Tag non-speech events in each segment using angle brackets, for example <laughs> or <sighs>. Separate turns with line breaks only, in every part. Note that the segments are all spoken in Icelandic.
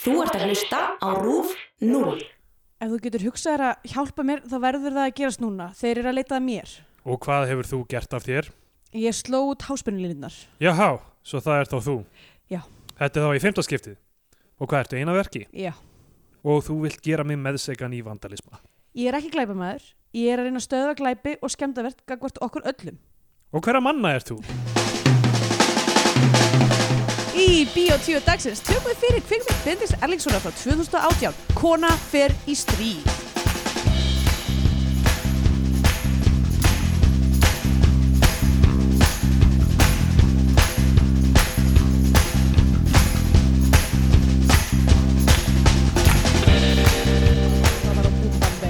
Þú ert að hlusta á RÚF 0.
Ef þú getur hugsað þér að hjálpa mér, þá verður það að gerast núna. Þeir eru að leitað mér.
Og hvað hefur þú gert af þér?
Ég sló út háspennulínunar.
Jáhá, svo það er þá þú.
Já.
Þetta er þá í fimmtaskiptið. Og hvað ertu eina verki?
Já.
Og þú vilt gera mig meðsegan í vandalisma.
Ég er ekki glæpamaður. Ég er að reyna að stöðva glæpi og skemmtavert gagvart okkur öllum.
Og hverja manna er þú?
Í Bíó 10 dagsins tökum við fyrir kvikmynd Bindis Erlingssonar frá 2018 Kona fer í stríð Það var á Búmbambei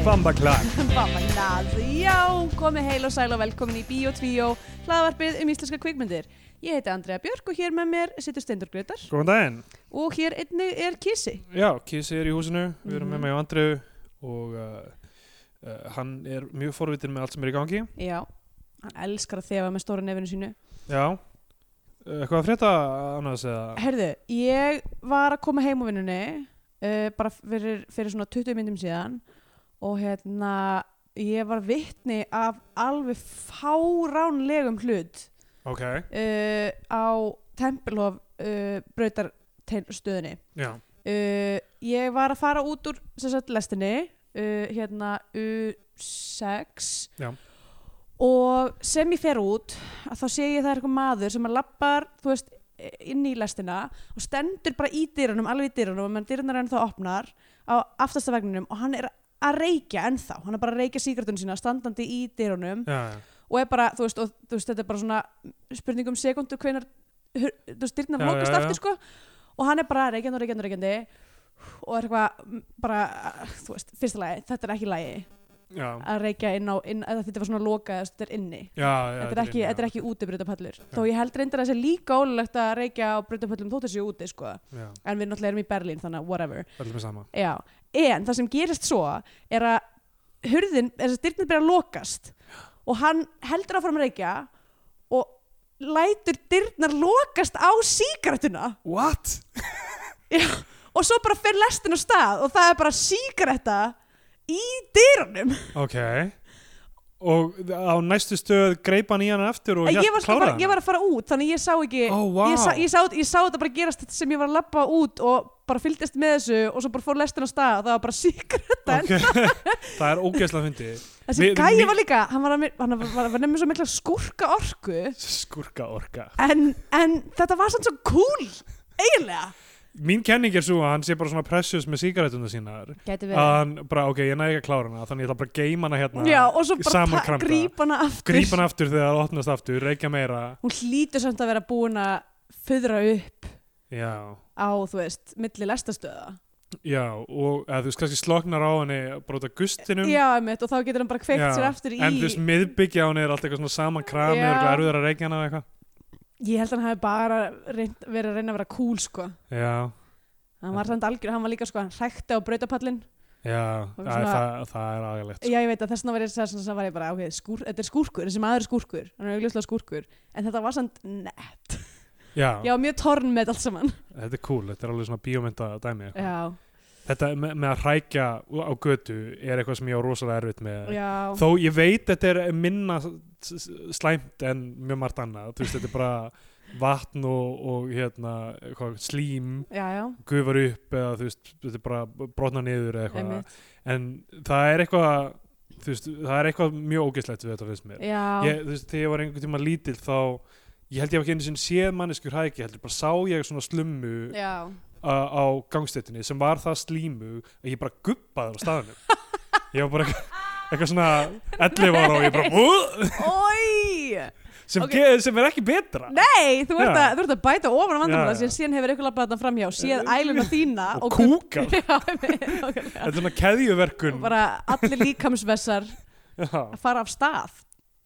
Bamba klag.
Babaglað, já, komið heil og sæl og velkomin í Bíó 2, hlaðvarpið um íslenska kvikmyndir. Ég heiti Andrea Björk og hér með mér situr Steindur Gretar
Góðan daginn.
og hér einnig er Kissi.
Já, Kissi er í húsinu. Við erum
Mhm.
með mig og Andreu og uh, uh, hann er mjög forvitin með allt sem er í gangi.
Já, hann elskar að þefa með stóra nefinu sínu.
Já. Uh, Eitthvað að frétta annars eða?
Herðu, ég var að koma heim á vinnunni uh, bara fyrir, fyrir svona 20 myndum síðan og hérna, ég var vittni af alveg fáránlegum hlut
Ok.
uh, á Tempelhof uh, brautarteinstöðinni.
Já.
Uh, ég var að fara út úr sem sagt, lestinni uh, hérna U6
Já.
og sem ég fer út að þá sé ég að það er eitthvað maður sem að lappar þú veist, inn í lestina og stendur bara í dyrunum, alveg í dyrunum og meðan dyrunar ennþá opnar á aftasta vegninum og hann er að reykja ennþá hann er bara að reykja síkartun sína standandi í dyrunum
Já, já.
og er bara, þú veist, og, þú veist þetta er bara svona spurning um sekundu hvenar hur- þú veist, dyrnar
Já,
lókast
já, já.
aftur sko og hann er bara reykjandi og reykjandi og reykjandi og er eitthvað m, bara, þú veist, fyrsta lagi þetta er ekki lagi
Já.
að reykja inn á inn, eða þetta var svona lokað, þess að þetta er inni
Já, já.
þetta er ekki,
inni,
þetta er
já.
ekki úti brutapallur þó ég held reyndar að það sé líka ólulegt að reykja á brutapallum þótt þessi úti sko
Já,
en við náttúrulega erum í Berlín þannig að whatever
það er með sama.
Já, en það sem gerist svo er að hurðin, er að dyrnir byrja að lokast og hann heldur áfram að reykja og lætur dyrnar lokast á sígarettuna
What?
og svo bara fer lestin á stað og það er bara sígaretta í dyrunum
Ok Og á næstu stöð greip hann í hann aftur og
ég
hélt
var, sko
kláraði
bara, ég var að fara út þannig ég sá ekki
Ó, vá.
ég, sá, ég, sá, ég sá þetta bara gerast sem ég var að labba út og bara fylgdist með þessu og svo bara fór lestin á stað og það var bara <laughs> sígaretta
hann. Ok. <laughs> Það er ógeðslega fyndi
þessi
Mér-
gæi
mér-
var líka, hann var, að mér- hann var, var, var nefnir svo mikla skurka orku
Skurka orka
en, en þetta var samt svo cool eiginlega
Mín kenning er svo að hann sé bara svona precious með sígarettuna sínar
Gæti
að hann bara, ok, ég næg ekki að klára hana þannig ég ætla bara að geima hana hérna
Já, og svo bara ta-
saman
grípa hana aftur
Gríp hana aftur þegar það opnast aftur, reykja meira
Hún hlýtur samt að vera búin að föðra upp
Já,
á, þú veist, milli lestastöða
já og eða, þú veist kannski sloknar á henni bara út af gustinum
Já, emitt, og þá getur hann bara kveikt
Já.
sér aftur í
En þú veist, miðbyggja á henni er alltaf eitthvað svona saman
Já.
kramið og eitthvað erfiðar að reykja hana og eitthvað
Ég held að hann hafi bara reynt, verið að reyna að vera cool, sko
Já,
Hann var samt algjör, hann var líka, sko, hann hrækti á brautapallin
Já,
Og
það,
svona-
er, það, það er agalegt sko.
Já, ég veit að þessna var ég að segja svona, var ég bara, ok, skúr, þetta er skúrkur, þessi maður er skúrkur Hann er augljóslega skúrkur, en þetta var samt, nett
Já,
Já, mjög torn með allt saman
þetta er cool, þetta er alveg svona bíómynda dæmi eitthvað.
Já,
Þetta með, með að hrækja á götu er eitthvað sem ég á rosalega erfitt með
já
Þó ég veit þetta er minna s- s- slæmt en mjög margt annað Þú veist, þetta er bara vatn og, og hérna, hvað, slím
Já, já,
gufar upp eða þú veist, þetta er bara brotna niður eða eitthvað
einmitt
En það er eitthvað, þú veist, það er eitthvað mjög ógeðslegt við þetta finnst mér
Já,
ég, þú veist, þegar ég var einhvern tíma lítil þá ég held ég hef ekki einu sinni séð manneskur hæki heldur, bara sá ég svona slummu yeah.
já
á gangstéttinni sem var það slímu að ég bara guppaði á staðinu ég var bara eitthvað, eitthvað svona 11 ára og ég bara "Ú!"
Ói
sem,
Ok.
okay. sem er ekki betra
Nei, þú ert,
Já.
að, þú ert að bæta ofan á vandamála
Já, já.
sem síðan hefur ykkur labbað þetta framhjá séð æluna þína
og,
og,
kúkar,
<laughs> Já, einmitt, nákvæmlega.
þetta er svona keðjuverkun
Og bara allir líkamsvessar
já,
að fara af stað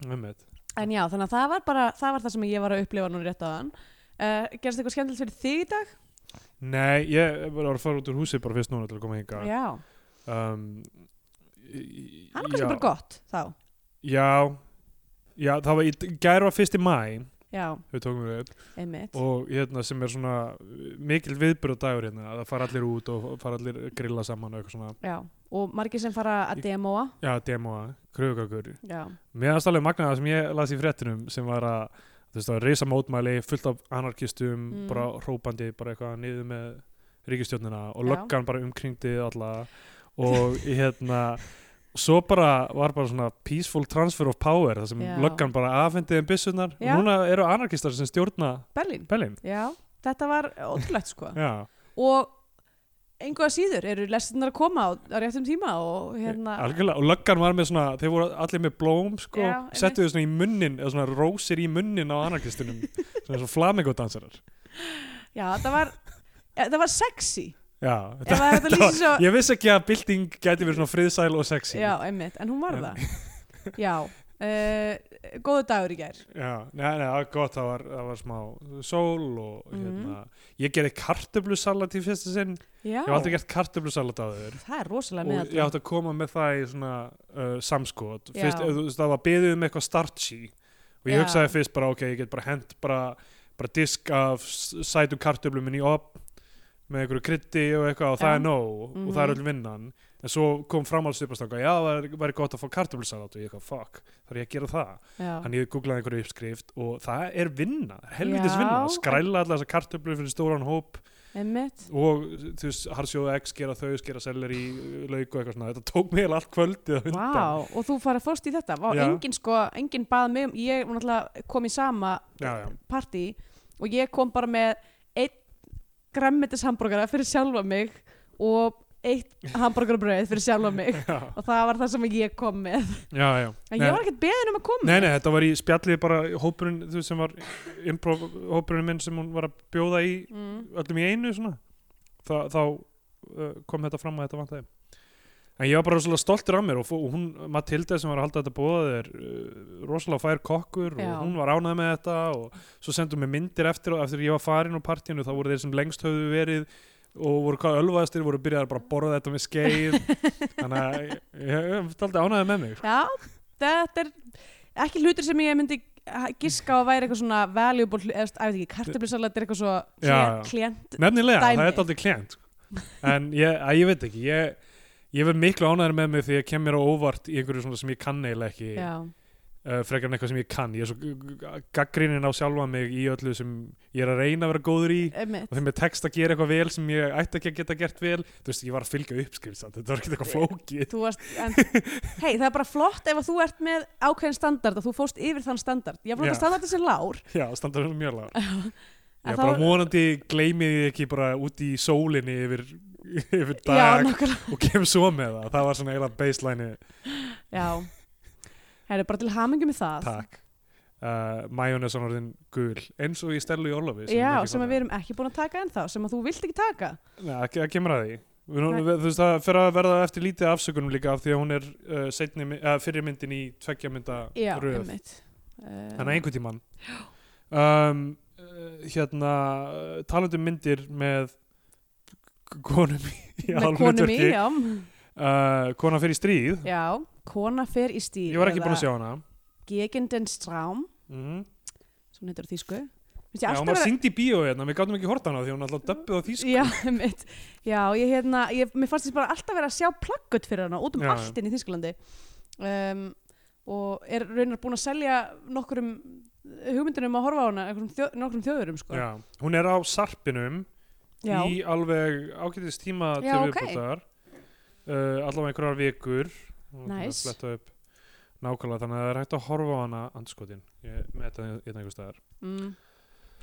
einmitt.
En já, þannig að það var bara það, var það sem ég var að upplifa núna rétt aðan uh, Gerst eitthvað skemmtilegt fyrir þig í dag?
nei, ég var að fara út úr húsi bara fyrst núna til að koma hinga
Já,
um, í-
það var kannski
já.
bara gott þá
Já, já það var í gær var fyrst í mæ
já,
við tókum við upp
einmitt
og hérna sem er svona uh, mikill viðbyrð dagur hérna að það fara allir út og fara allir að grilla saman og eitthvað svona
já. og margir sem fara að demoa
já, demoa, kröfugakur
já,
mér aðst alveg magnaða sem ég las í fréttinum sem var að þú veist það var reysa mótmæli fullt af anarkistum,
Mm.
bara hrópandi bara eitthvað niður með ríkistjórnina og
Já.
löggan bara umkringdi alla og hérna svo bara var bara svona peaceful transfer of power þar sem
Já.
löggan bara afhendi þeim byssunar og
Já.
núna eru anarkistar sem stjórna
Berlín
Berlín
já, þetta var ótrúlegt sko
Já,
og einhvað síður eru lestinnar að koma á, á réttum tíma og hérna
Eh, algjörlega, og löggan var með svona þeir voru allir með blóm sko,
Já, einmitt.
settu þau svona í munnin, eða svona rósir í munnin á
<laughs>
anarkistunum, svona svona flamengodansarar
já, það var, ja, það var sexy
<laughs> Já,
ef það er hægt að lýsa svo
Ég vissi ekki að bylting gæti verið svona friðsæl og sexy
já, einmitt, en hún var
En-
það já, uh, góðu dagur í gær
Já, neða, neða, gott, það var, það var smá sól og
Mhm.
hérna Ég gerði kartöflusalat í fyrsta sinn
já,
Ég hef aldrei gert kartöflusalat á þér
það er rosalega
Og ég
meðaltal
átti að koma með það í svona uh, samskot
Já.
fyrst, eh, þú veist, Það var beðið um eitthvað starchi Og ég
Já.
hugsaði fyrst bara, ok, ég get bara hent bara, bara disk af s- sætum kartöflum minni op með einhverju krytti og eitthvað og það
Já.
er nóg og það er
Mhm.
öll vinnan en svo kom framhaldsstupastanga já, það væri- væri gott að fá kartöflusalat og ég eitthvað, fuck, þarf ég að gera það
já,
hann ég googlaði einhverju uppskrift og það er vinna, helvitis vinna
Já.
skræla allar þessar kartöflur fyrir stóran hóp
einmitt
og þú veist, harsjóða egg, skera þau, skera selleri, lauk og eitthvað svona, þetta tók mig eiginlega allt kvöldið á
Vá,
undan.
og þú farið fórst í þetta Vá,
Já.
engin sko, engin bað mig um ég var náttúrulega kom í sama
Já, já.
partí og ég kom bara með einn græmmetis hambúrgara fyrir sjálfa mig og eitt hambúrgarabröð fyrir sjálfa mig
Já,
og það var það sem ég kom með
já, já.
en
Nei.
ég var ekkert beðin um að koma
Nei, nei, þetta var í spjallið bara hópurinn, þú veist, sem var improv hópurinn minn sem hún var að bjóða í
Mm.
öllum í einu svona Þa, þá uh, kom þetta fram að þetta vantaði en ég var bara rosalega stoltur af mér og, fó- og hún, Matilda sem var að halda þetta bóða er uh, rosalega fær kokkur og
Já.
hún var ánægð með þetta og svo sendum mér myndir eftir og eftir ég var farin á partíinu þá voru þeir sem lengst höfðu verið og voru hvað ölvaðastir voru byrjaðar bara að borða þetta með
<laughs>
skeið þannig að ég, ég, ég taldi ánægð með mig
Já, þetta er ekki hlutur sem ég myndi giska að væri eitthvað svona valuable hlut, eða þú veist, að veit ekki, kartablissalat er eitthvað svo
Já, já.
klient
Nefnilega,
Dæmi.
það er aldrei klient En ég, að, ég veit ekki Ég, ég verð miklu ánæður með mig því ég kem mér á óvart í einhverju svona sem ég kann eiginlega ekki uh,
Já,
frekar en eitthvað sem ég kann Ég er svo gaggrinin á sjálfa mig í öllu sem ég er að reyna að vera góður í og
einmitt
þegar mér tekst að gera eitthvað vel sem ég ætti ekki að geta gert vel Þú veist, ég var að fylgja uppskrifsand Þetta var ekki eitthvað flókið
Þú varst, en, hei, það er bara flott ef að þú ert með ákveðin standard að þú fóst yfir þann standard. Ég flott
Já.
að standardi sem lár,
Já, standa þessum mjög
<laughs>
lág
En
Ég
þá-
bara vonandi gleymi því ekki bara út í sólinni yfir, <laughs> yfir
já,
dag
nákvæmlega.
og kem svo með það Það var svona eiginlega baseline
Já, það er bara til hamingi með það.
Takk uh, Majónesan orðin gul eins og í Stellu í Ólofi
Já, sem að við erum ekki búin að taka ennþá, sem að þú vilt ekki taka.
Nei, það ke- það kemur að því Við nú-
Nei.
við- Þú veist það fyrir að verða eftir lítið afsökunum líka af því að hún er uh, seinni mi- eða fyrri myndin í tveggja mynda
Já,
röð
einmitt. Eh,
Þannig að einhvern
<gasps>
tímann um, uh, Hérna uh, talandi um myndir með k- konum í í
með konum í,
aðalhlutverki.
já.
uh, Kona fyrir stríð
Já, kona fer í stíl.
Ég var ekki búin að sjá hana
Gegenden Straum,
mm
sem heitur á þýsku. Finnst ég
Já,
alltaf
hún var
vera-
syngd í bíó hérna, við gátum ekki hort hana því hún alltaf döbbið á þýsku
Já, <laughs> einmitt. já, ég hérna, ég, mér fannst þess bara alltaf vera að sjá plaggut fyrir hana út um
Já, já.
allt inn í Þýskalandi um, og er raunar búin að selja nokkurum hugmyndunum að horfa á hana, einhverjum þjó, nokkrum þjóðurum sko.
Já, hún er á sarpinum
Já,
í alveg ágætist tíma til
Já, ok.
viðbútar uh, allavega einhverjar vikur Og það er
Nice.
að fletta upp nákvæmlega þannig að það er hægt að horfa á hana andskotin, ég með þetta hérna einhver staðar
mm,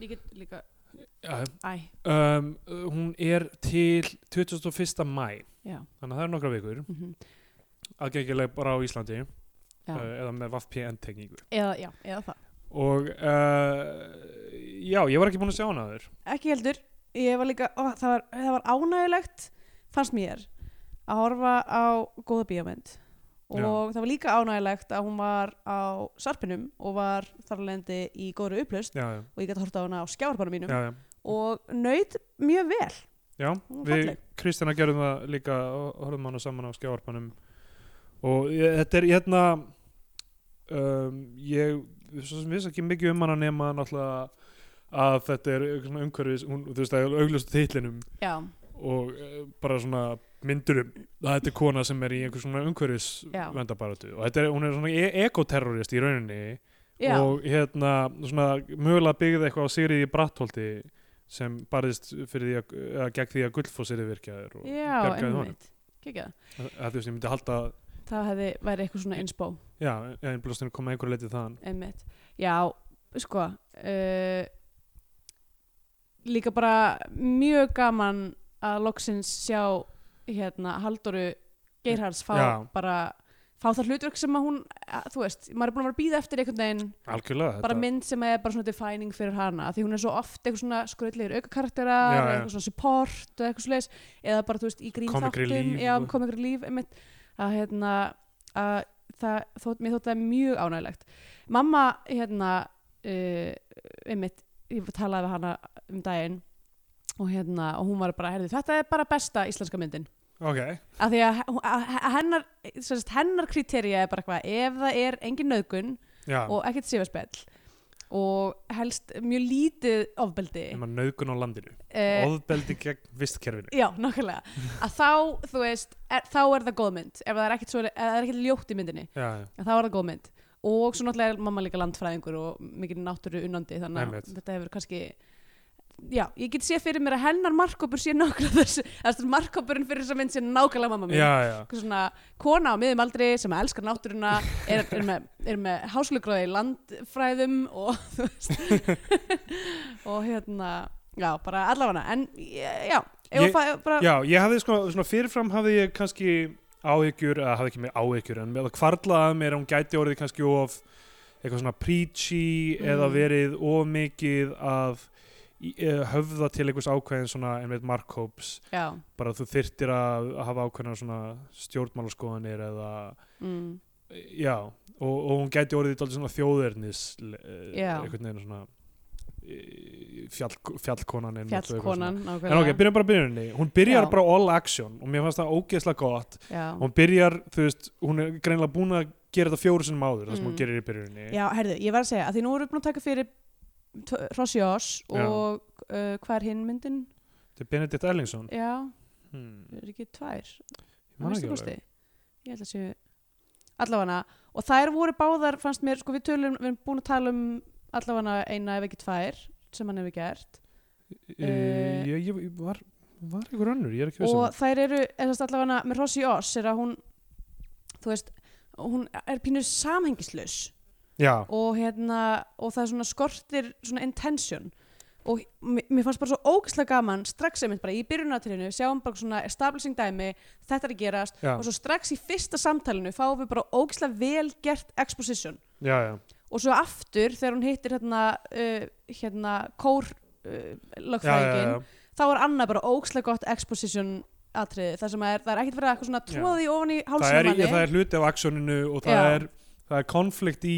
ég get líka,
Já,
æ,
um, uh, hún er til 21. mæ
já,
þannig að það er nokkra vikur
mm
aðgengileg bara á Íslandi uh,
já.
eða með VPN-tekningu
eða, já, eða það.
og uh, já, ég var ekki búin að sjá hana þurr
Ekki heldur, ég var líka, ó, það, var, það var ánægilegt, fannst mér, að horfa á góða bíómynd og
Já.
það var líka ánægilegt að hún var á sarpinum og var þar alvegndi í góðri upplust
já, já,
og ég gæti horta á hana á skjárbarnum mínum
já, já.
og naut mjög vel
Já,
Hún var
við
falleg.
Kristina gerðum það líka og horfum hana saman á skjáarpanum og ég, þetta er hérna um, ég svo sem vissi ekki mikið um hana nema náttúrulega að þetta er eitthvað svona umhverfis hún, þú veist, það er augljóst á titlinum
já,
og eh, bara svona myndurum að þetta er kona sem er í einhver svona umhverfis
Já.
vendabaratu og þetta er, hún er svona e ekoterrorist í rauninni
já,
og hérna svona mögulega byggði eitthvað á Sigriði Brattholti sem barðist fyrir því að, að gegn því að gullfoss er virkjaður og
já,
bjargaði honum
einmitt Kekja.
að, að þú veist, ég myndi halda að-
það hefði væri eitthvað svona insbó
já, ég er blóðstinn að koma einhverju leitið þaðan
einmitt, já, sko uh, líka bara mjög gaman að loksins sjá hérna Halldóru Geirhards fá
Já.
bara fá það hlutverk sem að hún, að, þú veist maður er búin að vera að býða eftir einhvern veginn
algjörlega
bara
þetta-
mynd sem er bara svona defining fyrir hana af því hún er svo oft eitthvað svona skröldlegir aukarakterar
Já,
eða
já.
eitthvað svona support eða eitthvað svoleiðis eða bara þú veist í
Comic
grínþáttum
relief
já,
og-
komikri líf einmitt, að hérna að það, þótt, mér þótt það mjög ánægilegt mamma hérna uh, einmitt, ég talaði við hana um daginn og hérna, og hún var bara, herði, þetta er bara besta íslenska myndin
ok,
af því að, að, að hennar sem sagt, hennar kriterja er bara eitthvað ef það er engin nöðgun
já,
og ekkert sifarspell og helst mjög lítið ofbeldi
nema nöðgun á landinu
uh,
ofbeldi gegn
<laughs>
vistkerfinu
já, nákvæmlega að þá, þú veist, er, þá er það góð mynd ef það er ekkert, svo, ef það er ekkert ljótt í myndinni
já, já,
þá er það góð mynd og svo náttúrulega er mamma líka landfræðingur og mikið náttúru unnandi þannig að
Einmitt.
þetta hefur kannski já, ég get séð fyrir mér að hennar markkópur sé nákvæmlega þess að markkópurinn fyrir þess að mynd sé nákvæmlega mamma mín
já, já.
eitthvað svona kona á miðum aldri sem elskar náttúruna er, er með, er með háskólugráði í landfræðum og þú veist
<laughs>
og hérna, já, bara allavega en já, ef
Ég-
að fá bara,
já ég hafði sko, svona fyrirfram hafði ég kannski áhyggjur, eða hafði ekki mér áhyggjur en það kvarlaði að mér að hún gæti orðið kannski of eitthvað svona preachy eða
Mm.
verið of mikið að í- eh, höfða til einhvers ákveðin svona einmitt markhóps
já
bara þú þyrtir að að hafa ákveðna svona stjórnmálaskoðanir eða
mm,
já, og, og hún gæti orðið dálítið svona þjóðernis e,
Já.
einhvern veginn svona eh, fjall, fjallkonan einmitt og eitthvað svona.
fjallkonan,
En ok,
nákvæmlega
byrjum bara á byrjuninni. Hún byrjar
Já.
bara all action og mér fannst það ógeðslega gott.
já.
Hún byrjar, þú veist, hún er greinlega búin að gera þetta fjóru sinni máður, það sem
Mm.
hún gerir í byrjuninni.
já, herðu, ég var að segja að því nú erum við búin að taka fyrir Rossjós
Já.
og uh, hvað er hinn myndin?
Þetta er Benedikt Erlingsson.
Já,
Hmm.
er ekki tvær
Ég man ekki alveg.
kosti ég held að séu allavega og þær voru báðar fannst mér sko við tölum við erum búin að tala um allavega eina ef ekki tvær sem hann hefur gert
Eh, Ég, ég, ég var, var einhver önnur, ég er ekki um
og
vissum.
þær eru eðast, allavega með Rossi Oss er að hún þú veist hún er pínur samhengislaus
Já,
og hérna og það er svona skortir svona intention og mér mér fannst bara svo ógæslega gaman strax einmitt bara í byrjunatrinu sjáum bara svona establishing dæmi þetta er að gerast
já,
og svo strax í fyrsta samtalinu fáum við bara ógislega vel gert exposition
já, já.
og svo aftur þegar hún hittir hérna, uh, hérna kór uh,
Já, já, já,
lögfræðingin, þá er annað bara ógislega gott exposition atriði þar sem að er, það er ekkert verið að eitthvað svona tróði ofan í
Það er,
hálsum á
í- það
manni
er hluti af aksjóninu og það
Já.
er, það er konflikt í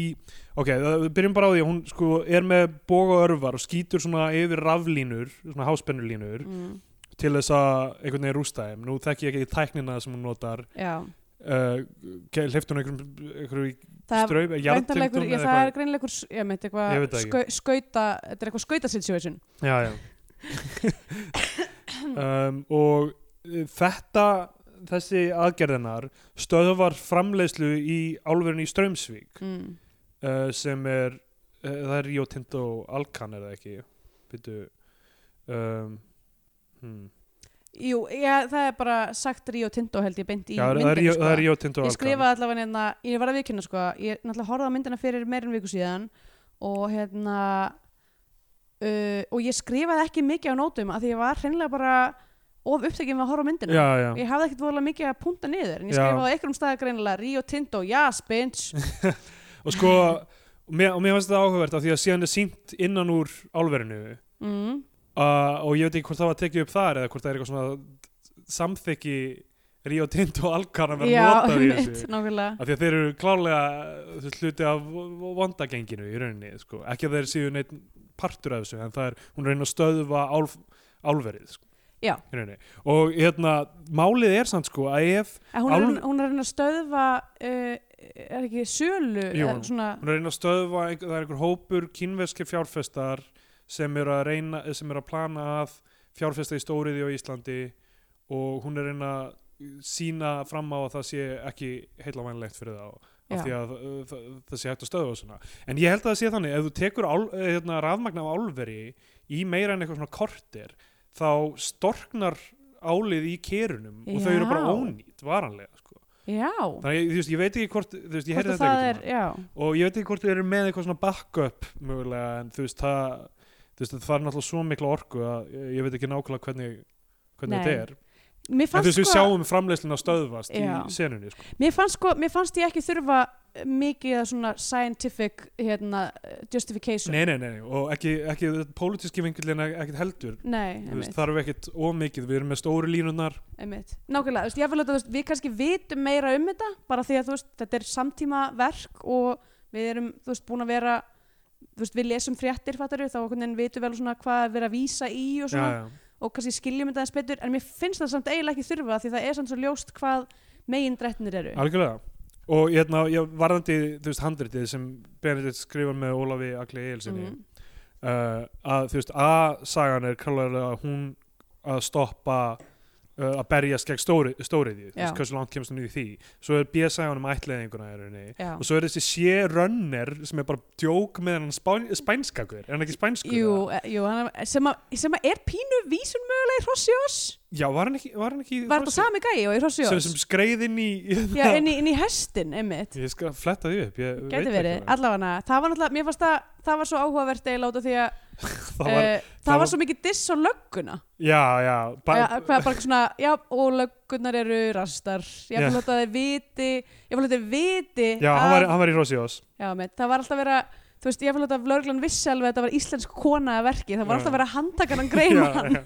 ok, það, við byrjum bara á því að hún sko, er með boga og örvar og skýtur svona yfir raflínur, svona háspennulínur
mm,
til þess að einhvern veginn rústa þeim nú þekki ég ekki tæknina sem hún notar
já,
uh, hliftur hún einhverjum, einhverjum
það er
ströym
greinlega
jarðtengdum
einhver-
eða
já, það er
eitthvað
greinilega einhver s- ég meint
Ég
eitthvað
veit það ekki.
skau, skauta þetta er eitthvað skauta situation
já,
<coughs>
já. um, og uh, þetta þessi aðgerðinar stöðvar framleiðslu í álverinu í Strömsvík
mm.
uh, sem er uh, það er Rio Tinto Alcan er það ekki Býtu, um, hmm.
jú, já, það er bara sagt Rio Tinto held ég beint í
já, það er- það er
myndinni,
Rio-
sko.
það er Rio Tinto
ég
Alcan
skrifaði allavega hérna, ég var að viðkynna sko, ég náttúrulega horfði á myndina fyrir meirin viku síðan og hérna uh, og ég skrifaði ekki mikið á nótum af því ég var hreinlega bara of upptekið með að horfa á myndina
já, já.
ég hafði ekkert vorulega mikið að punta niður en ég
Já.
skrifaði á einhverjum staðar greinilega Rio Tinto, yes
<laughs>
bitch
og sko og mér, og mér finnst þetta áhugavert af því að síðan er sínt innan úr álverinu uh,
mm,
og ég veit ekki hvort það var tekið upp þar eða hvort það er eitthvað svona samþykki Rio Tinto og Alcan að
já,
vera notað í
mitt,
þessu
nákvæmlega
af því að þeir eru klálega þú veist, hluti af v- vondagenginu í rauninni sko. ekki að þeir séu neitt partur af þessu en það er, hún er að reyna að stöðva álf, álverið sko.
Já.
Í rauninni. og hérna, málið er samt sko að ef
En hún er,
Alv-
hún er að reyna að stöðva uh, er ekki sölu
Jú.
eða svona,
hún er að reyna að stöðva einhver, það er einhver hópur kínverski fjárfestar sem eru að reyna sem eru að plana að fjárfesta í stóriði á Íslandi og hún er að reyna að sína fram á að það sé ekki heilavænlegt fyrir þá af
Já.
því að uh, það, það sé hægt að stöðva svona en ég held að það sé þannig, ef þú tekur ál, eh, hérna, rafmagn af álveri í meira en eitthvað svona kortir þá storknar álið í kerunum og þau eru bara
Já.
ónýtt varanlega sko.
já
þannig að ég- þú veist, ég veit ekki hvort þú veist, ég
Hvort
heyrði
að
þetta
það
einhvern
er, já,
og ég veit ekki hvort þið eru með eitthvað svona backup mögulega en þú veist það þú veist það er náttúrulega svo mikla orku að ég ég veit ekki nákvæmlega hvernig hvernig
Nei,
þetta er en
mér
þú
fannst,
veist við
sko,
sjáum framleiðsluna stöðvast
Já.
í senunni sko.
mér fannst sko mér fannst ég ekki þurfa eh, mikið að svona scientific hérna, eh, justification
nei, nei, nei, nei, og ekki, ekki pólitíski vingillin ekkert heldur
Nei,
Þú veist,
einmitt,
þarf ekkert ómikið, við erum með stóru línunar
einmitt. Nákvæmlega, þú veist, ég vil að þú veist, við kannski vitum meira um þetta bara því að þú veist, þetta er samtíma verk og við erum, þú veist, búin að vera þú veist, við lesum fréttir, fattar við þá okkur en vitum vel svona hvað er verið að vísa í og svona,
já,
og kannski skiljum þetta aðeins betur en mér finnst það samt eiginlega ekki þurfa því það er samt svo ljóst hvað megin drættinir eru
algjörlega og hérna, ég varðandi þú veist handritið sem Benedikt skrifar með Ólafi Agli Egilsinni
Mhm.
uh, að þú veist A-sagan er klálega að hún að stoppa uh, að berjast gegn stóri, stóriðju, þú
Já.
veist hversu langt kemst hún í því svo er B-sagan um ætlaðinguna er henni
Já.
og svo er þessi C-runner sem er bara djók með hann spán, spænskakur er hann ekki spænskur?
jú,
eða?
e- jú, hann er- sem, að, sem að er pínu vísun mögulega í Hrossjós
Já, var hann ekki, var hann ekki
var þetta sami gæi og í Hrossjós
sem, sem skreið inn í hérna.
já, inn í, inn í hestin, einmitt
ég skal fletta því upp ég veit
Gæti
ekki
verið,
það.
allavega það var náttúrulega, mér fannst það, það var svo áhugavert eiginlega út af því að
það
það
var,
var,
það
það
var-
var svo mikið diss á lögguna
já, já, ba-
ja, hvað bara svona, já, og löggunar eru rastar, ég
Já.
vil láta þeir viti ég vil láta þeir viti
já hann,
að-
var, hann var í Rosjós
Já, með, það var alltaf verið að, þú veist, ég fylgði að lögreglan vissi alveg að þetta var íslensk kona að verki, það var
Já.
alltaf verið að handtaka hann greina
<laughs>
hann.
já.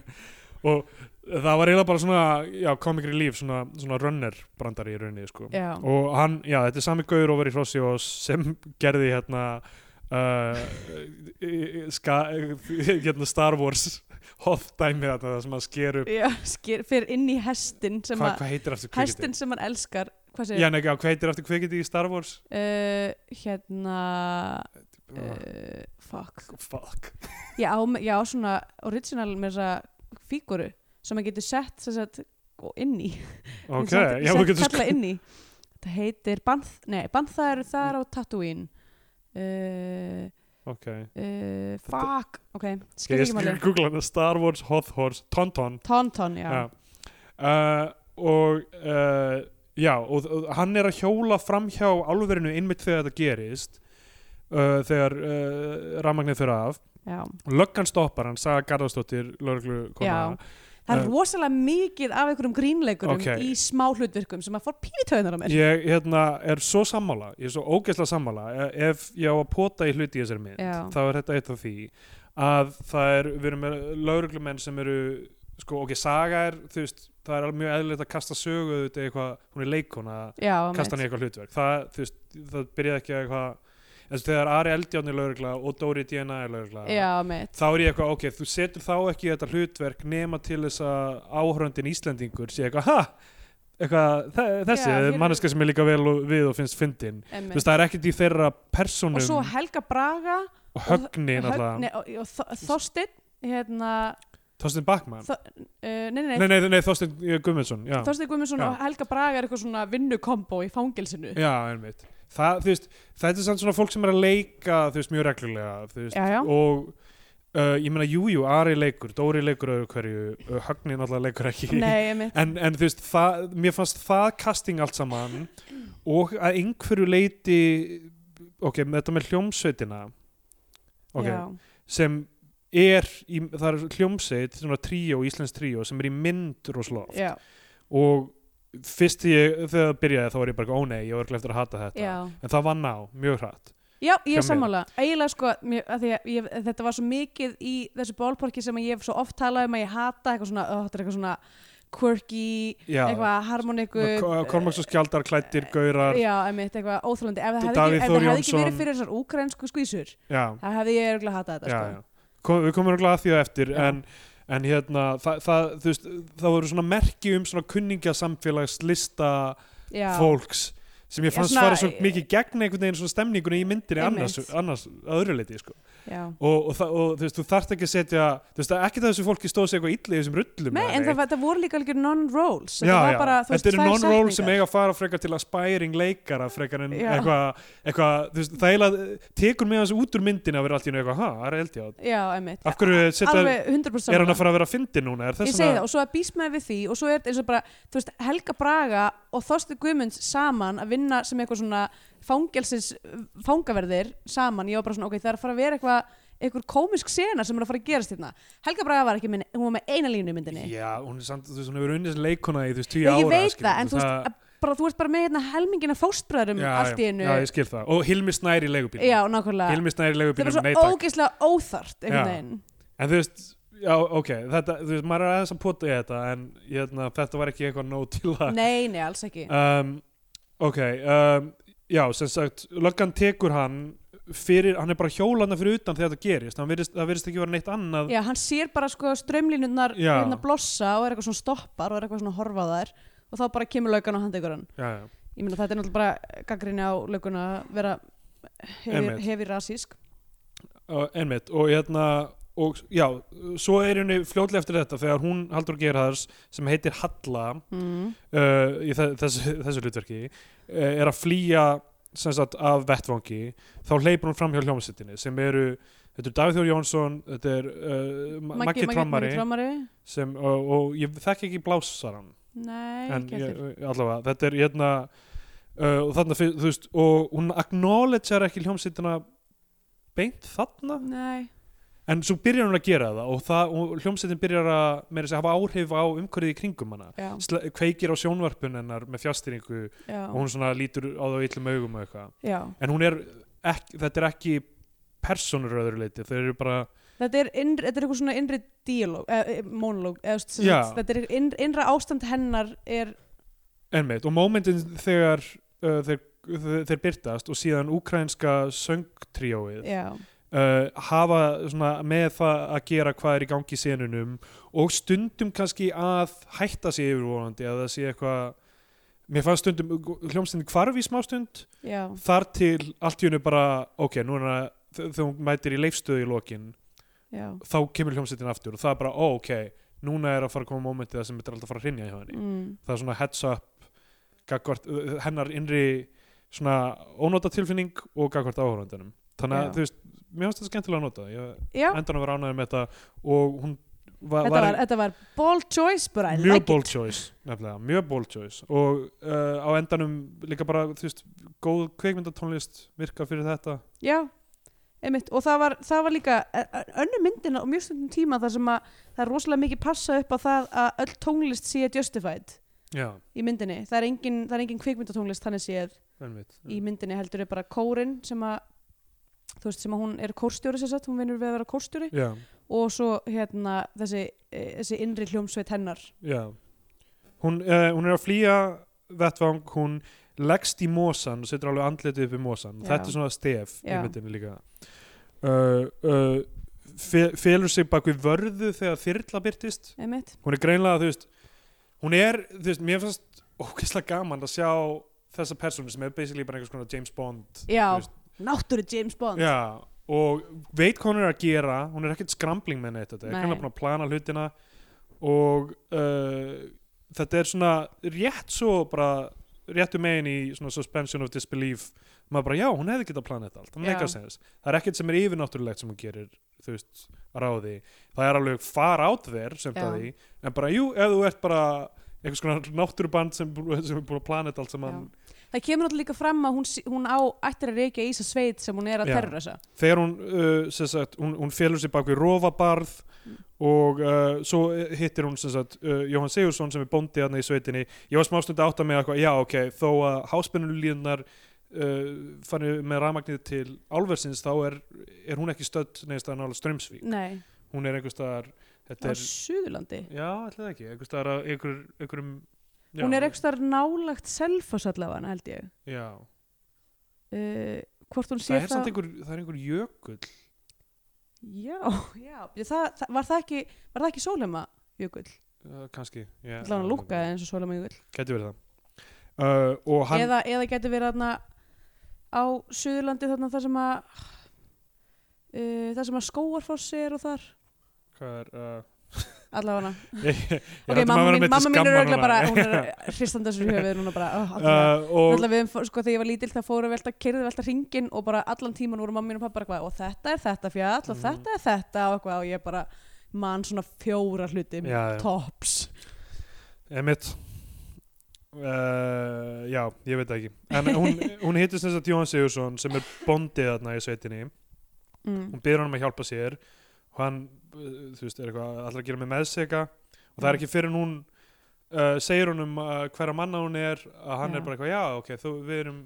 og það var eiginlega bara svona já, comic relief, svona, svona runner brandari í rauninni sko.
Já.
og hann, já, þetta er sami gaur over í Hrossi og sem gerði hérna uh, ska, hérna Star Wars hoth dæmi þarna það sem að sker upp
Já, skýr, fyrir inn í hestin sem
hvað
að,
hva heitir aftur kvikindi?
hestin sem hann elskar, hvað
Já,
segir,
nei, já, hvað heitir aftur kvikindi í Star Wars?
uh, hérna, uh, fuck,
Fuck
já, já, svona original með þessa fíguru sem hann getur sett, sem sagt, og inn í,
Ok,
sett,
já, sko- þú
sett
getur
kalla inn í. Það heitir, banð, nei, bannþað eru þar á Tatooine, uh,
Ok,
uh, fuck, ok,
ég
skilja ekki máli.
skal googla hana Star Wars hoth horse, tonton
Tonton, já.
já. Uh, og uh, já, og, og hann er að hjóla framhjá álverinu einmitt þegar þetta gerist uh, þegar uh, rafmagnið fyrir af
já.
löggan stoppar hann, sagði Garðarsdóttir lögreglu
Já. Það er
Eh,
rosalega mikið af einhverjum grínleikurum
Ok.
í smá hlutverkum sem að fór pínitöðunar á mér.
ég hérna, er svo sammála ég er svo ógeðslega sammála E- ef ég á að pota í hluti í þessari mynd
Já.
þá er þetta eitt af því að það er, við erum með lögreglumenn sem eru sko, ok, saga er, þú veist það er alveg mjög eðlilegt að kasta sögu þetta eitthvað, hún er leikona
Já,
kasta hann í eitthvað hlutverk það, þú veist, það byrjaði ekki að eitthvað þess að þegar Ari Eldján er lögregla og Dóri DNA er lögregla
Já, mitt.
þá er ég eitthvað, ok, þú setur þá ekki í þetta hlutverk nema til þess að áhörundin Íslendingur sé eitthvað, ha eitthvað, þe- þessi,
Já,
yeah,
hér er-
manneska sem er líka vel og- við og finnst fyndin þú veist, það er ekkert í þeirra
Og svo
personum
Helga Braga,
og högni náttúrulega,
Högni og, og Þo- Þorstein, hérna,
Þorstein Bakman
Þo- uh, nei, nei,
nei, nei, nei, Þorstein eh, Guðmundsson já,
Þorstein Guðmundsson
Já.
og Helga Braga er eitthvað svona vinnukombo í fangilsinu.
já, einmitt það, þú veist, þetta er samt svona fólk sem er að leika þú veist, mjög reglulega, þú veist
Já, já.
og uh, ég meina jújú, jú, Ari leikur, Dóri leikur öðru hverju, uh, Högni náttúrulega leikur ekki
Nei, mitt.
en, en þú veist, það, mér fannst það casting allt saman og að einhverju leiti ok, með þetta með hljómsveitina ok,
Já,
sem er, í, það er hljómsveit svona tríó, íslensk tríó sem er í mynd rosalega
já,
oft og fyrst þegar ég, þegar það byrjaði þá var ég bara, ó nei, ég var ekki eftir að hata þetta
já.
en það var ná, mjög hratt
Já, ég er
Hjá mér.
sammála. Ægilega sko, mér, að því að ég, þetta var svo mikið í þessu bólporki sem að ég hef svo oft talað um að ég hata eitthvað svona, ó, þetta er eitthvað svona quirky,
Já.
eitthvað harmoniku.
Kormaks og Skjaldar, Klættir, Gaurar
Já, einmitt, eitthvað óþálandi. Ef það hefði, ekki,
Davíð
ef
Þór
það hefði ekki
Jónsson.
verið fyrir þessar úkrænsku skvísur,
já,
það hefði ég örgulega hatað þetta
já,
sko.
já. Kom, við komum örugglega að því á eftir
Já.
en, en hérna, það, það, þú veist, það voru svona merki um svona kunningjasamfélags lista
já,
fólks sem ég
Ég
fannst
svona-
fara svo mikið gegn einhvern veginn svona stemningunni í myndinni annars,
Einmitt.
annars að öðru leiti sko.
já.
og, og, það- og þú veist, þú þarft ekki að setja þú veist, það er ekki það þessu fólki stóð sig eitthvað illa í þessum rullum
Nei,
eða
en það,
neitt.
var- það voru líka algjör non-rolls
Já,
Þetta var
já.
bara, þú veist,
þetta eru
tvær
non-roll sem
setningar.
eiga að fara frekar til aspiring leikara frekar en
Já.
eitthvað eitthva, það eiginlega eh, tekur með þessu út úr myndinni að vera allt í einu eitthvað, ha, það er held ég
Já, emmitt
af hverju setja,
Alveg 100%
er hann
sammála.
að fara að vera fyndin núna er
Ég
þess
segi það
að,
og svo að býsmaði við því og svo er þetta eins og bara, þú veist, Helga Braga og Þorsti Guðmunds saman að vinna sem eitthvað svona fangelsins fangaverðir saman, ég var bara svona, ok, það er að fara að vera eitthvað eitthvað komisk sena sem er að fara að gerast hérna Helga Braga var ekki minn, hún var með eina línu í myndinni
já, hún er samt, þú veist, hún hefur unnið þessi leikona í þú
Ég,
veist, tíu ára
ég veit
skilur,
það, en þú veist, að bara þú ert bara með hérna helmingina fóstbröðrum
já,
allt í einu
já, ég skil það, og Hilmi Snær í leigubílum
Já, nákvæmlega
Hilmi Snær í
Það
leigubílum,
var
nei
svo
takk
ógeðslega óþart
Já.
einhvern veginn
en þú veist, já, ok þetta, þú veist, maður er aðeins að pota í þetta en ég, hefna, þetta var ekki eitthvað nóg til að
Nei, nei, alls ekki
um, ok um, já, sem sagt, löggan tekur hann fyrir, hann er bara hjólanda fyrir utan þegar þetta gerist, hann virðist, það virðist ekki vera neitt annað
Já, hann sér bara sko strömlínunnar
Já.
hérna blossa og er eitthvað svona stoppar og er eitthvað svona að horfa á þær og þá bara kemur laukan og handtekur hann
já, já.
Ég meina þetta er náttúrulega bara gaggrinni á laukuna að vera
Einmitt.
hefi rasísk
Uh, einmitt, og hérna og já, svo er henni fljótlega eftir þetta þegar hún Haldur Gerhards sem heitir Halla
mm.
uh, í þe- þessu, þessu hlutverki uh, er að flýja sem sagt af vettvangi þá hleypur hún fram hjá hljómsveitinni sem eru, þetta er Davíð Þór Jónsson þetta er uh, Maggi Trommari
Trommari
sem, og, og ég þekki ekki blásarann
Nei,
en
ekki
ég,
eftir
allavega, þetta er hérna uh, og þarna, fyr- þú veist og hún acknowledgear ekki hljómsveitina beint þarna
Nei,
en svo byrjar hún að gera það og, það, og hljómsveitin byrjar að meira þess að hafa áhrif á umhverfið í kringum hana
já,
Sle- kveikir á sjónvarpun hennar með fjastýringu
já,
og hún svona lítur á það yllum augum og eitthvað
já
en hún er ekki, þetta er ekki personur öðru leiti, þau eru bara
Þetta er, innri, þetta er eitthvað svona innri díalóg, eh, monológ, eða, þú veist, sem
Já.
sagt, þetta er innri, innra ástand hennar er,
Einmitt, og mómentin þegar uh, þeir, þeir, þeir byrtast og síðan úkrænska söngtríóið
já,
uh, hafa svona með það að gera hvað er í gangi í senunum og stundum kannski að hætta sig yfirvonandi að það sé eitthvað mér fannst stundum hljómsveitin hvarf í smástund
já,
þar til allt í hennu bara ok, núna þegar hún mætir í leifstöðu í lokin
já.
þá kemur hljómsveitin aftur og það er bara ó, ok, núna er að fara að koma mómentið það sem þetta er alltaf að fara að hrynja hjá henni
Mm.
það er svona heads up gagvart, hennar innri svona ónóta tilfinning og gagvart áhórandunum þannig að
Já.
þú veist, mér finnst þetta skemmtilega að nota ég
Já,
endan að vera ánægður með þetta og hún var,
þetta var, þetta var bold choice bara, I
mjög
like
bold choice nefnilega, mjög bold choice og uh, á endanum líka bara þú veist, góð kveikmyndatónlist virka fyrir þetta
it Já, einmitt, og það var, það var líka ö- ö- önnur myndina og mjög stundum tíma þar sem að það er rosalega mikið passa upp á það að öll tónlist sé justified
já,
í myndinni, það er engin, það er engin kvikmyndatónlist þannig séð
einmitt
í myndinni heldur er bara kórin sem að þú veist sem að hún er kórstjóri sér sett, hún vinnur við að vera kórstjóri
já,
og svo hérna þessi, eh, þessi innri hljómsveit hennar
já hún, uh, hún er að flýja vettvang, hún leggst í mosan og setur alveg andlitið upp í mosan
Já.
þetta er svona stef í
Já.
myndinni líka uh, uh, fe- felur sig bak við vörðu þegar þyrla byrtist
einmitt,
hún er greinlega þú veist hún er, þú veist, mér finnst ógeðslega gaman að sjá þessa persónu sem er basically bara einhvers konar James Bond
já,
Þú veist.
náttúru James Bond
já, og veit hvað hún er að gera hún er ekkert skrambling með neitt þetta er
Nei.
greinlega búin að plana hlutina og uh, þetta er svona rétt svo bara réttu megin í svona suspension of disbelief maður bara já, hún hefði getað planað þetta allt það,
Já.
er sens. það er ekkert sem er yfirnáttúrulegt sem hún gerir þú veist, að ráði það er alveg far out there sem
Já.
það í en bara jú, ef þú ert bara einhvers konar náttúruband sem, bú- sem er búin að plana þetta allt saman
Það kemur alltaf líka fram að hún, sí- hún á ættir að reykja í þessa sveit sem hún er að
Já.
terrorisa.
þegar hún, uh, sem sagt, hún, hún félur sér bak við rofabarð og uh, svo hittir hún sem sagt, uh, Jóhann Sigursson sem er bóndi hérna í sveitinni ég var smástund að átta með eitthvað, já ok þó að háspennulíðunar uh, fannu með rafmagnið til álversins þá er, er hún ekki stödd neðist að nála strömsvík
Nei,
hún er einhvers staðar þetta
á
er,
Suðurlandi.
já ætlaði ekki einhvers staðar að einhver, einhverjum já,
Hún er ekki þar nálagt selfoss allavega, held ég.
já.
Uh, hvort hún sé
það er samt einhver, það er einhver jökull
Já, já, Bíddu, það, það, var það ekki, var það ekki sólema jökull?
uh, kannski yeah.
Það hann lúkkaði eins og sólema jökull.
Gæti verið það uh, Og hann
Eða, eða getur verið þarna á Suðurlandi þarna þar sem að uh, þar sem að skóarfossi er og þar
hvað er, uh,
allavega hana.
ég, ég,
Ok, mamma mín, mamma mín er auðvitað bara, hún er hristandi þessu höfuð núna
<laughs>
bara, oh, allavega.
uh, og,
Náttúrulega við, höfum fó- sko, þegar ég var lítil það fóru velta, kerði velta ringin og bara allan tíman voru mamma mín og pappa bara eitthvað og þetta er þetta fjall og
Mhm.
þetta er þetta og eitthvað og ég bara mann svona fjóra hluti
Já, já.
tops
Emmett Uh, já, ég veit það ekki en hún,
<laughs>
hún hittist þess að Jón Sigursson sem er bóndið þarna í sveitinni
mm.
hún byrður hann um að hjálpa sér og hann, uh, þú veist, er eitthvað allra að gera með meðsega og
Mm.
það er ekki fyrir en hún uh, segir hún um uh, hverja manna hún er að hann
Já.
er bara eitthvað, já, ok, þú, við erum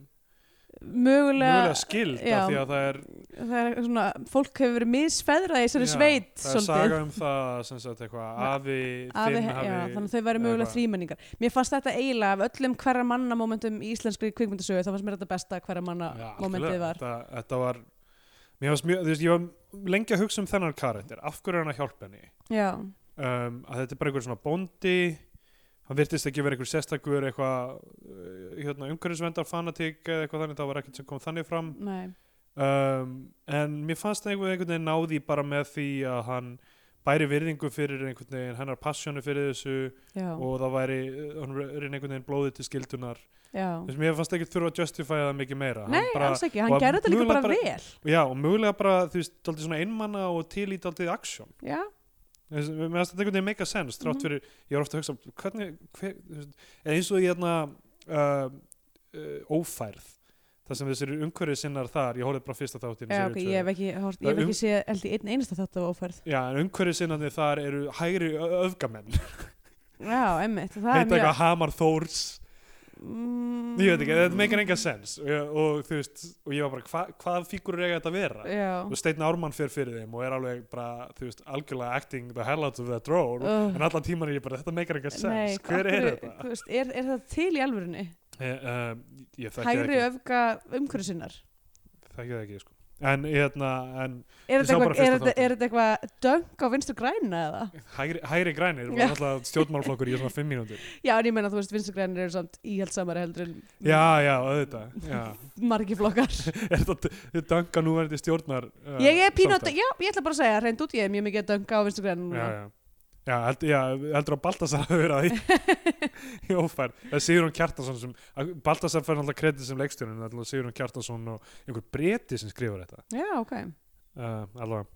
mögulega,
mjögulega skild
já.
af því að það er,
það er svona fólk hefur verið misfeðrað í þessari
já,
sveit
það er
svolítið
saga um það sem sagt eitthvað,
Na-
afi,
Afi,
þinn
já,
hafi
þannig að þau væri mögulega
eitthvað.
þrýmenningar mér fannst þetta eiginlega af öllum hverja manna momentum í íslenskri kvikmyndasögu þá fannst mér þetta besta hverja manna
Já,
momentið
algjörlega.
var
þetta, þetta var mér varst mjög, þú veist, ég var lengi að hugsa um þennan karakter, af hverju er hann að hjálpa henni
já,
um, að þetta er bara einhver svona bóndi hann virtist ekki vera einhver sérstakur eitthvað uh, hérna, umhverfisvendar fanatík eða eitthvað þannig, það var ekkert sem kom þannig fram
nei,
um, en mér fannst það einhvern einhvern veginn náði bara með því að hann bæri virðingu fyrir einhvern veginn hennar passjónu fyrir þessu
já,
og það væri, uh, hann er einhvern veginn blóðið til skildunar,
já
þess að mér fannst ekki þurfa að justify það mikið meira Hann
nei,
bara,
alls ekki,
og
hann
að
gerði þetta líka
mögulega
bara vel
já, og mögulega bara, þú veist, daldið svona einmanna og til í daldið aksjón
já,
Mér finnst mér finnst þetta einhvern veginn make a sense þrátt
Mhm.
fyrir, ég var ofta að hugsa hvernig, hver, þú veist, eða eins og ég hérna uh, uh, ófærð þar sem þessir umhverfið sinnar þar, ég horfði bara fyrsta þáttin
já, ok, ég hef ekki, hort, ég
Það
hef
um-
ekki séð held í einn einasta þetta á ófærð
Já, en umhverfið sinnarnir þar eru hægri ö- öfgamenn,
já, emmitt, það er
heita
mjög
eitthvað Hamar Þórs
mm,
ég veit ekki, þetta make enga sense og, og þú veist, og ég var bara, hva, hvað fígurur eiga þetta að vera?
Mm, já,
og Steinn Ármann fer fyrir þeim og er alveg bara, þú veist, algjörlega acting the hell out of that role
Ugh.
en allan tíman er ég bara, þetta make enga sense
nei,
hver
af
er
hverju-
þetta?
þú veist, er, er það til í alvörunni
Eh, um, ég þekki það
hægri
ekki,
öfga umhverju sinnar
þekki það ekki sko. en, hérna, en
Er þetta
Ég sá bara
eitthvað- er
fyrsta
þetta-
þáttinn.
er þetta eitthvað döng á vinstri græna eða?
hægri, hægri grænir
Já.
var alltaf stjórnmálflokkur í svona fimm
<laughs>
mínútur
Já, en ég meina þú veist vinstri grænir eru samt íhaldsamari heldur en
já, já, auðvitað já. <laughs>
margi flokkar.
er þetta þetta danga núverandi stjórnar uh,
<laughs> ég er pínótt,
samstarf?
já, ég ætla bara að segja, reynd út ég er mjög mikið að dönga á vinstri grænum.
já, já Já, held, já, heldur að Baltasar hafi verið að því í ófær. Það segir hún Kjartansson sem, Baltasar fær náttúrulega kredið sem leikstjórnin, það segir hún Kjartansson og einhver breti sem skrifur þetta.
<laughs> já, ok.
uh, allavega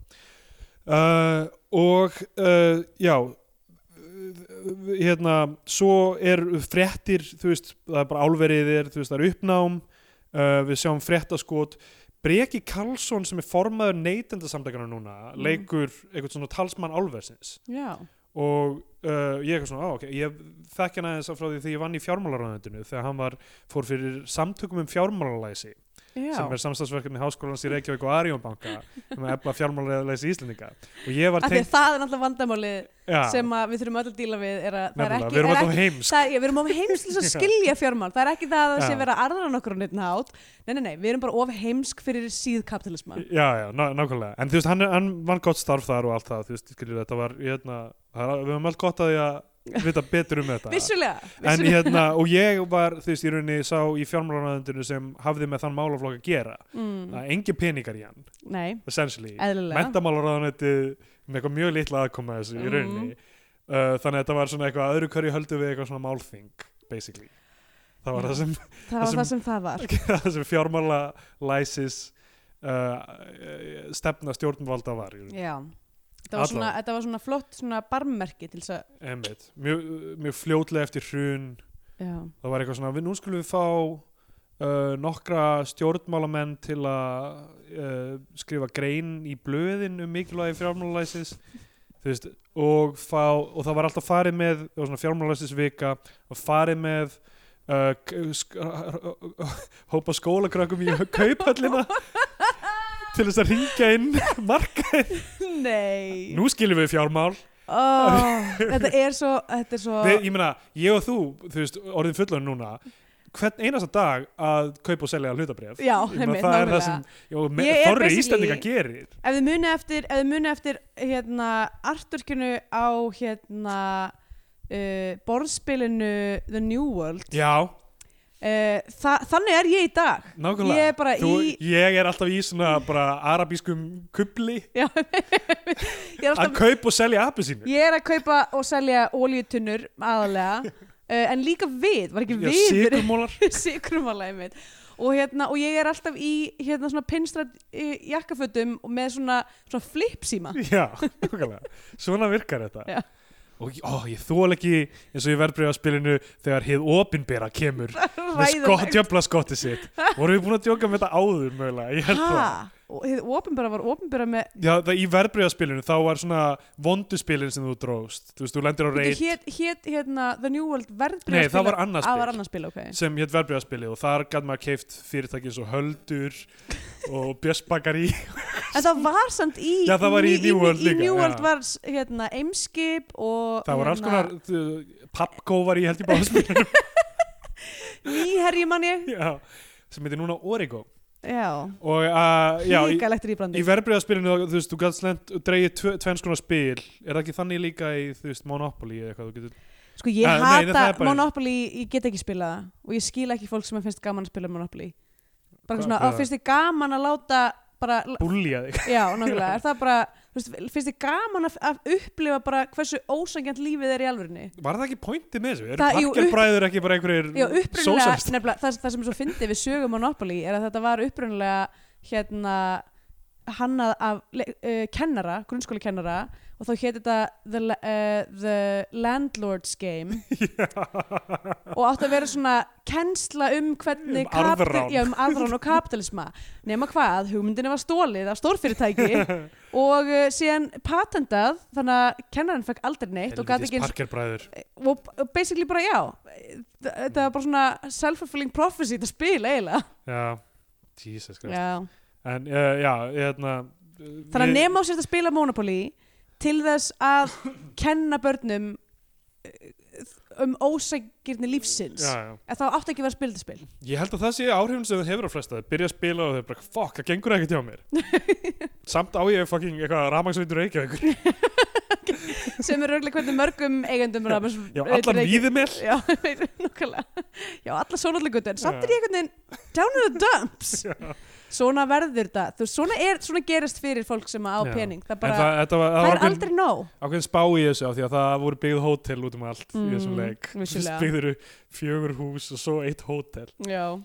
uh, og uh, já uh, hérna svo er fréttir þú veist, það er bara álverið er þú veist, það er uppnám uh, við sjáum fréttaskot Breki Karlsson sem er formaður neytendasamtakana núna
Mm.
leikur eitthvað svona talsmann álversins
Já,
og uh, ég eitthvað svona, á ok, ég þekki hann aðeins frá því þegar ég vann í fjármálaráðunendinu þegar hann var, fór fyrir samtökum um fjármálalæsi
já.
sem er samstagsverkefni háskólans í Reykjavík og Arjónbanka um að efla fjármálaðilegis íslendinga og ég var
Af því að
tengt
það er náttúrulega vandamáli
já,
sem að við þurfum öll að díla við er að það er
nefnilega,
ekki,
við erum
er
alltaf
ekki
heimsk
Það er, já, við erum of heimslis að
<laughs> Já.
skilja fjármál það er ekki það að það sé
Já.
verið að arðra nokkur á neitt hát nei, nei, nei, við erum bara of heimsk fyrir síðkapitalisman
já, já, ná, nákvæmlega, en þú veist, hann, er, hann vann gott starf þar og allt það, þú veist, skilur þetta var hérna, það er- við höfum allt gott að því að vita
<laughs>
betur um þetta
vissulega,
en
vissulega.
hérna, og ég var, þú veist, í rauninni sá í fjármálaráðundinu sem hafði með þann málaflokk að gera
mm,
að engi peningar í hann,
nei,
essentially
eðlilega
mentamálaráðanætti með eitthvað mjög litla aðkoma að þessu í
Mhm.
rauninni uh, þannig að þetta var svona eitthvað öðru hverju höldu við eitthvað svona málþing basically það var
Já.
það sem,
það var
sem-
það sem það var
<laughs> það sem fjármála læsis uh, stefna stjórnvalda var í rauninni.
Já, þetta var,
Allavega.
svona, þetta var svona flott svona barmmerki til þess að
einmitt, mjög, mjög fljótlega eftir hrun
Já, <laughs>
það var eitthvað svona, við nú skulum við fá uh, nokkra stjórnmálamenn til að uh, skrifa grein í blöðin um mikilvægi fjármálalæsis þú veist, og, fá, og það var alltaf farið með það var svona fjármálalæsis vika og farið með uh, k- sk- <laughs> hópa skólakrökkum í kauphöllina til þess að ringja inn marka,
nei
nú skilum við fjármál
Ó, Þetta er svo, þetta er svo
við, ég meina, ég og þú, þú veist, orðin fullan núna hvern einasta dag að kaupa og selja hlutabref
Já,
það
einmitt,
er það
nákvæmlega.
sem já, me-
Ég er
þorri
basically-
Íslandinga gerir
Ef þið muni eftir, ef þið muni eftir hérna, arturkinu á hérna, uh, borðspilinu The New World,
já,
uh, þa þannig er ég í dag.
nákvæmlega
Ég er bara
Þú,
í-
ég er alltaf í svona bara arabískum kubli
Já, ég, er
að
alltaf,
kaupa og selja appi sínu
ég er að kaupa og selja ólíutunnur aðalega, uh, en líka við, var ekki við <laughs>
sigurmólar
sigrumalæði mitt og, hérna, og ég er alltaf í hérna, svona pinnstrætt jakkafötum og með svona, svona <laughs> flipsíma
já, nákvæmlega, svona virkar þetta
Já.
og ó, ég þól ekki eins og ég verðbreið á spilinu þegar hið opinbera kemur með skott,
Ræðilegt.
djöfla skotti sitt vorum við búin að djóka með þetta áður mögulega ég held það
Ha? og þið opinbara var opinbara með
Já, það í verðbreyðaspilinu þá var svona vonduspilin sem þú dróst þú veist, þú lendir á reit
hét, hét hérna The New World verðbrið
Nei, það var annað
það
spil
var annarspil, ok
sem hétt verðbreyðaspili og þar gæt maður keift fyrirtæki eins og Höldur og
<laughs>
Björnsbakari
en það var samt í
Já, það var í New
í,
World
í,
líka,
New World
já.
var s- hérna Eimskip og
það var alls
hérna,
konar pappkó var í held í báðaspilinu
nýherji mann ég
<laughs> Já, sem heitir núna Origo
já,
og uh, já, í,
líkalegt
í
rýbrandi
verðbreyðaspilinu þú veist, þú gæt slend dreigið tve, tvenns konar spil er það ekki þannig líka í, þú veist, Monopoly eða eitthvað þú getur
sko ég
Ah, nei, það er
hata
bara-
Monopoly, ég get ekki spilað það. og ég skil ekki fólk sem finnst gaman að spila Monopoly bara
Hvað-
svona,
hvað-
að finnst þið gaman að láta bara,
búljað þig
já, nákvæmlega, er það bara þú veist, finnst þið gaman að, að upplifa bara hversu ósangjant lífið er í alvörinni
Var það ekki pointið með þessu? Eru
Það- jú, upp-
parkerbræður ekki bara einhverjir
Já, upprunalega,
sósíalistar?
nefnilega, það, það sem er svo fyndið við sögum Monopoly er að þetta var upprunalega hérna hannað af le- uh, kennara, grunnskóla kennara og þá hétt þetta the, La- uh, the Landlord's Game
<laughs>
og átti að vera svona kennsla um hvernig
Um arðrán.
já, um arðrán og kapitalisma nema hvað, hugmyndinni var stólið af stórfyrirtæki
<laughs>
og uh, síðan patentað þannig að kennaran fekk aldrei neitt og gæti
Helvítis
ekki eins
parkerbræður
og og basically bara já þ- þetta var bara svona self-fulfilling prophecy þetta spil eiginlega
Já, Jesus Christ
já.
En uh, já, hérna
þannig að nema á sér að spila Monopoly til þess að kenna börnum eh, um ósækirni lífsins
Já, já.
að þá áttu ekki að vera spil þetta spil
Ég held að það sé áhrifin sem það hefur á flesta Þeir Byrja að spila og þau bara, fuck, það gengur ekkert hjá
<laughs>
mér Samt á ég fucking eitthvað rafmagsveitur Reykjavík
<laughs> sem er örglega hvernig mörgum eigandum rafmagns-
Já,
eh,
allan
Reykjavík-
víðumil
já, <laughs> nokkulega já, alla sónallagutun, samt
Já.
er ég einhvern veginn down in the dumps svona verður þetta, þú veist, svona, er, svona gerist fyrir fólk sem á
Já.
pening það,
En
bara,
það, þetta var,
það,
það var
er
ákveðin,
aldrei nóg
ákveðin spá í þessu af því að það voru byggð hótel út um allt í þessum
Mm,
leik <laughs>
vissulega.
Byggður fjögur hús og svo eitt hótel
já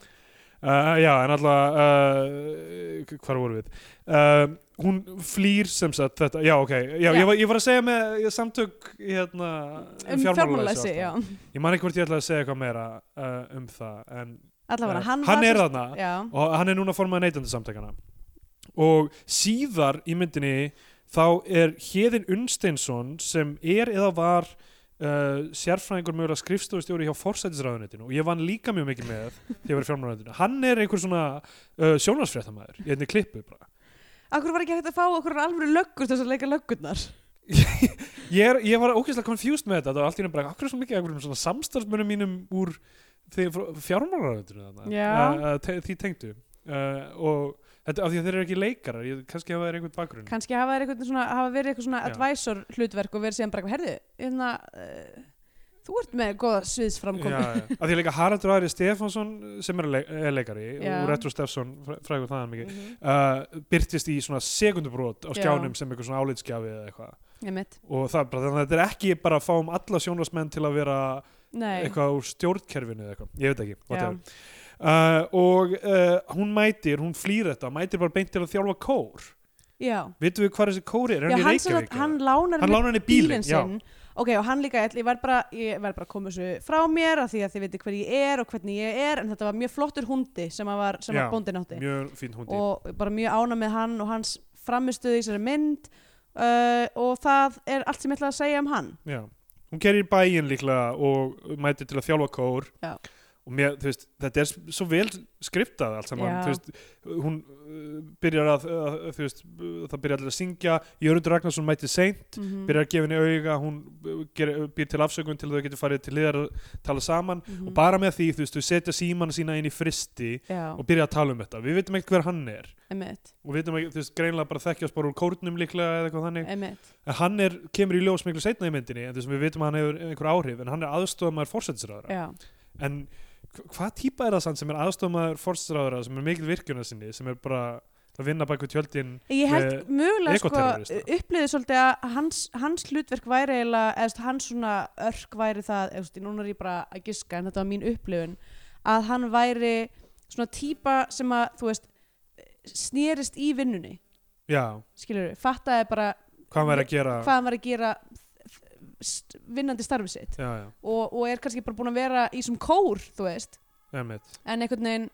Uh, já, en alltaf, uh, hvar voru við? Uh, hún flýr sem sagt þetta, já ok, já,
Já.
Ég, var, ég var að segja með ég, samtök hérna,
um fjármálalæsi, já
Ég man ekki hvort ég ætlaði að segja eitthvað meira uh, um það, en
allavega,
eh,
hann,
er
var
þarna
já,
og hann er núna formað neytendasamtakana og síðar í myndinni þá er Héðin Unnsteinsson sem er eða var uh, sérfræðingur mögulega skrifstofustjóri hjá forsætisráðunetinu og ég vann líka mjög mikið með þegar ég var í fjármálaráðunetinu hann er einhver svona uh, sjónarsfréttamaður í einni klippu bara
akkur var ekki hægt að fá okkur alveg löggur til þess að leika löggurnar
ég, er, ég var ógeðslega confused með þetta það var allt í einu bara, akkur er svo mikið einhverjum svona samstarfsmönum mínum úr fjármálaráðunetinu
Já.
uh, te því tengdu uh, og þetta af því að þeir eru ekki leikarar ég, kannski hafa þeir einhvern bakgrunn
kannski hafa, þeir einhvern svona, hafa verið eitthvað svona
Já.
advisor hlutverk og verið síðan bara, herðu hérna, uh, þú ert með góða sviðsframkomi
Já, já. að því líka Haraldur Ari Stefánsson sem er, leik, er leikari
Já. Mm.
og Retro Stefson frægur þaðan mikið uh, byrtist í svona sekundubrót á
Já.
skjánum sem eitthvað svona álitskjafi eða eitthvað
<laughs> einmitt,
og það er bara, þannig að þetta er ekki bara að fáum alla sjónvarsmenn til að vera
nei
eitthvað úr stjórnkerfinu eða eitthvað, ég veit ekki
já,
whatever. uh, og uh, hún mætir, hún flýr þetta mætir bara beint til að þjálfa kór
já.
vitum við hvað þessi kóri er,
já
er hann í
hann, sem
Reykjavík
sagt, hann
eða?
lánar mér
hann lána henni
bílinn
bílinn já.
sinn ok, og hann líka, ég var bara ég var bara að koma þessu frá mér af því að þið veitir hver ég er og hvernig ég er, en þetta var mjög flottur hundi sem að, var, sem
Já,
að bóndin átti
mjög fín hundi
og bara mjög ána með hann og hans framistuð í þessari mynd uh, og það er allt sem ég ætla að segja um hann
Já, hún gerir bæinn líklega og mætir til að þjálfa kór
Já.
og mér, þú veist, þetta er s- svo vel skriftað allt saman,
Já.
þú veist hún uh, byrjar að, að þú veist, það byrjar allir að syngja Jörundur Ragnarsson mæti seint,
Mhm.
byrjar að gefa henni auga hún uh, ger, býr til afsökun til að þau getur farið til liðar að tala saman
Mhm.
og bara með því, þú veist, þau setja símana sína inn í fristi
Já,
og byrja að tala um þetta, við veitum ekkert hver hann er
emitt,
og við veitum ekki, þú veist, greinlega bara þekkjast bara úr kórnum líklega eða eitthvað þannig
emitt
en hann er, kemur í ljós miklu seinna í myndinni en þessum við vitum að hann hefur einhver áhrif en hann er aðstofamæður fórsetisræðara
Já,
en hv- hvað típa er það sann sem er aðstofamæður fórsetisræðara sem er mikil virkjuna sinni sem er bara að vinna bak við tjöldin
ég held mögulega sko
ekoterrorista.
upplýði svolítið að hans, hans hlutverk væri eiginlega, eða þú veist, hans svona örk væri það, eða þú veist, núna er ég bara að giska en þetta var mín upplifun, að hann væri svona típa sem að þú veist, snerist í vinnunni
já,
skilur við, fattaði bara
hvað hann væri að gera
hvað hann var að gera st- vinnandi starfi sitt
já, já,
og, og er kannski bara búin að vera í sem kór, þú veist,
emmitt
en einhvern veginn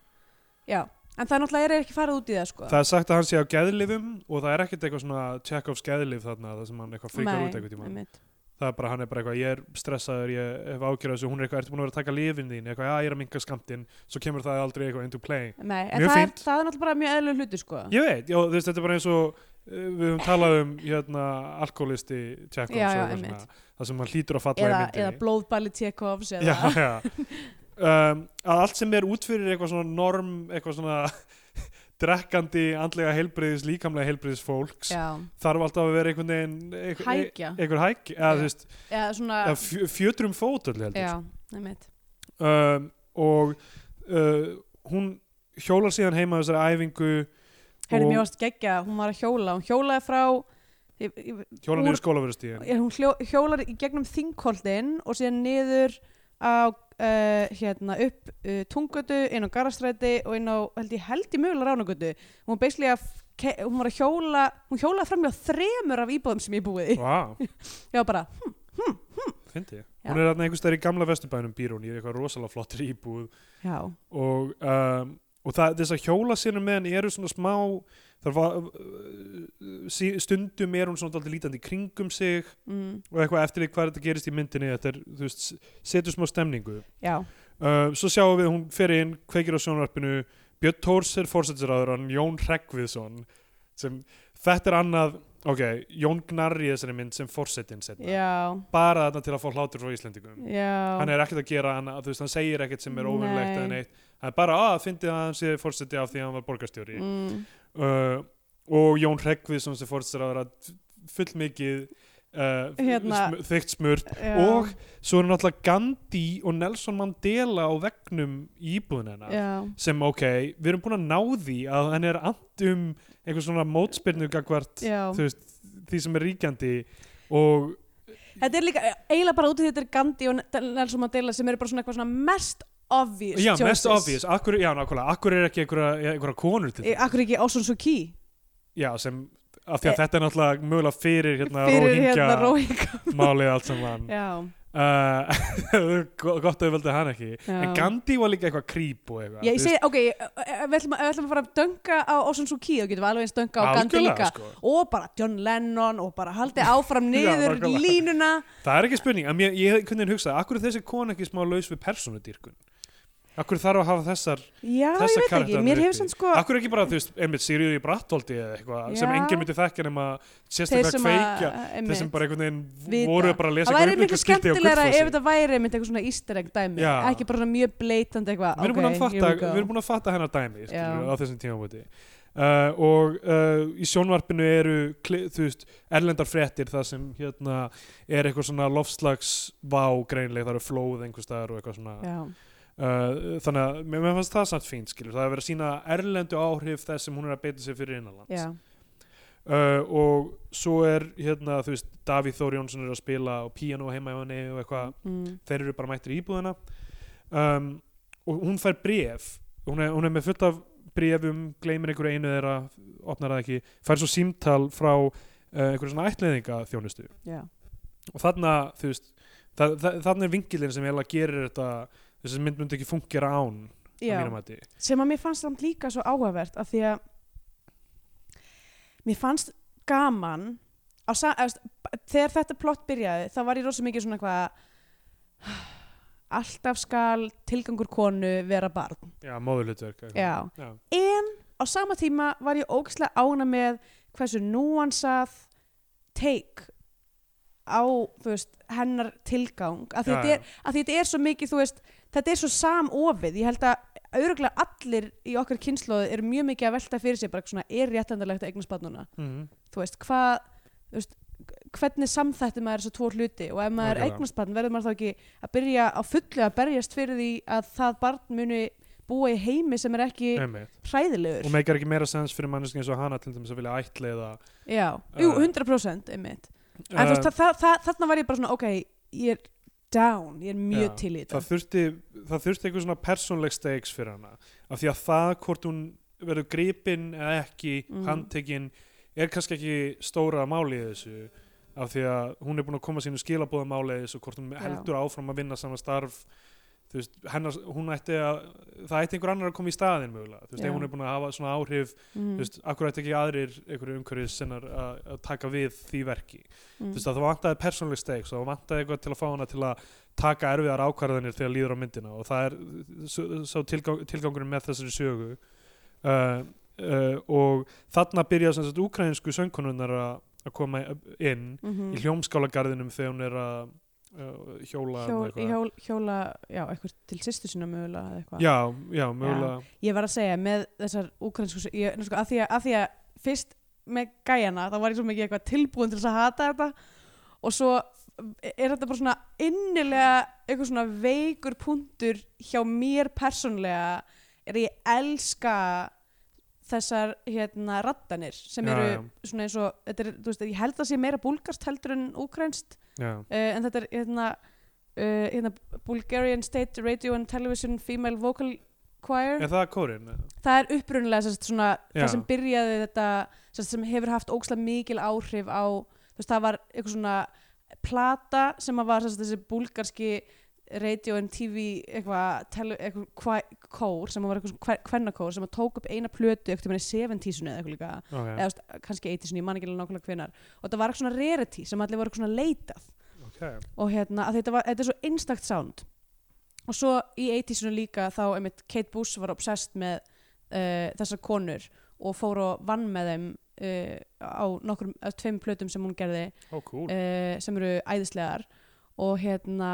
já, en það náttúrulega er ekki farið út í það sko.
það er sagt að hann sé á geðlifum og það er ekkert eitthvað svona Chekhovs geðlif þarna það sem hann eitthvað fríkar út eitthvað tíma
einmitt.
það er bara hann er bara eitthvað, ég er stressaður ég hef ágjörð þessu, hún er eitthvað, ertu búin að vera að taka lifin þín eitthvað, já, ég er að minka skamtinn, svo kemur það aldrei eitthvað into play
Nei, en
Mjög
það er,
fínt.
það er náttúrulega bara mjög eðlur hluti sko.
Ég veit, já, þú veist, þetta er bara eins og uh, við höfum talað um hérna, alkoholisti Tjekkovs
Já, já,
og eitthvað
einmitt.
svona, það sem hann hlýtur að falla
eða,
í myndinni
eða blóðballi Tjekovs eða,
já, já. Um, að allt sem er út fyrir eitthvað svona norm eitthvað svona <laughs> drekkandi andlega heilbriðis, líkamlega heilbriðis fólks
já,
þarf alltaf að vera einhvern veginn einhver-
hækja
einhver hæk, eða
Já.
þú veist
eða svona
eða fjö- fjötrum fót öll heldur
já, einmitt
um, og uh, hún hjólar síðan heima á þessari æfingu
Herri,
Og-
mér varst geggja, hún var að hjóla hún hjólaði frá ég, ég,
hjólar
Úr-
niður
<laughs>
skólaverustíðin
ég, hún hljó, hjólar í gegnum þingkoltin og síðan niður á Uh, hérna upp uh, tungötu inn á garastræti og inn á held ég held í mögulega ránugötu hún, basically að f- ke- hún var að hjóla hún hjólaði framlega þremur af íbúðum sem ég búið í
Vá,
ég var bara,
fyndi ég.
Já.
Hún er þarna einhvers staðar í gamla vesturbænum býr hún í eitthvað rosalega flottri íbúð
já,
og, um, og það, þess að hjóla sínum með hann eru svona smá þar var uh, sí, stundum er hún svona dálítið lítandi í kringum sig
mm,
og eitthvað eftir því hvað þetta gerist í myndinni þetta er, þú veist, setur smá stemningu
já
uh, svo sjáum við að hún fer inn kveikir á sjónvarpinu Björn Tórs er fórsætsaráður Jón Hreggviðsson sem þetta er annað ok, Jón Gnarr í þessari mynd sem fórsetin setna
Já,
bara þarna til að fá hlátur frá Íslendingum
já
hann er ekkert að gera hann, þú veist, hann segir ekkert sem
Nei.
er óvinnlegt eða neitt hann er bara að fyndi að hann sé fórseti af því að hann var borgarstjóri
mm,
uh, og Jón Hreggviðsson sem fórseti að full mikið uh,
Hérna.
sm þykkt smurt
já,
og svo eru náttúrulega Gandhi og Nelson Mandela á vegnum í íbúðin hennar
já,
sem ok, við erum búin að ná því að hann er andum einhver svona mótspyrnu gagvart
já.
þú veist, því sem er ríkjandi og
Þetta er líka eiginlega bara út af því þetta er Gandhi og Nelson Mandela sem eru bara svona eitthvað svona mest obvious
já, mest
choices.
obvious, akkur, já, nákvæmlega akkur er ekki einhverja, einhverja konur til
Eh,
þetta
Akkur ekki Osun Suki
já, sem, af því að
Eh.
þetta er náttúrulega mögulega fyrir hérna
fyrir
Róhingja
hérna Róhingja
málið allt saman
<laughs>
uh,
Já,
<laughs> gott að við völdum hann ekki
Já.
en Gandhi var líka eitthvað creep og eitthvað
já ég
þú
segi,
veist,
ok, ég- eh, við ætlum, að- við ætlum að fara að dönga á Osun Suki og getum við alveg eins dönga á Gandhi
algjörlega,
líka
sko.
og bara John Lennon og bara haldið
<laughs>
áfram niður
nákvæmlega.
línuna
það er ekki spurning, en ég, ég kunni hugsa akkur er þessi kona ekki smá laus við persónudýrkun akkur þarf að hafa þessar
Já,
þessa
ég veit ekki,
karakterana
mér
uppi.
hefur sann sko
akkur ekki bara, þú veist, einmitt Sigriður í Brattoldi eða eitthvað, sem
Já.
enginn myndi þekkja nema
þeir
sérstaklega
sem að
kveikja þeir
einmitt.
sem bara einhvern veginn
vita.
voru bara að lesa
það væri
eitthvað
miklu
upptökuskilti á
skemmtilegra ef
Gullfossi.
þetta væri einmitt eitthvað svona easter egg dæmi
Já.
ekki bara svona mjög bleitandi eitthvað
við erum búin að
ok,
fatta,
here we go.
við erum búin að fatta hennar dæmi skilur,
Já.
á þessum tímabóti uh, og uh, í sjónvarpinu eru kli- þú veist, erlendar fréttir þar sem hérna er eitthvað svona lofslags vá greinlega, það eru flóð einhvers staðar og eitthvað svona
já,
uh, þannig að mér, mér fannst það samt fínt skilur, það er verið að sína erlendu áhrif þess sem hún er að beita sér fyrir innanlands
já,
uh, og svo er hérna, þú veist, Davíð Þór Jónsson er að spila og piano heima í henni og eitthvað
mm,
þeir eru bara mættir í íbúðina um, og hún fær bref hún er, hún er með fullt af brefum gleymir einhverju einu þeirra opnar það ekki, fær svo símtal frá uh, einhverju svona ætliðinga þjónustu
já,
og þarna, þú veist það, það, þarna er vingilin sem eiginlega gerir þetta þessi mynd myndi ekki fungera án á
já.
mínum mati
sem að mér fannst samt líka svo áhugavert af því að mér fannst gaman á, sa- eða, þú veist, b- þegar þetta plott byrjaði þá var ég rosa mikið svona eitthvað <sighs> alltaf skal tilgangur konu vera barn
já, móðurhlutverk eitthvað.
já.
Já.
en á sama tíma var ég ógislega ána með hversu núansað take á þú veist, hennar tilgang af því
Já,
þetta er, af því þetta er svo mikið þú veist, þetta er svo samofið ég held að auðvitað allir í okkar kynnslóðu eru mjög mikið að velta fyrir sér bara svona, er réttendalegt að eignast barn núna
Mhm.
þú veist, hvað þú veist, hvernig samþætti maður þessu tvo hluti og ef maður
Algjörlega.
eignast barn verður maður þá ekki að byrja á fullu að berjast fyrir því að það barn muni búa í heimi sem er ekki
Einmitt.
hræðilegur
og meikar ekki meira sens fyrir manneski eins og hana til dæmis að vilja ætliða
já, jú,
Eh.
100% einmitt, en
um,
þú veist, það, það, þarna var ég bara svona, ok, ég er down ég er mjög
Já,
til í þetta
það þurfti, það þurfti eitthvað svona persónleg stakes fyrir hana af því að það hvort hún verður gripin eða ekki,
Mhm.
handtekin er kannski ekki stóra máli í þessu af því að hún er búin að koma sínu skilabóða máli í þessu hvort hún heldur áfram að vinna sama starf þú veist, hennar, hún ætti að það ætti einhver annar að koma í staðin mögulega þú veist,
Já.
ef hún er búin að hafa svona áhrif
mm,
þú veist, akkur ætti ekki aðrir einhverju umhverfis sinnar að, að taka við því verki
mm,
þú veist að það vantaði persónleg stakes og það vantaði eitthvað til að fá hana til að taka erfiðar ákvarðanir þegar líður á myndina og það er s- sá tilgang, tilgangurinn með þessari sögu uh, uh, og þarna byrja sem sagt ukrainsku söngkonunnar að að koma inn
mhm.
í hljómskálagarðinum þegar hún er að uh, hjóla
Hjól,
eða
í hjól, hjóla, já, eitthvað til sýstu sinna mögulega eða eitthvað
já, já, mögulega
ég var að segja með þessar ukrainsku ég, ná, sko, að, því að, að því að fyrst með gæjana þá var ég svo mikið eitthvað tilbúin til þess að hata þetta og svo er þetta bara svona innilega eitthvað svona veikur punktur hjá mér persónlega er að ég elska þessar hérna rattanir sem
Já,
eru
já.
svona eins og þetta er, þú veist, ég held að sé meira búlgast heldur en ukrainst
já,
uh, en þetta er hérna, uh, hérna Bulgarian State Radio and Television Female Vocal Choir
er það kórin?
það er upprunnilega sérst, svona,
Já.
það sem byrjaði þetta sérst, sem hefur haft ókslega mikil áhrif á þú veist, það var eitthvað svona plata sem að var sérst, þessi búlgarski radio and TV eitthvað, tele, eitthvað kvæ, kór sem að var eitthvað kvennakór sem að tók upp eina plötu eitthvað í 70-sunni eða eitthvað líka
Okay.
eða þú veist, kannski 80-sunni, ég man ekki alveg nákvæmlega hvenar og það var eitthvað svona rarity sem allir voru eitthvað svona leitað
Okay.
og hérna, að þetta, var, þetta er svo einstakt sound og svo í 80-sinu líka þá, einmitt, Kate Bush var obsessed með uh, þessar konur og fór og vann með þeim uh, á nokkrum, á tveim plötum sem hún gerði
Ó, cool.
uh, sem eru æðislegar og hérna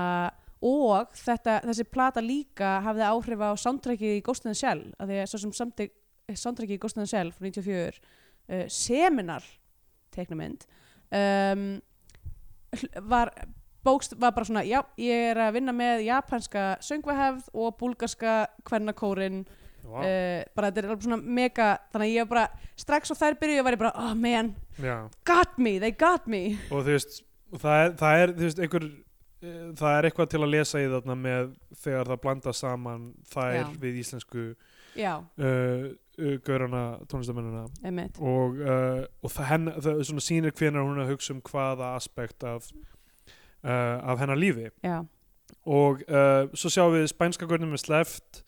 og þetta, þessi plata líka hafði áhrif á soundtrackið í Ghost in the Shell af því að svo sem samti, soundtrackið í Ghost in the Shell frá 94 uh, seminar teiknumynd um, hl- var bókst var bara svona, já, ég er að vinna með japanska söngvahefð og búlgarska hvernakórin
Vá,
uh, bara þetta er alveg svona mega þannig að ég var bara, strax og þær byrjuðu var ég bara, oh man,
já.
got me, they got me
og þú veist og það er, það er þú veist einhver eh, það er eitthvað til að lesa í þarna með þegar það blanda saman þær
Já.
við íslensku
já,
uh, uh, gaurana tónlistamennina
einmitt
og, uh, og það, henn, það svona sýnir hvenar hún er að hugsa um hvaða aspekt af, uh, af hennar lífi
Já,
og uh, svo sjáum við spænska gaurnum er sleft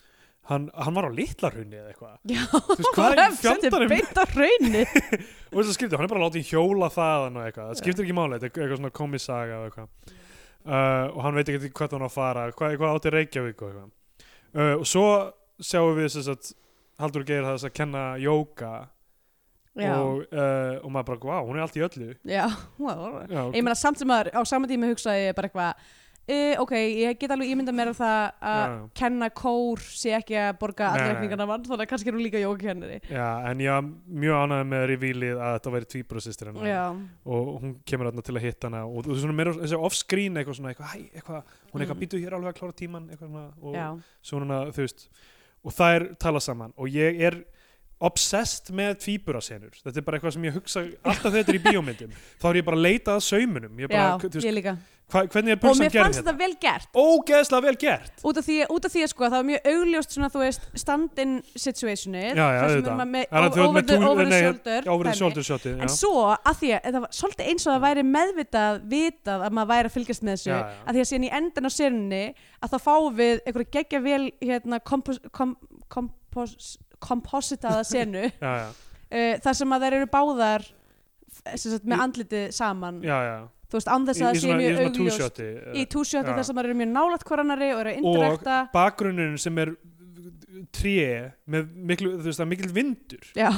hann, hann var á litlarhunni eða eitthvað
já
Þú
<laughs>
veist, hvað er í fjandarum?
beint á raunni
<laughs> og þess að skipta, hann er bara látið hjóla þaðan og eitthvað, það skiptir ekki máli, þetta er eitthvað svona komisaga og eitthvað uh, og hann veit ekki hvað hann á að fara, hvað, hvað átti Reykjavík og eitthvað uh, og svo sjáum við þess að Haldur Geir þess að kenna jóka
Já,
og, uh, og maður bara, wow, hún er allt í öllu
já wow.
Já,
Ég meina samt sem maður á saman tíma hugsaði ég bara eitthvað Uh, ok, ég get alveg ímyndað mér að það að
Já.
kenna kór sé ekki að borga
Nei, nei.
allreikningarna vann þannig að kannski er hún líka jókennari
já, en ég var mjög ánægð með revílið að þetta væri tvíbrúsistir hennar
Já,
og hún kemur þarna til að hitta hana og þú svona meira þessi off-screen eitthvað svona eitthvað, hæ, eitthvað, hún eitthvað
Mm.
mm. býtu hér alveg að klára tíman eitthvað svona og,
já,
svona, þú veist og þær tala saman og ég er obsessed með tvíburasenur þetta er bara eitthvað sem ég hugsa alltaf þegar þetta er í bíómyndum þá er ég bara að leita að saumunum ég bara,
já,
þú
ég
veist,
líka
hva, hvernig er
Og
pulsan
mér
gerð
fannst
hérna
þetta vel gert
ógeðslega vel gert
út af því, út af því sko, það var mjög augljóst svona, þú veist, stand-in situationið
Já, já,
þar sem
auðvitað.
er maður með
Er það þú-
over
með
the,
tú-
over the
nei,
shoulder
já, over the
dæmi.
shoulder shotið já.
En svo, að því að það var svolítið eins og það væri meðvitað vitað að maður væri að fylgjast með þessu
Já, já.
að því að síðan í endan á sérunni að þá fáum við einhverju geggja vel hérna, kompos, kom, kompos,
<laughs>
kompositaða senu uh,
já, já,
þar sem að þær eru báðar f- sem sagt, með andlitið saman
já, já
þú veist, án þess að
í, í
það sé
svona, í
mjög
svona
augljóst
túsjóti eh,
í túsjóti
Já.
þess að maður eru mjög nálægt koranari og eru að
og
indirekta
bakgrunnurinn sem er tré með miklu, þú veist, það er mikil vindur
já,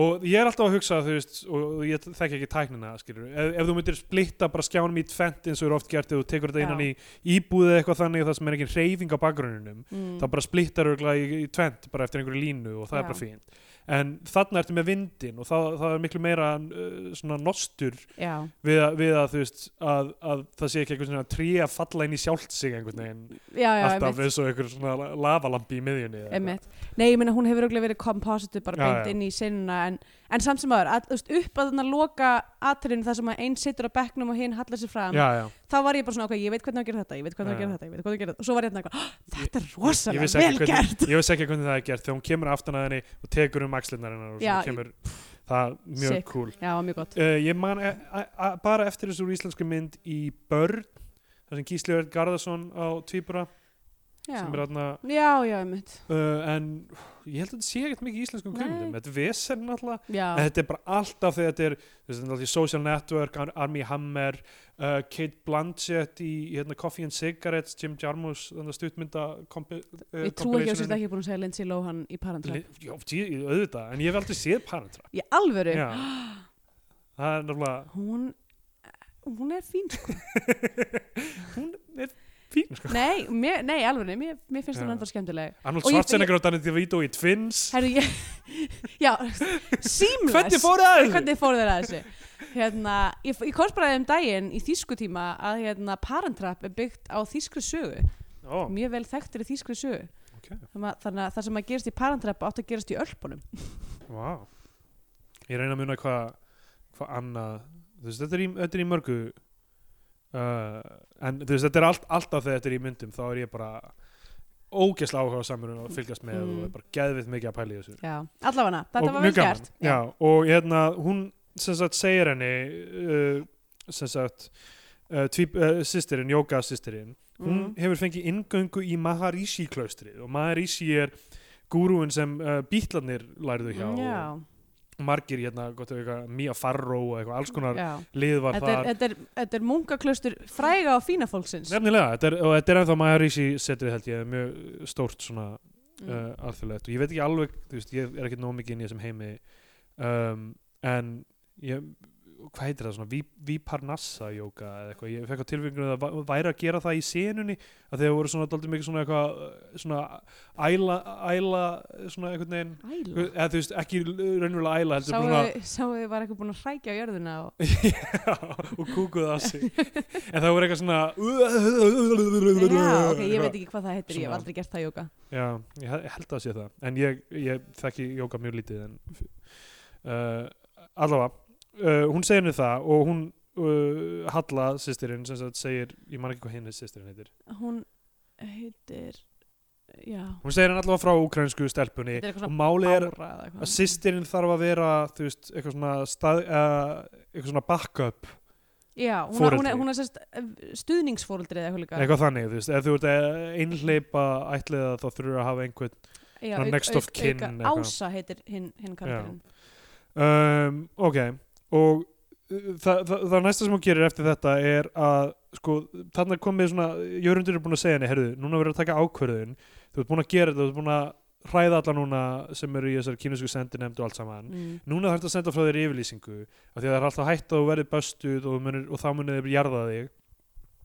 og ég er alltaf að hugsa, þú veist og ég þekki ekki tæknina, skilur ef, ef þú myndir splitta bara skjánum í tvent eins og er oft gert ef þú tekur þetta
Já.
innan í íbúðið eitthvað þannig það sem er ekki reyfing á bakgrunnunum
mm,
þá bara splittar örgulega í, í tvent bara eftir einhverju línu og
Já.
það er bara fínt en þarna ertu með vindin og það, það er miklu meira uh, svona nostur
já,
við að, við að þú veist að, að það sé ekki einhvern svona tré að falla inn í sjálft sig einhvern veginn
já, já,
alltaf
einmitt,
eins og einhver svona la- lavalampi í miðjunni eða eitthvað.
einmitt. nei, ég meina hún hefur auðvitað verið kompositu bara
Já,
beint
já.
inn í sinnuna en, en samt sem aður, að, þú veist, upp að þannig að loka atriðinu þar sem að einn sittur á bekknum og hinn hallar sér fram,
já, já.
þá var ég bara svona, ok, ég veit hvernig á að gera þetta, ég veit hvernig á að
Já.
gera þetta, ég veit hvernig á að gera þetta og svo var ég þarna eitthvað, "Ah, þetta er
Ég vissi
rosalega
ekki
vel
hvernig-
gert
ég veist ekki hvernig það er gert þegar hún kemur aftan að henni og tekur um axlirnar hennar og
Já,
svo kemur það er mjög
Sick.
cool
já, mjög gott,
uh, ég man e a- a- bara eftir þessu úr íslensku mynd í Börn þar sem Gísli Örn Garðarsson á Tvíbura
já,
sem er aðna
já, já, einmitt
uh, en ég held að þetta sé ekkert mikið í íslenskum
Nei.
kveimundum þetta er vesen náttúrulega
já,
en þetta er bara alltaf þegar þetta er þú veist, náttúrulega í Social Network, Ar Armie Hammer uh, Kate Blanchett í, í hérna, Coffee and Cigarettes, Jim Jarmus þannig að stuttmynda kompi- uh,
ég trú ekki að þetta
compilationinu.
ekki er búin að segja Lindsay Lohan í Parentrap,
Li- Já, tí- auðvitað, en ég hef aldrei séð Parentra
í alvöru
Já. það er
<laughs>
náttúrulega
<gasps> hún hún er fín sko.
hún er fín sko.
nei, mér, nei alveg, mér, mér finnst hún
Já.
ennþá skemmtileg
Arnold
Og ég-
Schwarzenegger og Danny DeVito í Twins
Herru, ég, <laughs> já, seamless
hvernig fór það? að þessu?
Hvernig fór þeir að þessu? Hérna, ég, ég komst bara um daginn í þýsku tíma að hérna, Parentrap er byggt á þýskri sögu
Ó,
mjög vel þekktir í þýskri sögu
ok,
þannig að, þannig að það sem að gerast í Parentrap átt að gerast í Ölpunum
wow ég reyna að muna hvað hvað annað þú veist, þetta er í, þetta er í mörgu uh, en þú veist, þetta er allt, alltaf þegar þetta er í myndum þá er ég bara ógeðslega áhuga samur og fylgjast með
Mm.
og er bara geðvitt mikið að pæla í þessu
já, allavega,
Og
þetta var
mjög
vel
gaman.
gert
já, og hérna, hún sem sagt segir henni uh, sem sagt uh, tvíb, uh, sýstirinn, yoga sýstirinn hún
Mhm.
hefur fengið ingöngu í Maharishi klaustrið og Maharishi er gúrúin sem uh, bítlarnir lærðu hjá
Mm, já,
og margir hérna, gott ef eitthvað Mia Farrow og eitthvað, alls konar
já.
lið var
Þetta, er,
þar
þetta, er, þetta er munkaklaustur fræga og fína fólksins
nefnilega, þetta er, og þetta er ennþá Maharishi setrið held ég, mjög stórt svona
Mm.
uh, alþjóðlegt og ég veit ekki alveg þú veist, ég er ekki nóg mikið inn í þessum heimi um, en ég, hvað heitir það svona Vi- Viparnassa jóka eða eitthvað ég fekk á tilfengunum að það væri að gera það í senunni að þeir voru svona daldið mikið svona eitthvað uh, svona æla, æla svona einhvern veginn
Æla
eða þú veist ekki raunverulega æla heldur
Sáu
<laughs> bara
þau- sáu þau var eitthvað búin að hrækja á jörðuna og...
svona og kúkuð af sig en það voru eitthvað svona
Já, ok, ég veit ekki hvað það heitir, ég hef
Svona-
aldrei gert það jóka
Já, ég he- ég held að sé það en ég, ég þekki jóka mjög lítið en uh, allavega uh, hún segir henni það og hún uh, Halla sýstirinn sem sagt segir ég man ekki hvað henni sýstirinn heitir
Hún heitir, já
hún segir henni allavega frá ukrainsku stelpunni
Þetta er eitthvað
og
svona
málið er
Bára eða
að
eitthvað
sýstirinn þarf að vera þú veist, eitthvað svona stað, uh, eitthvað svona backup,
Já, hún er, hún
foreldri.
er, hún er sérst stuðningsfóreldri eða eitthvað líka
eitthvað þannig þú veist, ef þú ert einhleipa ætliða þá þurfur að hafa einhvern
Já,
svona
auk-
next of
auk-
kin
auka-
eitthvað.
Ása heitir hinn hin karakterinn
um, ok og uh, það, það, það næsta sem hún gerir eftir þetta er að sko, þarna er komið svona Jörundur er búin að segja henni, herðu, núna verður að taka ákvörðun þú ert búin að gera þetta, þú ert búin að hræða alla núna sem eru í þessari kynnesku sendinemnd og allt saman
mm.
núna þarf þetta að senda frá þér yfirlýsingu af því að það er alltaf hætt að þú verður böstuð og, þú munir, og þá munir þeir jarða þig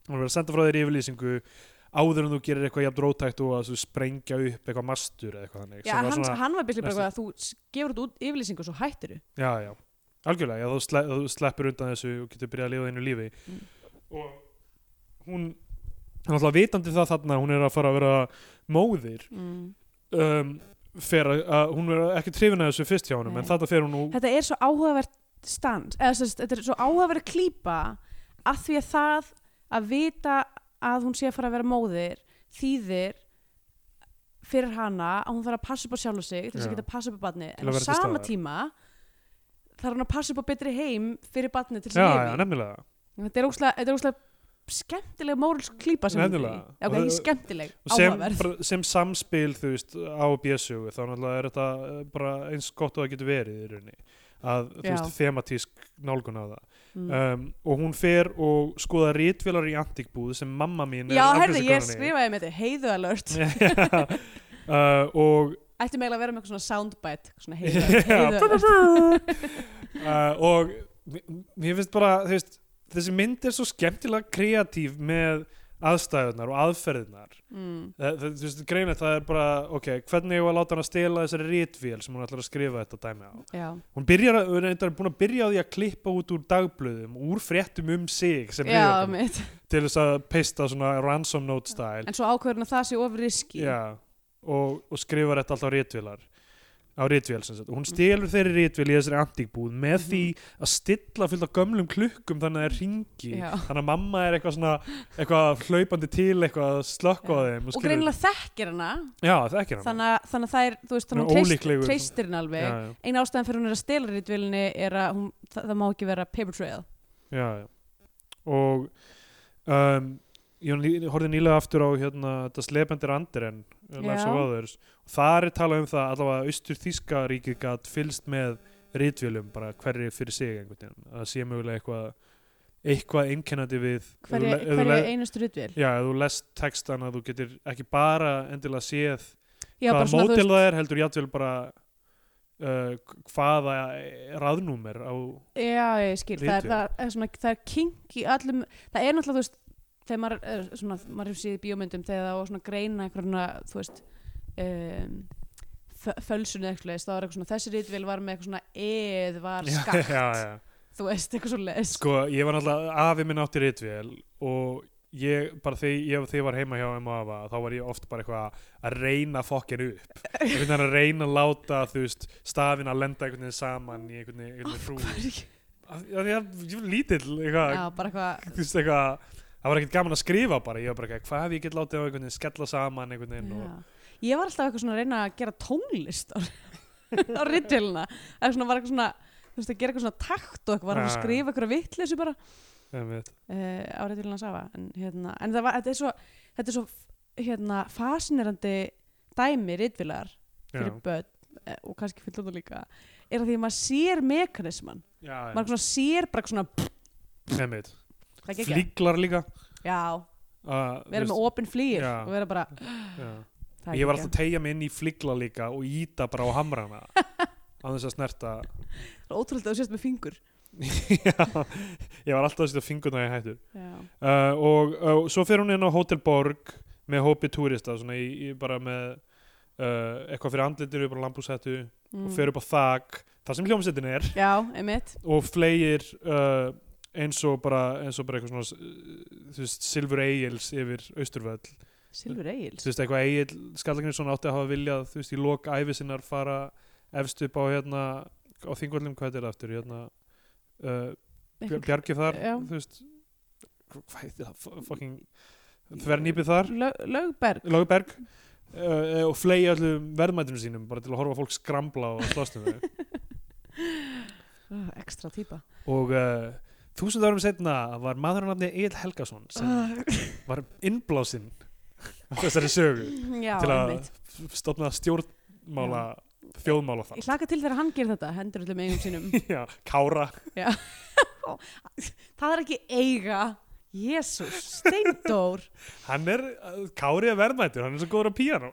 þú verður að senda frá þér yfirlýsingu áður en þú gerir eitthvað jafn rótækt og að þú sprengja upp eitthvað mastur eða eitthvað þannig
Já,
sem var
hann,
svona-
hann var byrðið bara
næsta-
eitthvað að þú s- gefur þetta út yfirlýsingu og svo hættir
já, já, algjörlega, já, þú, sle þú sleppur undan þessu og getur byrjað að lifa einu lífi
Mm.
og hún hann alltaf vitandi um það þarna að hún er að fara að vera móðir
mm.
um, fer að, að hún er ekki trifin að þessu fyrst hjá honum,
Nei.
en þetta fer hún nú
Mm. þetta er svo áhugavert stand eða sérst, þetta er svo áhugavert klípa að því að það að vita að hún sé að fara að vera móðir þýðir fyrir hana að hún þarf að passa upp á sjálf sig til þess að
Já.
geta að passa upp á barni
að
en á
vera til
sama
staðar.
tíma þarf hún að passa upp á betri heim fyrir barni til
já,
þess að
já,
lifa í.
nefnilega
þetta er óslega, þetta er óslega skemmtileg mórulsk klípa sem hún er í.
Nefnilega.
Já, ok,
Og-
ekki skemmtileg,
Og sem,
áhugaverð
bara- sem samspil þú veist á BSU þá náttúrulega er þetta eh, bara eins gott og það getur verið í rauninni að þú
Já.
veist, thematísk nálgun á það
Mm.
um, og hún fer og skoða rítvélar í antikbúð sem mamma mín
Já,
er
herðu, ég
afgreiðslukonan í.
skrifaði með þetta, heiðu alert
<laughs> uh, og
Ætti meðlega að vera með eitthvað svona soundbite
<laughs>
svona heiðu,
Já,
heiðu
brr,
alert
brr, brr. uh, og mér- mér finnst bara þú veist, þessi mynd er svo skemmtilega kreatív með aðstæðunar og aðferðunar
mm.
það, það, þú veist, greina það er bara ok, hvernig ég var að láta hann að stela þessari rítvél sem hún ætlar að skrifa þetta dæmi á
Já,
hún byrjar að, hún er búin að byrja á því að klippa út úr dagblöðum, úr fréttum um sig sem
já
hryðjuverkamenn,
mitt
til þess að peista svona ransom note style
En svo ákveðurinn að það sé of riski
Já, og, og skrifar þetta alltaf á rítvélar á rítvél sem sagt og hún stelur þeirri rítvél í þessari antíkbúð með
Mhm.
því að stilla fullt af gömlum klukkum þannig að það ringi
Já.
þannig að mamma er eitthvað svona eitthvað hlaupandi til eitthvað að slökka á
Já.
þeim
Og
skilur-
greinilega þekkir hana
Já, það ekki hann
þannig að, þannig að það er, þú veist,
Hún er
þannig að
ólíklegur.
hún treystir henn alveg
já, já,
Einn ástæðan fyrir hún er að stela rítvillinni er að hún, það, það má ekki vera paper trail
já, já. og um, ég ný- horfði nýlega aftur á hérna, þetta slependir andirinn Lives
Já.
of Others og þar er talað um það allavega austur þýska ríkið gat fylst með ritvélum bara hverri fyrir sig einhvern veginn að sé mögulega eitthvað eitthvað einkennandi við ef þú
Hverja,
le- ef þú
hverja
le-
einustu rítvill
Já, ef þú lest textan að þú getur ekki bara endilega séð
Já, bara
hvaða
svona, þú
mótil
veist,
það er heldur játvel bara uh, hvaða raðnúmer á
já, ég skil það er,
Ritvél.
það, er svona, það er kink í allum Það er náttúrulega, þú veist, þegar maður, er svona, maður hefur síðið bíómyndum þegar það á svona að greina einhverjuna, þú veist um, fölsun eða eitthvað leist, þá er eitthvað svona, þessi rítvill var með eitthvað svona eð var skakt,
<laughs> Já, já, já.
þú veist, eitthvað svona leist
Sko, ég var náttúrulega, afi minn átti ritvél og ég, bara þegar ég, þegar ég var heima hjá emma og afa, þá var ég oft bara eitthvað að reyna fokkin upp ég finnir að reyna að láta, þú veist stafin að lenda einhvern veginn saman í einhvern veginn- einhvern veginn hrú ég, ég, ég var lítill, eitthvað,
Já, bara eitthvað
þú veist, eitthvað það var ekkert gaman að skrifa bara, ég var bara eitthvað hvað ef ég get látið á einhvern veginn skella saman einhvern veginn og,
Já. Ég var alltaf eitthvað svona að reyna að gera tónlist á, <laughs> á rittjöluna eða svona var eitthvað svona þú veist að gera eitthvað svona takt og eitthvað var
Já,
að
já.
skrifa eitthvað vitleysu bara
einmitt.
uh, á rittjöluna safa en, hérna, en það var, þetta er svo þetta er svo hérna fascinerandi dæmi rittvilar
já,
fyrir börn eh, og kannski fullum líka er að því að maður sér mekanisman
já,
maður svona sér bara svona pff,
einmitt
það gekk ekki
flíklar líka
já,
uh,
vera með opinn flýr
Já.
og vera bara
já.
það
ég
gekk
var alltaf að tegja mig inn í fligla líka og íta bara á
<laughs>
hamrana á þess að snerta <laughs>
ekki. ótrúlega þú sést með fingur
Já, ég var alltaf að setja fingurna í hættu
já,
uh, og uh, svo fer hún inn á Hotel Borg með hópi túrista svona í, í bara með uh, eitthvað fyrir andlitir upp á lambúshættu
mm.
og fer upp á þak þar sem hljómsettin er
já, einmitt
og fleir uh, eins og bara eins og bara eitthvað svona uh, þú veist, Silfur Egils yfir Austurvöll
Silfur Egils
þú veist eitthvað Egil Skallagnarsson átti að hafa viljað þú veist í lok ævi sinnar fara efst upp á hérna á þingvöllum hvað þetta er aftur hérna uh, Bjar- Bjargi þar
Já.
þú veist hvað heitir það F- fucking þvernýpið þar
Lög, Lögberg
Lagberg uh, og flegi öllum verðmætunum sínum bara til að horfa á fólk skrambla og slástum þau
uh, Ekstra típa
og uh, þúsund árum setna var maður á nafni Egil Helgason
Ah.
sem var innblásinn af þessari sögu
<laughs> Já,
til að
einmitt
stofna stjórnmála þjóðmála
Ég
þar
hlaka til þegar hann gerir þetta, hendur öllum eigum sínum
<laughs> já, kára
Það er ekki eiga Jésús, Steindór
hann er uh, kári er verðmættur, hann er svo góður á píanó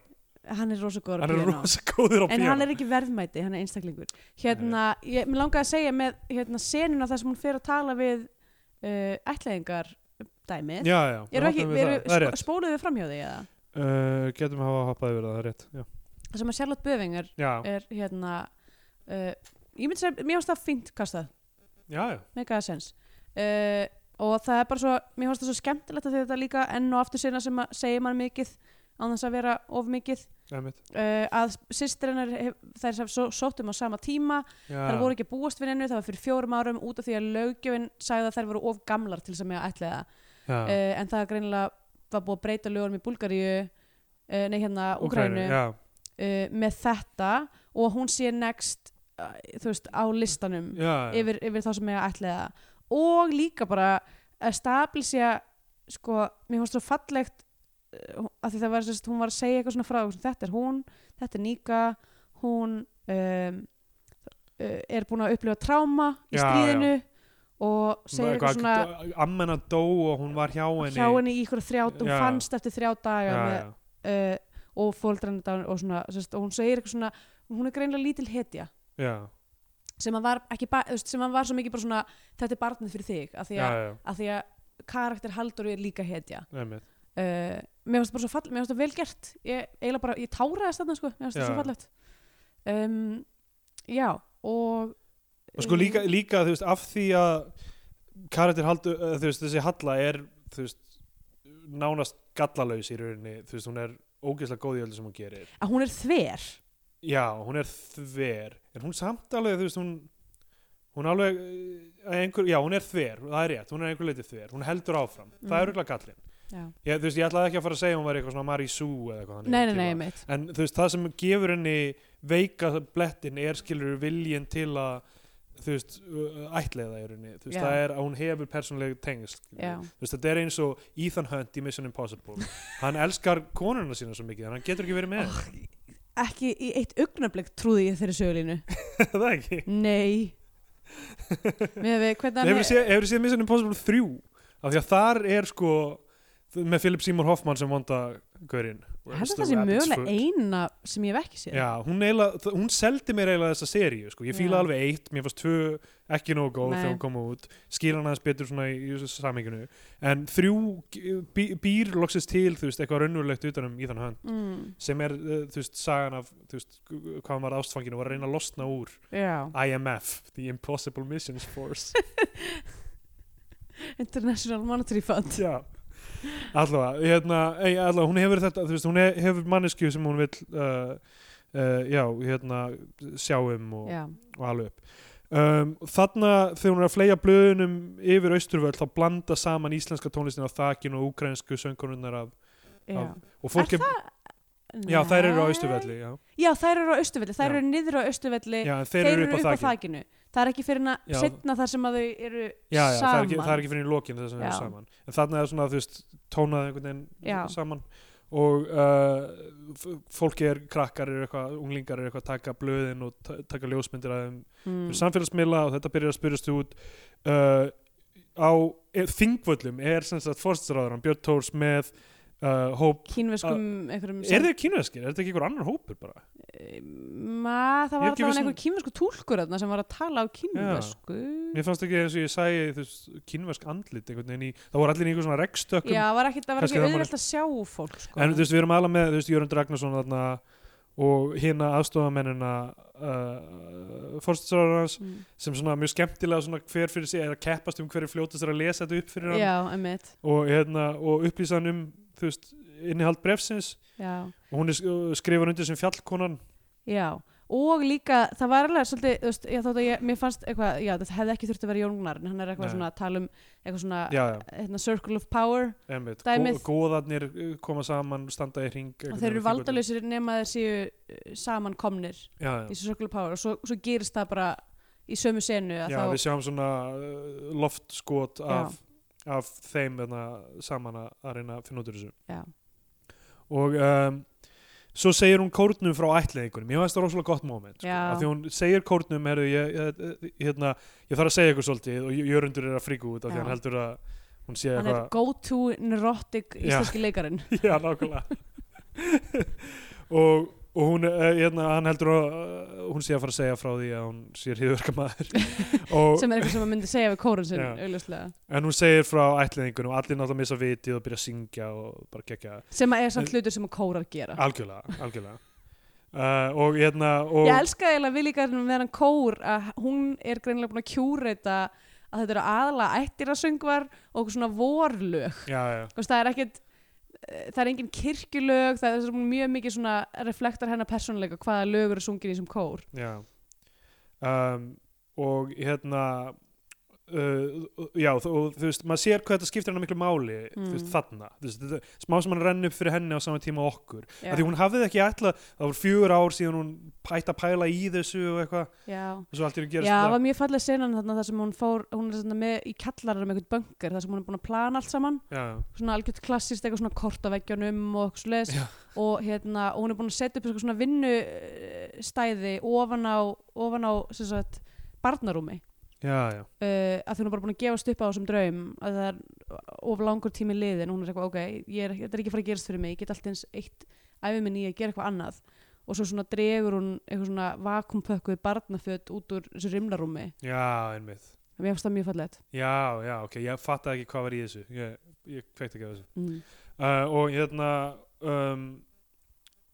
Hann er rosa góður á
hann er
píanó.
rosa góður á
En hann
píanó
er ekki verðmæti, hann er einstaklingur Hérna, ég, mér langaði að segja með hérna, senuna þar sem hún fer að tala við uh, ætlaðingar dæmið
já, já,
Eru ekki, sko-
hoppum við
eru,
það. það er rétt
spóluðu framhjá því eða?
uh, getum hafa hoppað yfir það, það er rétt já,
Það sem að Charlotte Böfing er,
já,
er hérna uh, Ég myndi segja, mér finnst það fínt kastað
já, já.
megaða sens uh, og það er bara svo, mér finnst það svo skemmtilegt að þetta líka enn og aftur sinna sem að segja mann mikið án þess að vera of mikið
einmitt.
uh, að sýstrinnar þær sem svo, sóttum á sama tíma
já.
þær voru ekki að búast við hennu, það var fyrir fjórum árum út af því að lögjöfin sagði að þær voru of gamlar til sem ég ætlaði það
já.
uh, en það greinilega var búið að breyta lögunum í Búlgaríu uh, nei hérna, Úgrænu
já,
uh, með þetta og hún sé next uh, þú veist, á listanum
já, já.
yfir, yfir þá sem ég ætlaði það og líka bara að stabilisja sko, mér fannst svo fallegt að því það var sérst, hún var að segja eitthvað svona frá, svona, þetta er hún, þetta er Nika hún um, er búin að upplifa tráma í
Já,
stríðinu og segir eitthvað svona
svona ammenna dó og hún var hjá henni
hjá henni í ykkur þrjá, hún
Já.
fannst eftir þrjá daga
já,
með,
já.
uh, og fóldrann og, svona, sérst, og hún segir eitthvað svona hún er greinlega lítil hetja
Já,
sem að var, ekki, ba- þú veist, sem að var svo mikið bara svona þetta er barnið fyrir þig af því
já,
að,
já,
af því að karakter Haldur er líka hetja
einmitt.
uh, mér finnst það bara svo fall mér finnst það vel gert ég, eiginlega bara, ég táraðist þarna sko mér finnst það
Já.
svo fallegt um, já, og eh,
og sko líka, líka þú veist, af því að karakter haldu, eh, þú veist, þessi Halla er þú veist, nánast gallalaus í rauninni, þú veist, hún er ógeðslega góð í öllu sem hún gerir
að hún er þver
já, hún er þver en hún samt alveg, þú veist, hún hún alveg, eh, að einhver, já, hún er þver það er rétt, hún er einhver leiti þver, hún heldur áfram það
Mm.
er auðvitað gallin
já.
ég, þú veist, ég ætlaði ekki að fara að segja að hún var eitthvað svona Marie Sue eða eitthvað þannig
nei, nei,
típa.
nei, mitt
en þú veist, það sem gefur henni veika blettin er skilur viljin til að þú veist, uh, ætliða í rauninni þú veist,
Já.
það er að hún hefur persónulegu tengsl skilurðu.
já,
þú veist, þetta er eins og Ethan Hunt í
<laughs>
Mission Impossible hann elskar konuna sína svo mikið, en hann getur ekki verið með
Ah.
henni.
ekki í eitt augnablik trúði ég þeirri sögulínu
<laughs> það er ekki <laughs>
nei með við, hvernig hann
hefur séð, hefur séð Mission Impossible 3 af því að þar er sko með Philip Seymour Hoffman sem vonda gaurinn
Ég held að það sé mögulega eina sem ég hef ekki séð
Já, hún, eiginlega, þ- hún seldi mér eiginlega þessa seríu sko. ég
Já.
fíla alveg eitt, mér fannst tvö ekki nógu góð
Nei.
þegar hún kom út skýra hann aðeins betur svona í, í þessu saminginu en þrjú bí, býr loksist til, þú veist, eitthvað raunverulegt utanum í þann hönd
mm,
sem er, uh, þú veist, sagan af þú veist, gu- gu- hvað hann var ástfangin og var að reyna að losna úr
já.
IMF, The Impossible Missions
<laughs>
Force
International Monetary Fund
Já Allavega, hérna, ei, allavega, hún hefur þetta þú veist, hún he- hefur mannesku sem hún vill uh, uh, já, hérna sjá um og,
já,
og alveg upp um, þarna þegar hún er að fleja blöðunum yfir austurvöld þá blanda saman íslenska tónlistin á þakin og úkrainsku söngununnar af,
já.
af- og fólk er, já þær eru á austurvelli já,
Já, þær eru á Austurvelli, þær
Já.
eru niður á Austurvelli
já en þeir, eru upp á þakin
þakinu Það er ekki fyrir
Já.
að setna þar sem að þau eru
já, já, það er,
saman
ekki, það er ekki fyrir í lokin þess að það
Já.
er saman en þarna er svona þú veist tónaði einhvern
Já.
veginn saman og uh, f- fólki er krakkar er eitthvað, unglingar er eitthvað að taka blöðin og ta- taka ljósmyndir af þeim
mm.
mm. samfélagsmiðla og þetta byrjar að spyrjast út uh, á e, þingvöllum er sem sagt fórstæðsraðurann Björn Tórs með uh, hóp
Kínverskum einhverjum
Ah, er þeir kínveskir, er þetta ekki einhver annar hópur bara
Ma, Það
Ég
var
er ekki
alltaf
viss um-
einhver kínversku túlkur þarna sem var að tala á kínversku
mér fannst ekki eins og ég sæi þú veist, kínvesk andlit einhvern veginn í, það voru allir í einhver svona rekstökkum
Já, var ekki, það var
Kannski
ekki
það var-
auðvitað að sjá fólk sko.
en þú veist við erum alveg með þú veist Jörund Ragnarsson þarna og hérna aðstofamennina uh, fórstæðsraðurans
mm.
sem svona mjög skemmtilega svona hver fyrir sig er að keppast um hverju fljótast er að lesa þetta upp fyrir hann
Já, emmitt
og, hérna, og upplýsa hann um þú veist, innihald brefsins
Já
og hún er sk- skrifar undir sem fjallkonan
Já, og líka það var alveg svolítið, þú veist, ég þótt að ég, mér fannst eitthvað, já, þetta hefði ekki þurft að vera Jóngnar en hann er eitthvað
Nei.
svona að tala um eitthvað svona,
já, já,
hérna, circle of power
einmitt,
Dæmið.
Gó- góðarnir uh, koma saman, standa í hring
og þeir eru valdalausir nema þeir séu uh, saman komnir
já,
í
já.
þessu circle of power og svo, svo gerist það bara í sömu senu að
já,
þá,
við sjáum svona uh, loftskot af, af þeim hérna, saman að- að reyna að finna út úr þessu
já,
og um, svo segir hún kórnum frá ætliðingunum, ég veist það rosalega gott moment sko,
Já.
af því hún segir kórnum heru, ég, ég, ég- hérna, ég þarf að segja ykkur svolítið og Jörundur er að fríka út af því
Já.
hann heldur að hún sé
hann
eitthvað
er go to neurotic
Já.
íslenski leikarinn
<laughs> Já, nákvæmlega <laughs> og, og hún, eh, hérna, hann heldur að eh, hún sé að fara að segja frá því að hún sé hriðverka
<laughs>
maður og,
sem er eitthvað sem maður myndi segja við kórun sinn,
Já.
augljóslega
en hún segir frá ætliðingunum og allir náttúrulega missa vitið og byrja að syngja og bara gegja
sem að er samt hlutur sem að kórar gera
algjörlega, algjörlega uh, og hérna og,
Ég elska eiginlega viljíkarinn með hann kór að hún er greinilega búin að kjúreita að þetta eru aðla ættir að söngvar og svona vorlög.
já, já,
Þú veist, Það er ekkit, eh, það er engin kirkjulög, það er svona mjög mikið svona reflektar hennar persónuleika hvaða lög eru sungin í sem kór.
já um, og hérna Uh, já, þó- og þú veist, maður sér hvað þetta skiptir hennar miklu máli þú veist,
Mm.
þarna, þú veist, þetta, smá sem hann renn upp fyrir henni á sama tíma og okkur
Já,
að því hún hafði ekki ætla það voru fjögur ár síðan hún hætti að pæla í þessu og eitthvað
já.
og svo allt í hún
Já,
gerist
það
þetta
var mjög falleg senan þarna þar sem hún fór, hún er svona með í kallarar með eitthvað böngar, þar sem hún er búin að plana allt saman,
já,
svona algjört klassist eitthvað svona kort á veggjónum og eitthvað svo
Já.
og hérna, og hún er búin að setja upp eitthvað svona vinnu eh, stæði ofan á, ofan á sem sagt, barnarúmi
já, já,
uh, að því hún er bara búin að gefast upp á þessum draum að það er of langur tími liðin og hún er eitthvað, ok, ég er, þetta er ekki að fara að gerast fyrir mig ég get allt eins eitt æfið minni í að gera eitthvað annað og svo svona dregur hún eitthvað svona vakumpökkuð barnaföt út úr þessu rimlarúmi
já, einmitt
mér finnst það mjög fallegt
já, já, ok, ég fattaði ekki hvað var í þessu ég, ég kveikt ekki að þessu
mm.
uh, og hérna um,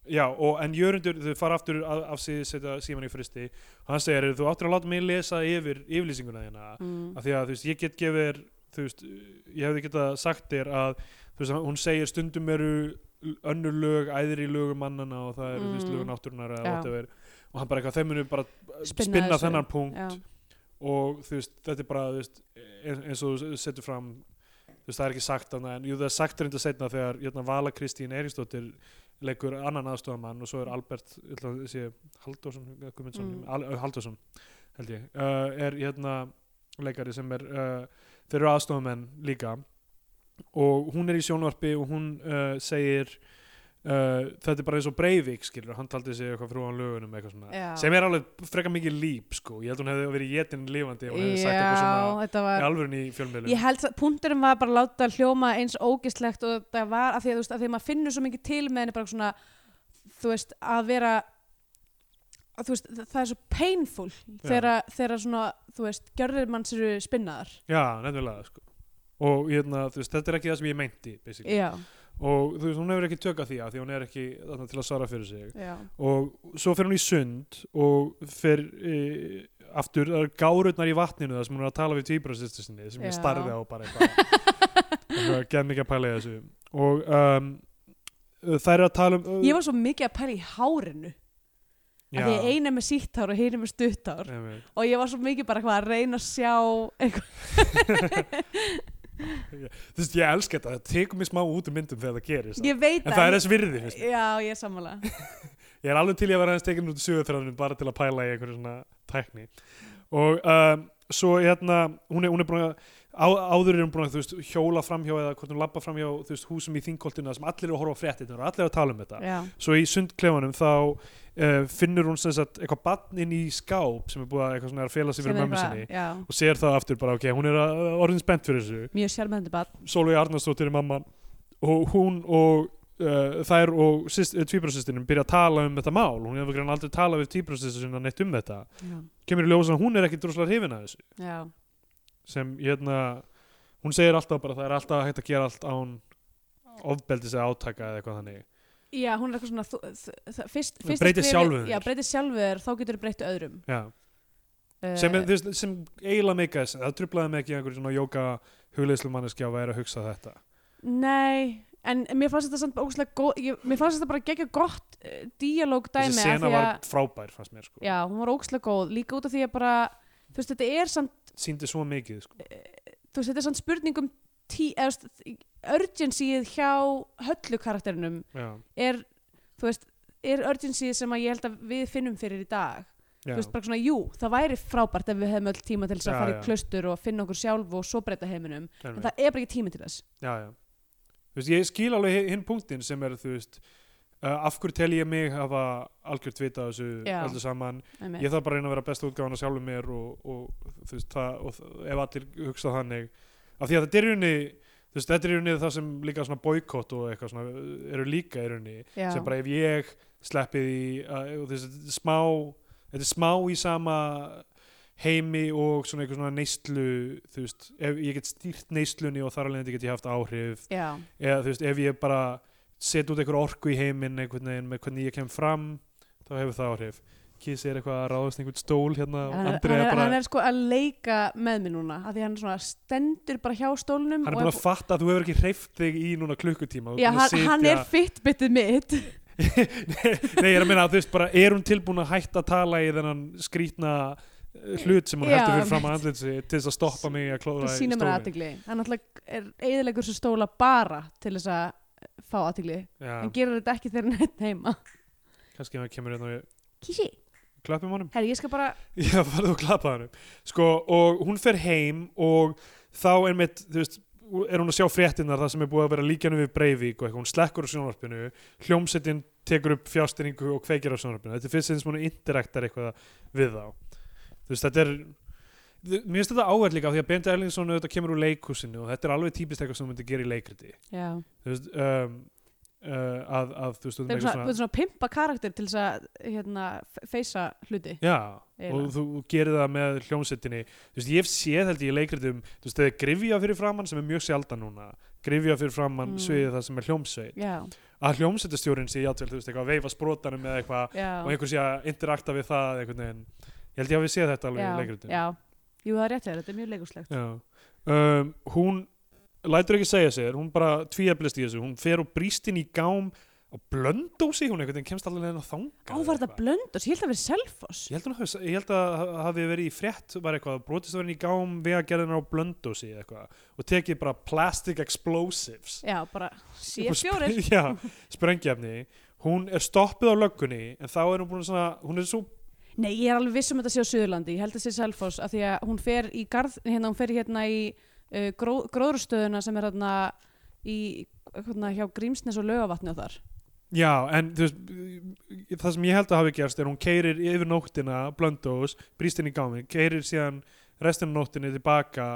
já, og en Jörundur þau fara aftur af, af sig, setja síman í fristi og hann segir, þú áttur að láta mig lesa yfir yfirlýsinguna þína
Mm.
af því að þú veist, ég get gefið þér, þú veist, ég hefði getað sagt þér að þú veist, hún segir stundum eru önnur lög, æðri lög mannana og það eru þú veist
Mm.
lög náttúrunar eða
Já.
whatever og hann bara eitthvað, þeim munu bara spinna,
Spinna þessu.
þennan punkt
Já.
og þú veist, þetta er bara þú veist, eins, eins og þú setur fram þú veist, það er ekki sagt annað en jú, það er sagt reynda setna þegar jötna, Vala Kristín Eiríksdóttir leikur annan aðstofamann og svo er Albert ætla, að sé, Halldórsson, eða Guðmundsson
Mm.
Al, eh, Halldórsson, held ég uh, er hérna leikari sem er uh, þeir eru aðstofamenn líka og hún er í sjónvarpi og hún uh, segir Uh, þetta er bara eins og Breivik skilur hann taldi sig eitthvað frúan lögunum eitthvað svona
Já.
sem er alveg frekar mikið líp sko ég held hún hefði verið jetin lífandi ef hún hefði sagt eitthvað
Já,
svona
þetta
í
var
alvörun í fjölmiðlum
ég held að punkturinn var bara að láta hljóma eins ógislegt og það var af því að þú veist að því að maður finnur svo mikið til með henni bara svona þú veist að vera að þú veist það það er svo painful þegar, þegar svona þú veist gjörðir manns eru spinnaðar
já, nefnilega sko og hérna, þú veist, þetta er ekki það sem ég meinti basically.
já,
og þú veist, hún hefur ekki tök að því að því hún er ekki þarna til að svara fyrir sig
já,
og svo fer hún í sund og fer e, aftur, það eru gárutnar í vatninu það sem hún er að tala við tvíbrásistur sinni sem ég
Já.
starði á bara eitthvað
<laughs>
genn ekki að pæla í þessu og um, þær eru að tala um
ég var svo mikið að pæla í hárinu
Já,
að því eina með sítt hár og hinu með stutt hár
einmitt.
og ég var svo mikið bara hvað að reyna að sjá eitthvað
þú veist, ég elska þetta, það tekur mig smá út um myndum þegar það gerist
ég veit
en það er þess virði, finnst mér.
já, ég er sammála
ég er alveg til í að vera aðeins tekinn út í sögurþræðunum bara til að pæla í einhverju svona tækni og um, svo hérna hún er, hún er búin að á, áður er hún búin að þú veist hjóla framhjá eða hvort hún labba framhjá þú veist húsum í þingkoltina sem allir eru að horfa á fréttinnar og allir eru að tala um þetta
já,
svo í sundklefanum þá uh, finnur hún sem sagt eitthvað batn inn í skáp sem er búið að eitthvað svona er að fela sig fyrir
Sem er
mömmu
bara-
sinni
já,
og sér það aftur bara ok, hún er að, orðin spennt fyrir þessu
mjög sjálfmyndi bara
Solveig Arnarsdóttir er mamma og hún og uh, þær og syst- eh, tvíbrasýstinum byrja að tala um þetta mál hún hefur grein aldrei talað við tvíbrasýstina neitt um þetta
já,
kemur í ljós að hún er ekki droslega hrifin að þessu
já.
sem hérna hún segir alltaf bara það er alltaf hægt að gera allt án ofbeldis eða átaka eða eitthvað þannig
Já, hún er eitthvað svona þú, þ, þ, fyrst,
Þú
fyrst
breytir
skrefið-
sjálfum þér.
Já, breytir sjálfur, þá getur þú breytið öðrum Uh,
Já. sem, er, þú veist, sem eiginlega meika þess það trublaði mig ekki einhver svona jóka hugleyslu manneskja að vera að hugsa þetta
Nei, en mér fannst þetta samt ógustlega góð ég, Mér fannst þetta bara gegja gott uh, díalóg dæmi
þessi
af
sena
því
var
að-
frábær fannst mér sko.
Já, hún var ógustlega góð, líka út af því að bara Þú veist, þetta er samt, uh,
síndi svo mikið sko.
þú veist, þetta er samt spurning um tí, eða, þú veist, urgencyið hjá höllu karakterinum
já,
er, þú veist, er urgencyið sem að ég held að við finnum fyrir í dag
já.
þú veist bara svona, jú, það væri frábært ef við hefum öll tíma til þess að
Já,
fara
já.
í klaustur og finna okkur sjálf og svo breyta heiminum
einmitt.
en það er bara ekki tími til þess
já, já. Þú veist, ég skil alveg hi- hinn punktin sem er þú veist uh, af hverju tel ég mig hafa algjört vita af þessu
Já.
öllu saman
Einmitt.
ég þarf bara að reyna að vera besta útgáfan að sjálfu mér og, og þú veist það og, þ- ef allir hugsa þannig af því að þetta er í rauninni þú veist þetta er í rauninni það sem líka svona boykott og eitthvað svona uh, eru líka í rauninni
Já.
sem bara ef ég sleppið í að, og þessi, þetta er smá þetta er smá í sama heimi og svona eitthvað svona neyslu þú veist, ef ég get stýrt neyslunni og þar alveg get ég haft áhrif
já,
eða þú veist, ef ég bara set út einhver orku í heiminn einhvern veginn með hvernig ég kem fram þá hefur það áhrif Kissi er eitthvað að ráðast í einhvern stól hérna og
hann,
Andri
hann,
er
er,
bara
hann er sko að leika með mér núna af því hann svona stendur bara hjá stólnum
hann
og
er búin að fatta að þú hefur ekki hreift þig í núna klukkutíma þú
Já,
búin að
hann, hann er
sitja-
fitbitið mitt
Nei, ég er að minna að þú veist bara er hún tilbúin að hætta að tala í þennan skrýtna eh, hlut sem hún
Já,
heldur fyrir fram að andlit sig til þess að stoppa mig að klóða
það
í
sýnir mér
stóli
aðtegli hann alltaf er eðilegur sem stóla bara til þess að fá aðtegli hann
Já,
gerir þetta ekki þegar hann er heima
kannski hann kemur hérna og ég
Kísi,
klappum honum
herri, ég skal bara
<laughs> Já, farðu og klappa hann Sko, og hún fer heim og þá er mitt, þú veist er hún að sjá fréttinnar það sem er búið að vera líkjanum við Breivik og eitthvað, hún slekkur úr sjónvarpinu hljómsettin tekur upp fjástyrningu og kveikir á sjónarfinu þetta er fyrst eins og interaktar eitthvað við þá þú veist þetta er mér finnst þetta áhverð líka af því að Bindi Erlingsson auðvitað kemur úr leikhúsinu og þetta er alveg típist eitthvað sem þú myndir gera í leikriti
já.
þú veist um, uh, að, að þú veist
Það
stundum
er
eitthvað
svona, svona, svona pimpa karakter til þess að hérna, f- feysa hluti.
Já,
Eiginlega.
og þú gerir það með hljómsettinni þú veist, ég hef séð held ég í leikritum þú veist, þegar grifja fyrir framann sem er mjög sjaldan núna grifja fyrir framann
Mm.
sviðið það sem er hljómsveit
Já,
að hljómsettastjórin sé játvel, þú veist, eitthvað að veifa sprótanum eða eitthvað
já.
og einhver sé að interakta við það einhvern veginn, ég held ég hafi séð þetta alveg í leikritum
Já, jú það er rétt þér, þetta er mjög leikurslegt.
Um, hún lætur ekki segja sér, hún bara tvíeflist í þessu, hún fer og brýst inn í gám og blöndósi, hún einhvern veginn kemst allir leðin að þanga
Ávar þetta blöndos, ég held að vera selfoss.
Ég held, að, ég held að ha- hafi verið í frétt var eitthvað, brotist að vera í gám vegagerðinar á blöndósi eða eitthvað og tekið bara plastic explosives
Já, bara
Upp og spre-
séfjórir.
<laughs> Já, sprengjefni Hún er stoppuð á löggunni en þá er hún búin svona, hún er svo
Nei, ég er alveg viss um að þetta sé á Suðurlandi, ég held að sé selfoss af því að hún fer í garð, hérna, hún fer hérna í uh, gró, gróðurstöðuna sem er hérna í hérna, hjá Grímsnes og Laugavatni og þar.
Já, en þú veist það sem ég held að hafi gerst er hún keirir yfir nóttina blöndós, brýst inn í gámi keirir síðan restina af nóttinni tilbaka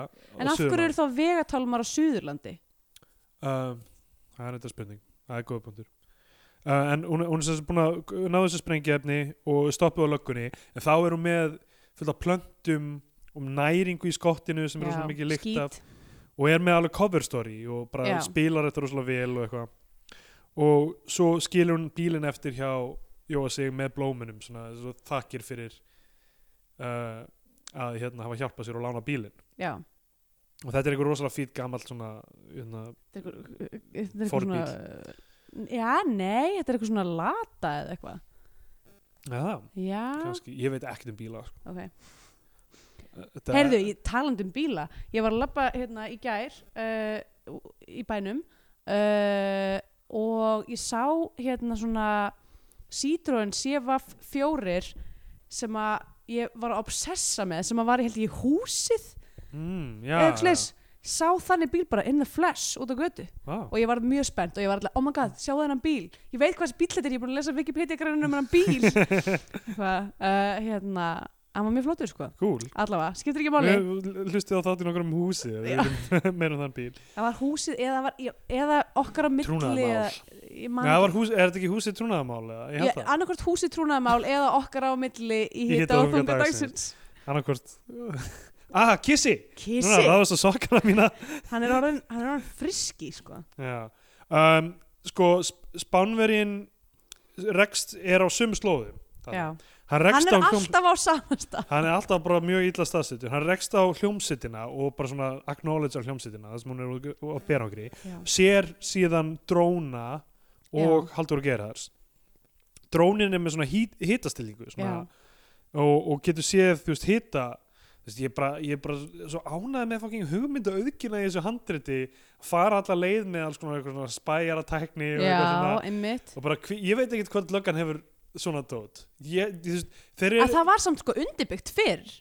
En af hverju eru þá vegatálmar á Suðurlandi?
Uh, það er þetta spurning, það er góða punktur uh, en hún, hún er sem sagt búin að ná þessu sprengjefni og stoppuð á löggunni en þá er hún með fullt af plöntum um næringu í skottinu sem er
Já,
svona mikið lykt
skít.
af og er með alveg cover story og bara
Já.
spilar þetta rosalega vel og eitthvað og svo skilur hún bílinn eftir hjá Jóa sig með blómunum svona, svo þakkir fyrir uh, að hérna hafa hjálpað sér og lána bílinn
Já,
og þetta er einhver rosalega fýt gamalt svona hérna,
þetta er eitthvað- uh, þetta er eitthvað
Forbíll.
svona... Já, nei, þetta er eitthvað svona lata eða eitthvað.
ja,
Já,
kannski, ég veit ekkert um bíla sko.
ok.
Þetta-
Heyrðu, ég talandi um bíla Ég var að labba hérna í gær uh, í bænum uh, og ég sá hérna svona Citroen CVF 4 sem að ég var að obsessa með sem að var, ég held ég, í húsið
mm,
eða
já,
eitthvað slis, sá þannig bíl bara in the flash út á götu
já.
og ég var mjög spennt og ég var alltaf, oh my god, sjáu þennan bíl ég veit hvað þessi bíl þetta er, ég er búin að lesa Wikipedia grænum um hennan bíl
<laughs>
eitthvað, uh, hérna, hann var mjög flottur sko
cool
allavega, skiptir ekki máli
Við hlustið á þáttinn okkur um húsið við viljum meira um <laughs> þann bíl
Það var húsið eða, var, eða okkar á milli
Trúnaðarmál.
eða- ég man
Nei, það var
ekki.
hús, er þetta ekki húsið trúnaðamál eða? ég held
Ég-
það,
Annaðhvort húsið trúnaðamál eða okkar á milli í
Í
hita og þunga dagsins
annarkvort <laughs> ah, kissi, Núna,
Kissi,
það var svo sokkana mína
hann er orðin, hann er orðin friski sko.
já. um, sko Sp- Spánverjinn rekst er á sum slóðum Þannig.
Já.
hann
Hann
rekst
er
á hljóm-
alltaf á samasta
hann er alltaf bara mjög illa staðsettur hann rekst á hljómsittina og bara svona acknowledge á hljómsittina það sem hún er á- á berangri sér síðan dróna og Haldur Gerhards drónin er með svona hít, hitastillingu svona, og, og getur séð þú veist hita þú veist, ég, er bara, ég er bara svo ánæði með fucking hugmynda auðkina í þessu handriti fara alla leið með alls konar eitthvað svona spæjara tækni og, eitthvað
Já,
svona,
einmitt
og bara, hví- ég veit ekkert hvað löggan hefur svona dót ég, þú veist, þeir
Að
eru
það var samt sko undirbyggt fyrr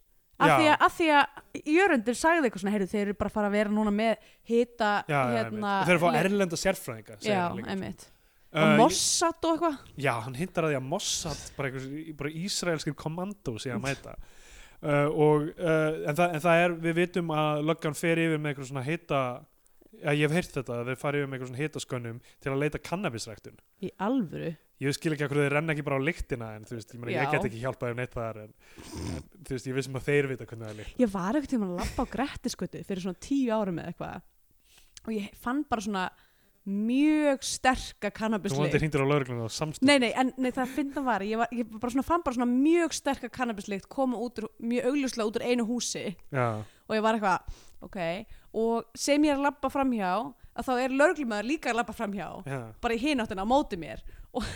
Af
Já.
því, að, af því að Jörundur sagði eitthvað svona, heyrðu, þeir eru bara að fara að vera núna með hita
já, já, einmitt.
hérna
og þeir eru að fá erlenda sérfræðinga segir
Já,
hann líka.
einmitt
Uh,
Og Mossad og eitthvað
Já, hann hintar að því að Mossad bara, einhvers, bara ísraelskir kommandó sé að mæta uh, og, uh, en, það, en það er, við vitum að löggan fer yfir með eitthvað svona heita já, ég hef heyrt þetta, að þeir fari yfir með eitthvað svona heitaskönnum til að leita kannabisræktun
Í alvöru
ég skil ekki að hverju þeir renna ekki bara á lyktina en þú veist, ég, meni,
Já.
ég get ekki hjálpað um neitt þar en, en þú veist, ég vissum að þeir vita hvernig það er lykt
ég var ekkert tíma að labba á Grettisgötu fyrir svona tíu árum eða eitthvað og ég fann bara svona mjög sterka
þú vonandi
kannabislykt
hringdir á lauruglunum á samstöð
Nei, nei, en nei, það finna var, ég, var, ég bara svona, fann bara svona mjög sterka kannabislykt koma út úr, mjög augljóslega út úr einu húsi
já,
og ég var eitthvað, ok, og sem ég er að labba framhjá, að þá er lörglumæður líka að labba framhjá,
já,
bara í hináttina á móti mér og, <laughs>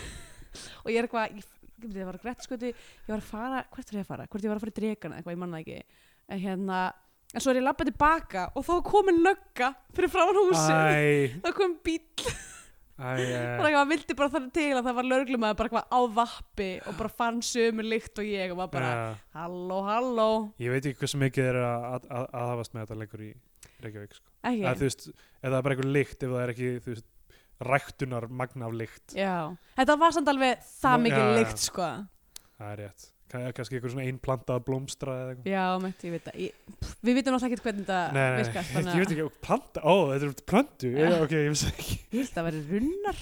og ég er eitthvað, ég, ég, ég var að Grettisgötu, ég var að fara, hvert var ég að fara, hvert ég var að fara í dregana eitthvað, ég manna ekki, en hérna, en svo er ég labbað tilbaka og þá er komin lögga fyrir framan <laughs> húsið,
æ,
þá er komin bíl,
æ, æ.
bara eitthvað vildi bara þannig til að það var lörglumæður bara eitthvað á vappi og bara fann sömu lykt og ég og var bara,
Já.
halló, halló,
ég veit ekki hversu mikið þeir eru að, að, að, aðhafast með þetta leikur í Reykjavík sko.
ekki,
að, þú veist, ef það er bara einhver lykt ef það er ekki þú veist, ræktunar magna af lykt
Já, þetta var samt alveg það
Nú,
mikið
já, já.
lykt sko
það er rétt Kann- kannski eitthvað svona einplantað að blómstra eða eitthvað
Já, meitt, ég veit það Ég- pff, Við vitum náttúrulega ekkert hvernig
Nei,
þetta
nei, nei,
virkar
ég veit
þannig að
ekki, planta, ó, þetta er plantu,
Já.
já, ok, ég vissi ekki.
ég <laughs> held að vera runnar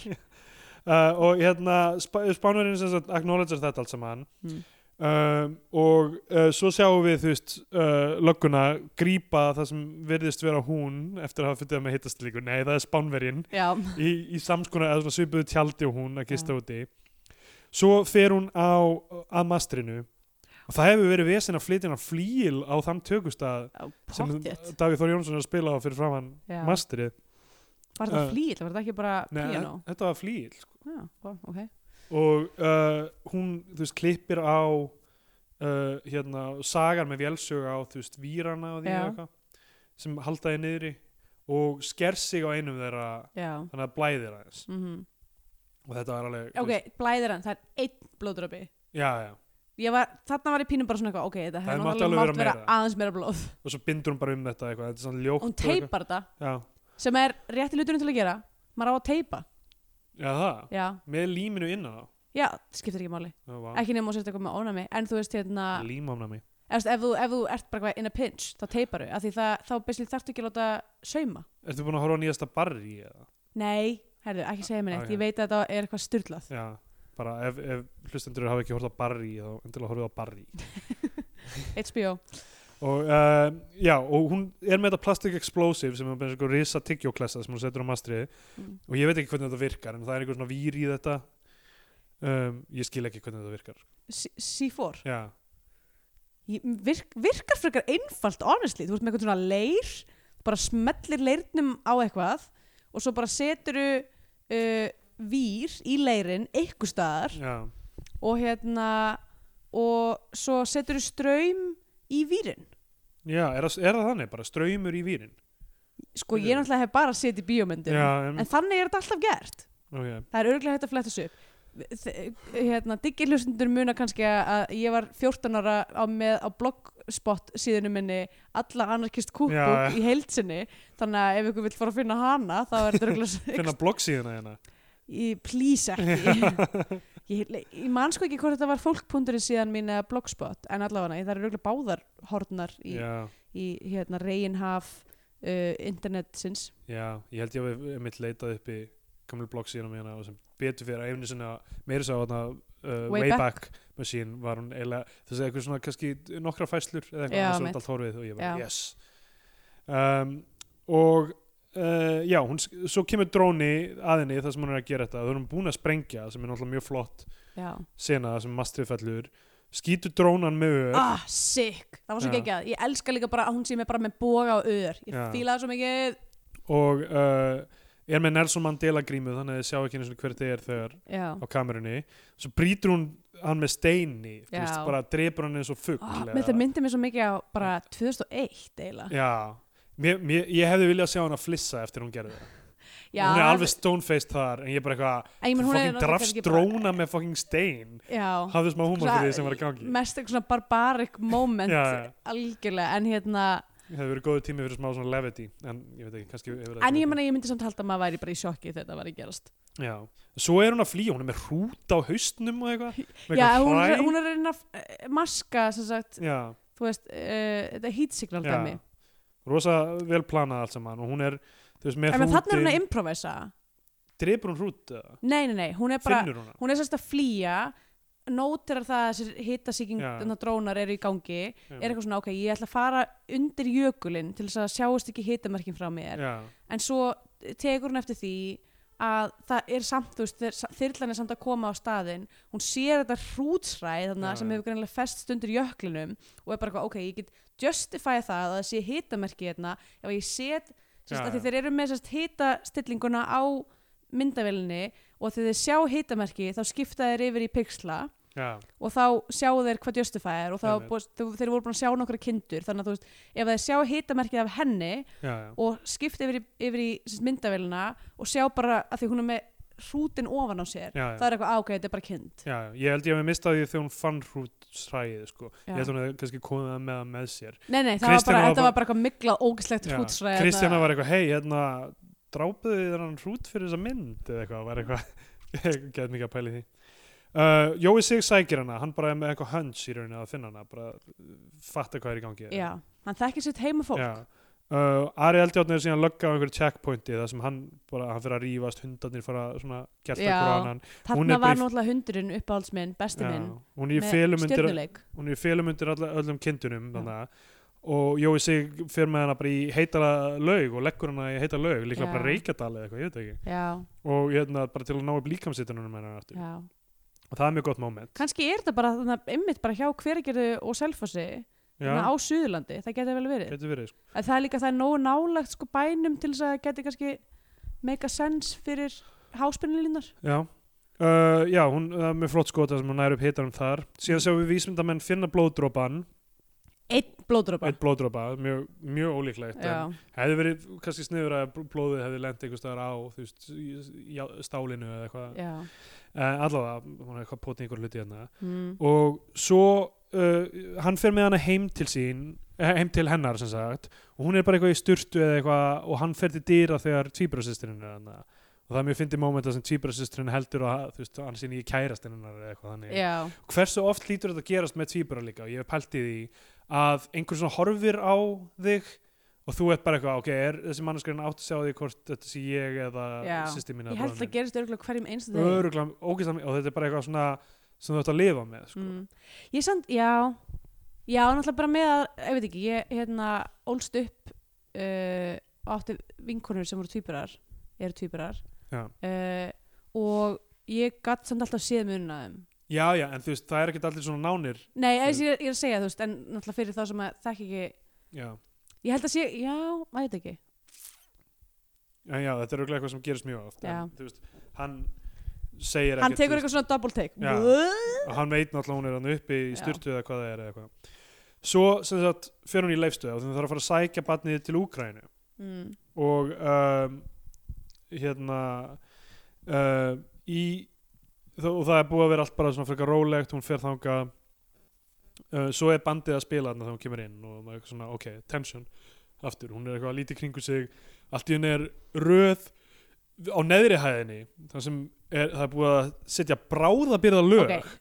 Uh, og hérna, sp spánverðin sem sagt acknowledger þetta allt saman
Mm.
um, og uh, svo sjáum við, þú veist, uh, lögguna grípa það sem virðist vera hún eftir að hafa fundið það með hittastlíku, nei, það er spánverðin
Já,
í, í samskona eða svona svipuðu tjaldi og hún að gista úti svo fer hún á að mastrinu og það hefur verið vesen að flytja hann að flýil á þann tökustað
á
sem
pottjétt
Davíð Þór Jónsson er að spila á fyrir framann
Já.
mastrið
Var þetta
uh,
flýl, var þetta ekki bara
Nei,
piano?
þetta var flýil sko.
Já, ó, ok
og uh, hún, þú veist, klippir á uh, hérna, sagar með vélsuga á, þú veist, vírana og því
Já.
eitthvað sem haldaði niðri og sker sig á einum þeirra
Já,
þannig að blæðir aðeins
mhm
og þetta var alveg þú
Ok, blæðir hann, það er einn blóðdrapi
já, já,
Ég var, þarna var ég pínum bara svona eitthvað Ok, þetta hefði
Það mátti
náttúrulega
alveg
mátt
vera
vera
meira.
aðeins meira blóð
og svo bindur hún bara um þetta eitthvað, þetta er svona ljótt
Hún
og eitthvað.
teipar þetta,
já,
sem er rétti hluturinn til að gera Maður á að teipa
já það,
Já,
með líminu innan á
já, það skiptir ekki máli
Já, vá.
Ekki nema að setja eitthvað með ónami En þú veist hérna
límámnami
Efst, ef, þú, ef þú ert bara hvað in a pinch þá teiparu, af því það, þá basically þarftu ekki að láta sauma.
Ertu búin að horfa á nýjasta barri eða?
Nei, herðu, ekki segja mér neitt,
Ah, já.
ég veit að þetta er eitthvað styrlað.
Já, bara ef, ef hlustendur hafa ekki horfað á barri þá endilega horfið á barri
HBO.
og uh, já, og hún er með þetta plastic explosive sem er bara eitthvað risa tyggjóklessa sem hún setur á mastrið
Mm.
og ég veit ekki hvernig þetta virkar en það er eitthvað svona vír í þetta um, ég skil ekki hvernig þetta virkar
C- C4.
já,
Ég, virk, virkar frekar einfalt, honestly. Þú ert með eitthvað svona leir, bara smellir leirnum á eitthvað og svo bara seturu uh, vír í leirin einhver staðar
já,
og hérna og svo seturu straum í vírin.
já er, það- er það þannig bara ströymur í vírin
Sko, ég náttúrulega hef bara setið bíómyndum.
já, em,
En þannig er þetta alltaf gert.
okay.
Það er örglega hægt að fletta þessu upp. Þ- Hérna, diggilhjústundur muna kannski að ég var 14 ára á, með á blogspot síðinu minni alla anarkist
Já,
kúkbúk
já.
í heilsinni þannig að ef ykkur vill fara að finna hana þá er þetta
finna
örglega
bloggsíðina hérna
please ekki <laughs> ég, ég man sko ekki hvort þetta var fólkpundurinn síðan mín eða blogspot en allavega það eru örglega báðar hornar í,
já,
í hérna, reginhaf uh, internetsins
já, ég held ég að mitt leitað upp í gamlu bloggsíðina mína og sem betur fyrir að einu sinna meira sá hana uh,
Way
Wayback Machine var hún eiginlega þú veist eitthvað svona kannski nokkra fæslur eða eitthvað
Já,
annars er
mitt.
þetta allt horfið og ég bara
Já.
yes um, og uh, já, hún, sk- svo kemur dróni að henni þar sem hún er að gera þetta þau erum búin að sprengja sem er náttúrulega mjög flott
já
sena sem mastrið fellur skýtur drónan með ör
Ah, sick, það var svo
Já.
geggjað Ég elska líka bara að hún sé með bara með boga og öður Ég
Já.
fíla það svo mikið
og uh, er með Nelson Mandela grímu þannig að þið sjá ekki einu svona hver þið er þegar
Já,
á kamerunni svo brýtur hún hann með steini þú
Já.
veist, bara drepur hann eins og fugl
ah,
eða-
með það myndi mér svo mikið á bara 2001 eiginlega
já mér, mér, ég hefði viljað sjá hann að flissa eftir hún gerði það
Já,
hún er alveg stone-faced þar en ég er bara eitthvað
en ég meina, hún er
fucking
náttúrulega
drafst
kannski bara-
dróna með fucking stein
Já,
hafðu smá húmor fyrir því sem var í gangi
mest eitthvað svona barbaric moment
Já, já.
algjörlega En hérna,
það hefði verið góðu tími fyrir smá svona levity en ég veit ekki, kannski hefur það
en
ekki-
ég meina ég myndi samt halda að maður væri bara í sjokki þegar þetta var að gerast
já. svo er hún að flýja, hún er með hrút á haustnum og eitthvað með
Já,
eitthvað
hún er,
hræ.
hún er að reyna að eh, maska, sem sagt,
já,
þú veist, uh, þetta heat signal
já
dæmi
rosa vel planað allt saman og hún er, þú veist,
En
með
þannig er hún að
hrútin
improvisa
drepur hún hrút, eða?
Nei, nei, nei, hún er bara
finnur hún hann
hún er sérst að flýja nótirar það að þessir hittasíking
Já.
þarna drónar eru í gangi
Já.
er eitthvað svona, ok, ég ætla að fara undir jökulinn til þess að sjáast ekki hittamerkin frá mér
Já,
en svo tekur hún eftir því að það er samt, þú veist, þeir- þyrlan er samt að koma á staðinn, hún sér þetta hrútsræð þarna
Já,
sem
já.
hefur greinlega fest undir jöklinum og er bara eitthvað, ok, ég get justify það að það sé hittamerki hérna ef ég set, sérst,
Já,
að því
já.
þeir eru með sérst hitastillinguna á myndavélinni og þegar þeir sjá hitamerki þá skipta þeir yfir í pixla
já,
og þá sjá þeir hvað justify er og þá,
Einmitt.
búist, þau- þeir voru búin að sjá nokkra kindur þannig að þú veist, ef þeir sjá hitamerkið af henni
já, já.
og skipta yfir í, yfir í sérst, myndavélina og sjá bara að því hún er með hrútin ofan á sér
Já, já.
það er eitthvað ágæð, þetta er bara kind
Já, ég held ég hefði mistað því þegar hún fann hrút sræðið, sko.
Já.
Ég held hún hefði kannski komið það með það með sér.
nei, nei, það var
Kristjana
bara,
var
þetta
bara-
var bara eitthvað miklað ógislegt hrútsræð
Kristjana var eitthvað, hei, hérna, drápuðu þið hann hrút fyrir þessa mynd eða eitthvað, <laughs> var eitthvað get mikið að pæli því uh, Jói sig sækir hana, hann bara er með eitthvað hunch í rauninni að finna hana, bara uh, fatta hvað er í gangi
já, hann þekkir sitt heimafólk
Já. Uh, Ari Eldjárn er síðan lögga á einhverju checkpointi þar sem hann bara, hann fyrir að rífast hundarnir fara svona gert
Já,
ekkur á annan
þarna
Hún er bara
var
í-
náttúrulega hundurinn uppáhaldsminn, besti minn
Já, hún er í felum undir, hún er í felum undir alla, öllum kindunum
Já.
þarna, og Jói sig fyrir með hana bara í heitala laug og leggur hana í heita laug líklega
Já.
bara reykjadal eða eitthvað, ég veit það
já,
ekki og hérna bara til að ná upp líkamsittunum hennar aftur
já
og það er mjög gott moment
kannski er þetta bara þarna, einmitt bara hjá hveragerðu og selfossi þarna á Suðurlandi, það geti vel verið
getur verið sko.
en það er líka það er nógu nálagt sko bænum til þess að geti kannski make a sense fyrir háspennilínar
Já, uh, já hún, það er mjög flott skota sem hún nær upp hitanum þar síðan sjáum við vísmyndamenn finna blóðdropan
einn blóðdropa
eitt blóðdropa, mjög, mjög ólíklegt en
já,
hefði verið kannski sniður að blóðið hefði lent einhvers staðar á þú veist, í, í á- stálinu eða eitthvað
já.
uh, allavega, hún er eitthvað potið einhver hluti hérna
Mm.
og svo uh, hann fer með hana heim til sín eh, heim til hennar sem sagt og hún er bara eitthvað í sturtu eða eitthvað og hann fer til dýra þegar tvíbrasýsturinn er hana og það er mjög fyndið móment þar sem tvíbrasýsturinn heldur og þú veist, hann sinni í kærastinn hennar eða eitthvað þannig
já,
hversu oft lítur þetta að gerast með tvíbura líka og ég hef pælt í því að einhver svona horfir á þig og þú ert bara eitthvað, ok, er þessi mannskjörn átt að sjá því hvort þetta sé ég eða
Já.
sýsti mín
ég held að það gerist örgulega hverjum einstu degi
öruglega, ógeðslega, og þetta er bara eitthvað svona sem þú ert að lifa með, sko
mm. ég samt, já já, náttúrulega bara með að, ég veit ekki ég hérna ólst upp uh, og átti vinkonur sem voru tvíburar eru tvíburar
Já.
uh, og ég gatt samt alltaf séð munna þeim
já, já, en þú veist, það er ekki allir svona nánir
nei, ég, ég, ég er að segja þú veist en náttúrulega fyrir þá sem að þekki ekki
já,
ég held að sé, já, maður veit ekki
en já, þetta er öruglega eitthvað sem gerist mjög oft
Já.
en þú veist, hann segir
hann
ekkert, þú
tekur
veist,
eitthvað svona double take
Já.
Vö?
og hann veit náttúrulega hún er hann uppi í
Já.
styrtu eða hvað það er eða eitthvað svo, sem sagt, fer hún í leifstöð og þannig þarf að fara að sækja barnið til Úkrænu
mm.
og um, hérna uh, í þó- og það er búið að vera allt bara svona frekar rólegt hún fer þangað uh, svo er bandið að spila þarna þegar hún kemur inn og maður er eitthvað svona, ok, tension aftur, hún er eitthvað að líti kringu sig allt í henni er röð á neðri hæðinni þar sem er, það er búið að setja bráðabyrða lög
ok,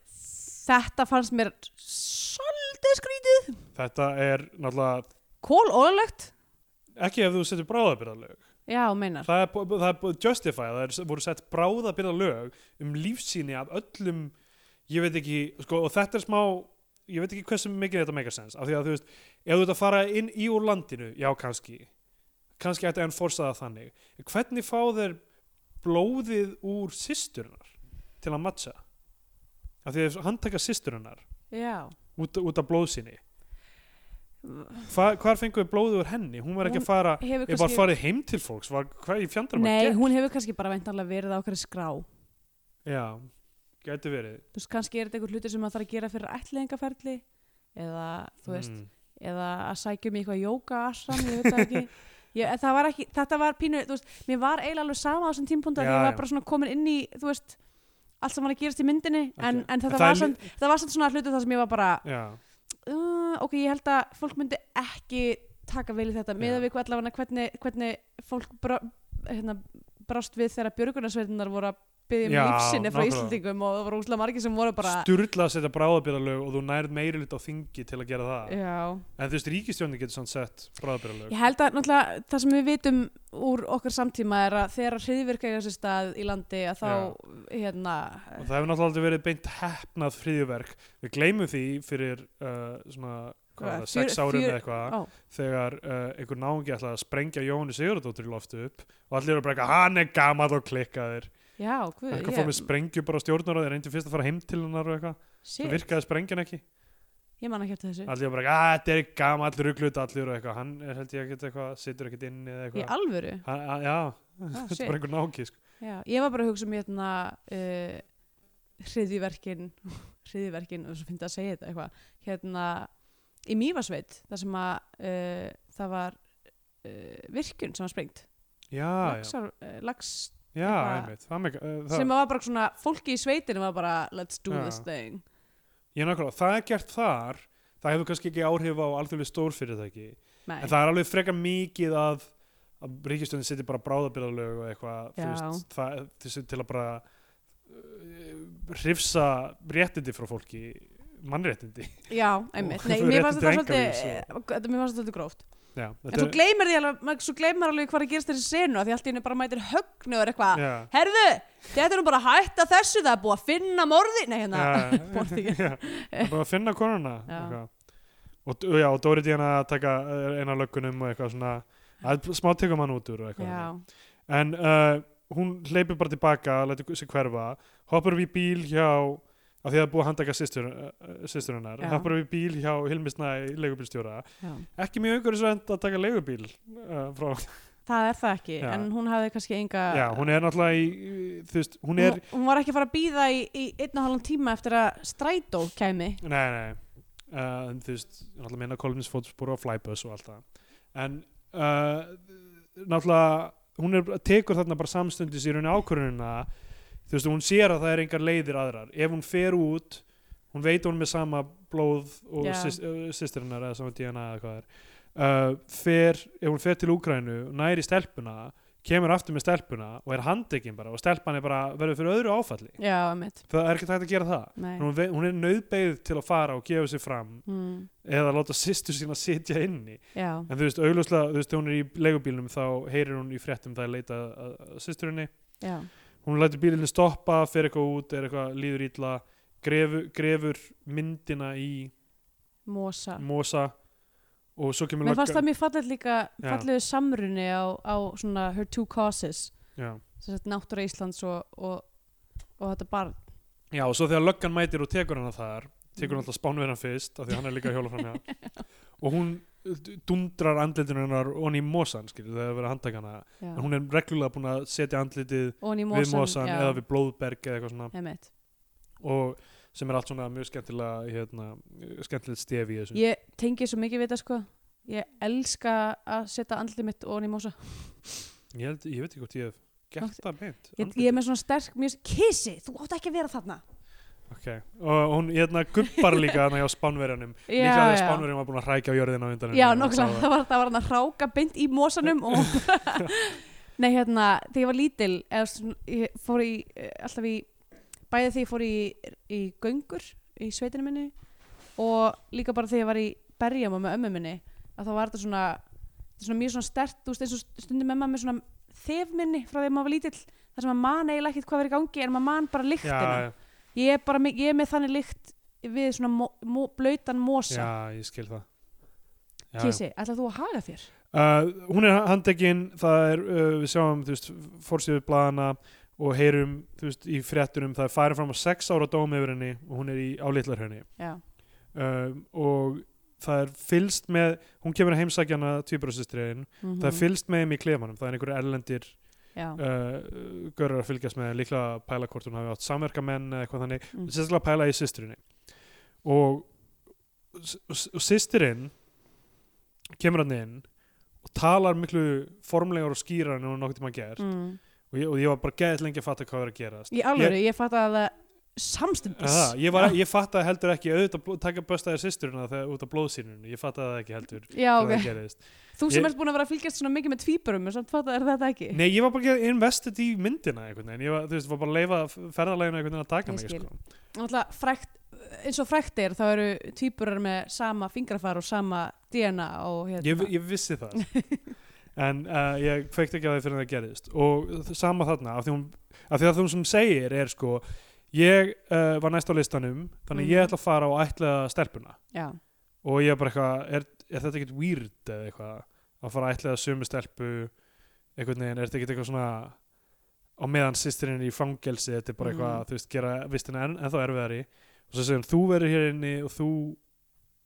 þetta fannst mér svolítið skrítið
þetta er náttúrulega
kól ólegt
ekki ef þú setur bráðabyrða lög
já, meinar
það er, bú- það er búið justify það er, voru sett bráða byrða lög um lífsýni af öllum ég veit ekki, sko, og þetta er smá ég veit ekki hversu mikið þetta make sense af því að þú veist, ef þú ert að fara inn í úr landinu já, kannski kannski ætti enn forsa það þannig En hvernig fá þeir blóðið úr sýsturinnar til að matcha af því að hann taka sýsturinnar
já
út, út af blóðsýni Hva, hvar fenguðu blóðið úr henni? hún var ekki
Hún
að fara
hefur
Ég var farið heim til fólks, var, hvað í fjandarum að
Nei,
gera?
hún hefur kannski bara veintanlega verið á okkar skrá Þú
Já, gæti verið.
veist, kannski er þetta einhver hluti sem maður þarf að gera fyrir ætliðingaferli eða, þú veist,
Mm.
eða að sækja mig eitthvað jóka asram, ég veit það
<laughs>
ekki Ég, en það var ekki, þetta var pínu, þú veist, mér var eiginlega alveg sama á þessum tímpúnda
Já,
þegar ég var
já.
bara svona komin inn í, þú veist, allt sem var að gerast í myndinni, en,
Ok.
en þetta
En það er
var samt, þetta var samt svona hlutu þar sem ég var bara,
Já,
uh, ok, ég held að fólk myndi ekki taka vel í þetta, miðað
Já.
við allavega hvernig, hvernig fólk bra, hérna, brást við þegar björgunarsveitinnar voru að byggja um
Já,
lífsinni frá
nákvæmlega.
Íslandingum og það voru úslega margir sem voru bara
sturla að setja bráðabyrðalög og þú nærð meiri lit á þingi til að gera það.
Já.
En þú veist, ríkistjónin getur svona sett bráðabyrðalög.
Ég held að náttúrulega það sem við vitum úr okkar samtíma er að þegar hriðvirk eiga sér stað í landi að þá, hérna,
Og það hefur náttúrulega aldrei verið beint hefnað friðjúverk. Við gleymum því fyrir uh, svona, hvað
Hvað,
var það, sex
fjör-
árum
fjör-
eða eitthvað,
ó,
þegar uh, einhver náungi ætlaði að sprengja Jóhannu Sigurðardóttur í loft upp og allir eru bara eitthvað, hann er gammal og klikkaðir.
já, guð,
Eitthvað fór með sprengju bara á stjórnar og þeir reyndi fyrst að fara heim til hennar og eitthvað. Svo
shit,
virkaði sprengjan ekki.
ég man ekki eftir þessu.
allir bara, að þetta er gamall rugglut allir og eitthvað, hann er held ég ekkert eitthvað situr ekkert inn eða
Í
eitthvað
alvöru?
hann, að, já, <laughs>
Ah,
þetta er bara
shit.
einhver náki sko.
Já, ég var bara að hugsa um hérna uh, hriðiverkin hriðiverkin, og svo finnst að segja þetta eitthvað, hérna í Mývasveit, þar sem að uh, það var uh, virkun sem var sprengt,
já, Ah, já,
laxar, uh, lax
já,
eitthvað-
einmitt það, með, uh, það,
sem að var bara svona, fólki í sveitinu var bara, let's do
Já.
this thing
ég, nákvæmlega, það er gert þar það hefur kannski ekki áhrif á alþjóðlega stórfyrirtæki
Nei,
en það er alveg frekar mikið að að ríkistöndin sittir bara bráðabyrðalög og eitthvað þú
Já.
veist, það, þessu til að bara uh, hrifsa réttindi frá fólki mannréttindi <laughs>
já, einmitt,
Og-
nei, mér fannst þetta
réttindi
svolítið
einkalífs
þetta- mér fannst þetta svolítið gróft
já,
en svo gleymir því alveg, maður- svo gleymir alveg hvað er að gerast þessi senu af því allt í henni bara mætir högnuður eitthvað
já,
herðu, þetta er nú bara að hætta þessu það er búið að finna morði nei, hérna,
já,
<laughs> Portugis.
já, bara að finna konuna
Já.
eitthvað. og, og já, og Dóri Díana að taka eh, eina löggunum og eitthvað svona að smá tekum hann út úr og eitthvað
já,
en uh, hún hleypur bara tilbaka lætur sig hverfa, hoppar við bíl hjá af því að það er búið að handtaka systur, uh, systur hennar,
Já.
hoppar við bíl hjá Hilmisnæ, leigubílstjóra,
já.
ekki mjög einhverjum að taka leigubíl uh, frá,
það er það ekki,
Já.
en hún hafði kannski enga
já, hún er náttúrulega í, þú veist, hún er,
hún, hún var ekki að fara að býða í, í einn og halvan tíma eftir að strætó kæmi
nei, nei uh, en þú veist, náttúrulega minna Kolmins fótspor og flybus og allt það en uh, náttúrulega hún er, tekur þarna bara samstundis í rauninni ákvörunina þú veist, hún sér að það er engar leiðir aðrar ef hún fer út, hún veit að hún er með sama blóð og
Já.
syst, uh, systir hennar eða sama DNA eða hvað það er uh, fer, ef hún fer til Úkrænu nær í stelpuna, kemur aftur með stelpuna og er handekinn bara og stelpan er bara verður fyrir öðru áfalli
já, emitt
það er ekki hægt að gera það En hún, vei- hún er nöðbeigð til að fara og gefa sig fram
mm,
eða láta sýstur sína sitja inni
já,
en þú veist, augljóslega, þú veist, þegar hún er í leigubílnum þá heyrir hún í fréttum það að leita að að systurinni,
já,
hún lætur bílinni stoppa, fer eitthvað út, er eitthvað líður ítla, grefur, grefur myndina í
mosa
mosa og svo kemur
mér fannst það mjög fallið líka
Já.
falliðu samrunni á, á svona her two causes
já.
sem sagt náttúra Íslands og, og, og þetta barn
já, og svo þegar löggan mætir og tekur hana þar
Mm,
tekur hann alltaf spánverðan fyrst, af því að hann er líka að hjóla
<laughs>
fram hjá og hún d- dundrar andlitinu hennar onni í mosan, skilur, þegar það er verið að handtaka hana
já.
en hún er reglulega búin að setja andlitið
og ný
við mosan
já,
eða við blóðberg eða eitthvað svona
emitt
og sem er allt svona mjög skemmtilega hérna, skemmtilegt stefi í þessu
ég tengi svo mikið við þetta sko ég elska að setja andlið mitt og ný mosa
ég, held, ég veit ekki hvort ég hef gert það meint
ég, ég er með svona sterk mjög kissi, þú átt ekki að vera þarna
og hún hérna gubbar líka þannig á spánverjanum
<laughs>
líka
Já,
þegar
já.
spánverjum var búin að hrækja á jörðina á undan henni
Já,
og
nokkla,
sá
<laughs> það var, það var hann að hráka beint í mosanum og
<laughs>
Nei, hérna, þegar ég var lítil eða, svona, ég fór í, eh, alltaf í bæði þegar ég fór í, í göngur í sveitinu minni og líka bara þegar ég var í berjama með ömmu minni að þá var þetta svona, þetta er svona mjög svona stert, þú veist, eins og stundum emma með svona þefminni frá þegar maður var lítill þar sem maður man eiginlega ekkert hvað verið í gangi en maður man bara
já,
lyktina ég, er bara, með- ég er með þannig lykt við svona mo, mo, blautan
já, já,
mosa
ég skil það Já, já.
Kissi, ætlaðu þú að haga þér?
Uh, hún er handekinn, það er, uh, við sjáum, þú veist, fórsýðu blaðana og heyrum, þú veist, í fréttunum, það er farið fram á sex ára dóm yfir henni og hún er í, á litlarhönni
Já.
uh, og það er fylst með, hún kemur að heimsækja hana tvíbröðsistriðin,
Mm
það er fylst með þeim í klefanum, það er einhverju erlendir
Já,
uh, görur að fylgjast með, líklega að pæla hvort hún hafi átt samverkamenn eða eitthvað þannig,
Mm.
sérstaklega að pæla í systrinni og, og, og systrin kemur hann inn og talar miklu formlegar og skýrar en hún nokkuð tíma gert
mm.
og, ég, og ég var bara geðið lengi að fatta hvað verið að gerast
Í alvöru, ég, fatt að það samstundis
Aha, ég, var, ég fattaði heldur ekki auðvitað bló- taka böstaði systurina þegar, út af blóðsýnunni ég fattaði það ekki heldur
Já,
hvað
ok,
það gerist
þú sem
Ég-
ert búin að vera að fylgjast svona mikið með tvíburum og samt fatt að er þetta ekki
Nei, ég var bara ekki investið í myndina einhvern veginn, ég var, þú veist, var bara að leifa ferðaleginu einhvern veginn að
Ég
taka mig
skil.
sko.
Náttúrulega frækt, eins og frækt er þá eru tvíburar með sama fingrafar og sama DNA og hérna
ég, ég vissi það en uh, ég kveikti ekki að það fyrir það gerðist og þ- sama þarna af því, hún, af því að þú sem segir er sko ég uh, var næst á listanum þannig ég
Mhm.
ætla að fara og ætla stelpuna
Já,
og ég bara eitthvað er, er þetta ekkert weird eða eitthvað að fara að ætla sömu stelpu einhvern veginn, er þetta ekkert eitthvað svona á meðan sýstirinn er í fangelsi þetta er bara eitthvað,
Mhm.
þú veist, gera vistina en, ennþá erfiðari og svo segir hún, þú verður hér inni og þú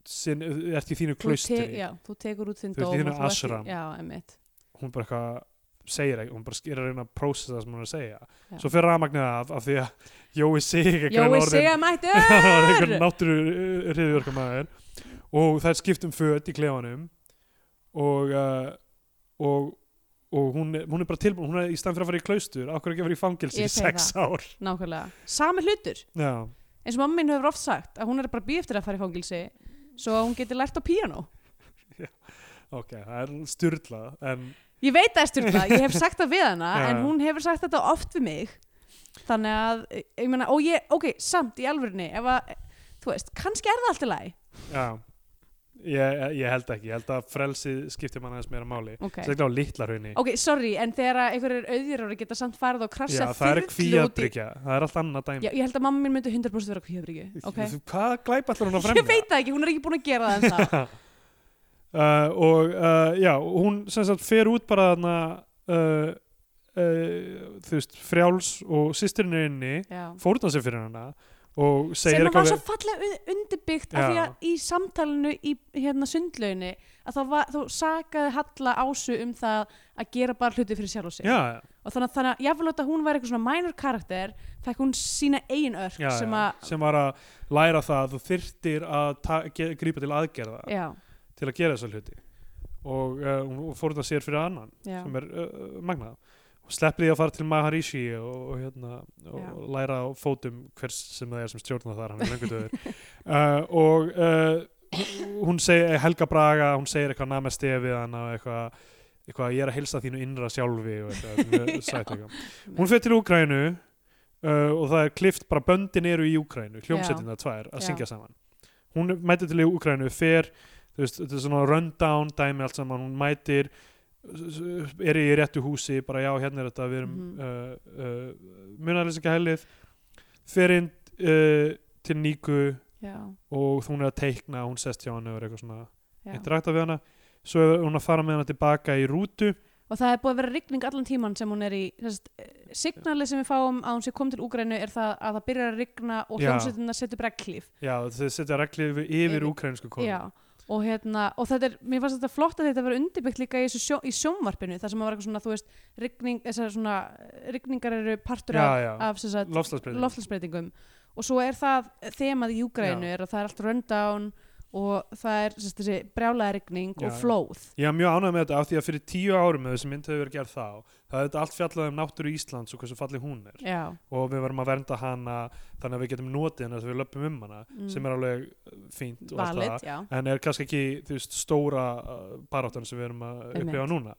sin, ert í þínu
þú, te
klaustri
já þú tekur út þinn
Þú ert í
dóm og
þínu
þú ert í-
ashram.
Já, emmitt
hún bara eitthvað segir ekki, hún bara sk- er að reyna að prósessa það sem hún er að segja
Já.
svo fer rafmagnið af af því að Jói sig
Jói segja
<laughs>
mættur
einhver náttúru hriðjörkamæður og það er skipt um föt í klefanum og uh, og, og hún, er- hún er bara tilbúin hún er í stand fyrir að fara í klaustur, okkur ekki að fara í fangelsi
Ég
í
segi
sex ár <laughs>
Nákvæmlega, sami hlutur
Já.
eins og mamma mín hefur oft sagt að hún er bara býð eftir að fara í fangilsi svo að hún geti lært á píanó
ok, það er styrla en
Ég veit það styrla, ég
<laughs>
hef sagt það við hana
Já.
en hún hefur sagt þetta oft við mig þannig að, ég meina, og ég ok, samt í alvörinni, ef að þú veist, kannski er það allt í lagi
Já, ég, ég held ekki, ég held að frelsið skiptir mann aðeins meira máli
Ok.
Sérstaklega á litla hraunni
ok, sorry, en þegar að einhverjir auðjurári geta samt farið og
Já,
krasja
það er
þyrlu út í-
kvíabryggja, það er allt annað dæmi
Já, ég held að mamma mín myndi 100% vera kvíabryggju ok,
Þú- Hvað glæp allar hún
<laughs>
að
ég
fremja? <laughs>
veit það ekki, hún er ekki búin að gera það en
uh, og uh, já, hún sem sagt fer út bara þarna uh, uh, þú veist, frjáls og sýstirinn er inni,
Já.
fórna sér fyrir hana og segir
sem að var
eitthvað
svo
við-
fallega un- undirbyggt af því
Já.
að í samtalinu í hérna sundlauginni að þá, var, þá sakaði Halla Ásu um það að gera bara hluti fyrir sjálf og sig
Já,
og þannig, að- þannig að jafnvel þótt að hún væri eitthvað svona minor karakter fekk hún sína eigin örk
já,
sem
já,
að
sem var að læra það að þú þyrtir að ta- ge- grípa til aðgerða
já,
til að gera þessa hluti og uh, hún fórna sér fyrir annan
já,
sem er uh, uh, magnað og sleppir því að fara til Maharishi og, og, hérna,
Já.
og læra á fótum hvers sem það er sem stjórnar þar hann er löngu döður <laughs> uh, og uh, hún- hún segir Helga Braga, hún segir eitthvað namesti við hann og eitthvað eitthvað ég er að heilsa þínu innra sjálfi og eitthvað,
<laughs>
mjög sætt eitthvað. hún fyrir til Úkrænu uh, og það er klift bara böndin eru í Úkrænu hljómsettina tvær að
Já.
syngja saman hún mætir til Úkrænu, fer þú veist, þetta er svona rundown dæmi allt saman, hún mætir s- s- er í réttu húsi, bara já hérna er þetta við erum
Mhm.
uh, uh, munarlýsinga helið fer inn uh, til Níku
já,
og hún er að teikna, hún sest hjá hann og er eitthvað svona
já.
interakta við hana svo er hún að fara með hana tilbaka í rútu
og það er búið að vera rigning allan tíman sem hún er í þessast, signalið sem við fáum að hún sé kom til Úgrænu er það að það byrjar að rigna og
Já.
hljómsveitina setur breglíf
já, þau setja regli yfir, yfir
Yfir-
úkrainsku konu
já, og hérna og þetta er, mér fannst þetta flott að þetta var undirbyggt líka í, þessu sjó, í sjónvarpinu þar sem að var eitthvað svona, þú veist, rigning þessar svona, eh, rigningar eru partur
já,
af,
já.
af sem sagt,
loftslagsbreyting
lofslagsbreytingum og svo er það þemað í Júgrænu
Já.
er að það er allt rundown og það er sérst, þessi brjálæðarigning
Já,
og
já.
flóð
ég er mjög ánægð með þetta af því að fyrir tíu árum eða þessi mynd hefur verið gerð þá það er þetta allt fjallað um náttúru Íslands og hversu falli hún er
já,
og við verðum að vernda hana þannig að við getum notið hennar þegar við löpum um hana
Mm.
sem er alveg uh, fínt og allt það
valið, já
en er kannski ekki þú veist, stóra uh, baráttan sem við erum að
Einmitt.
upplifa núna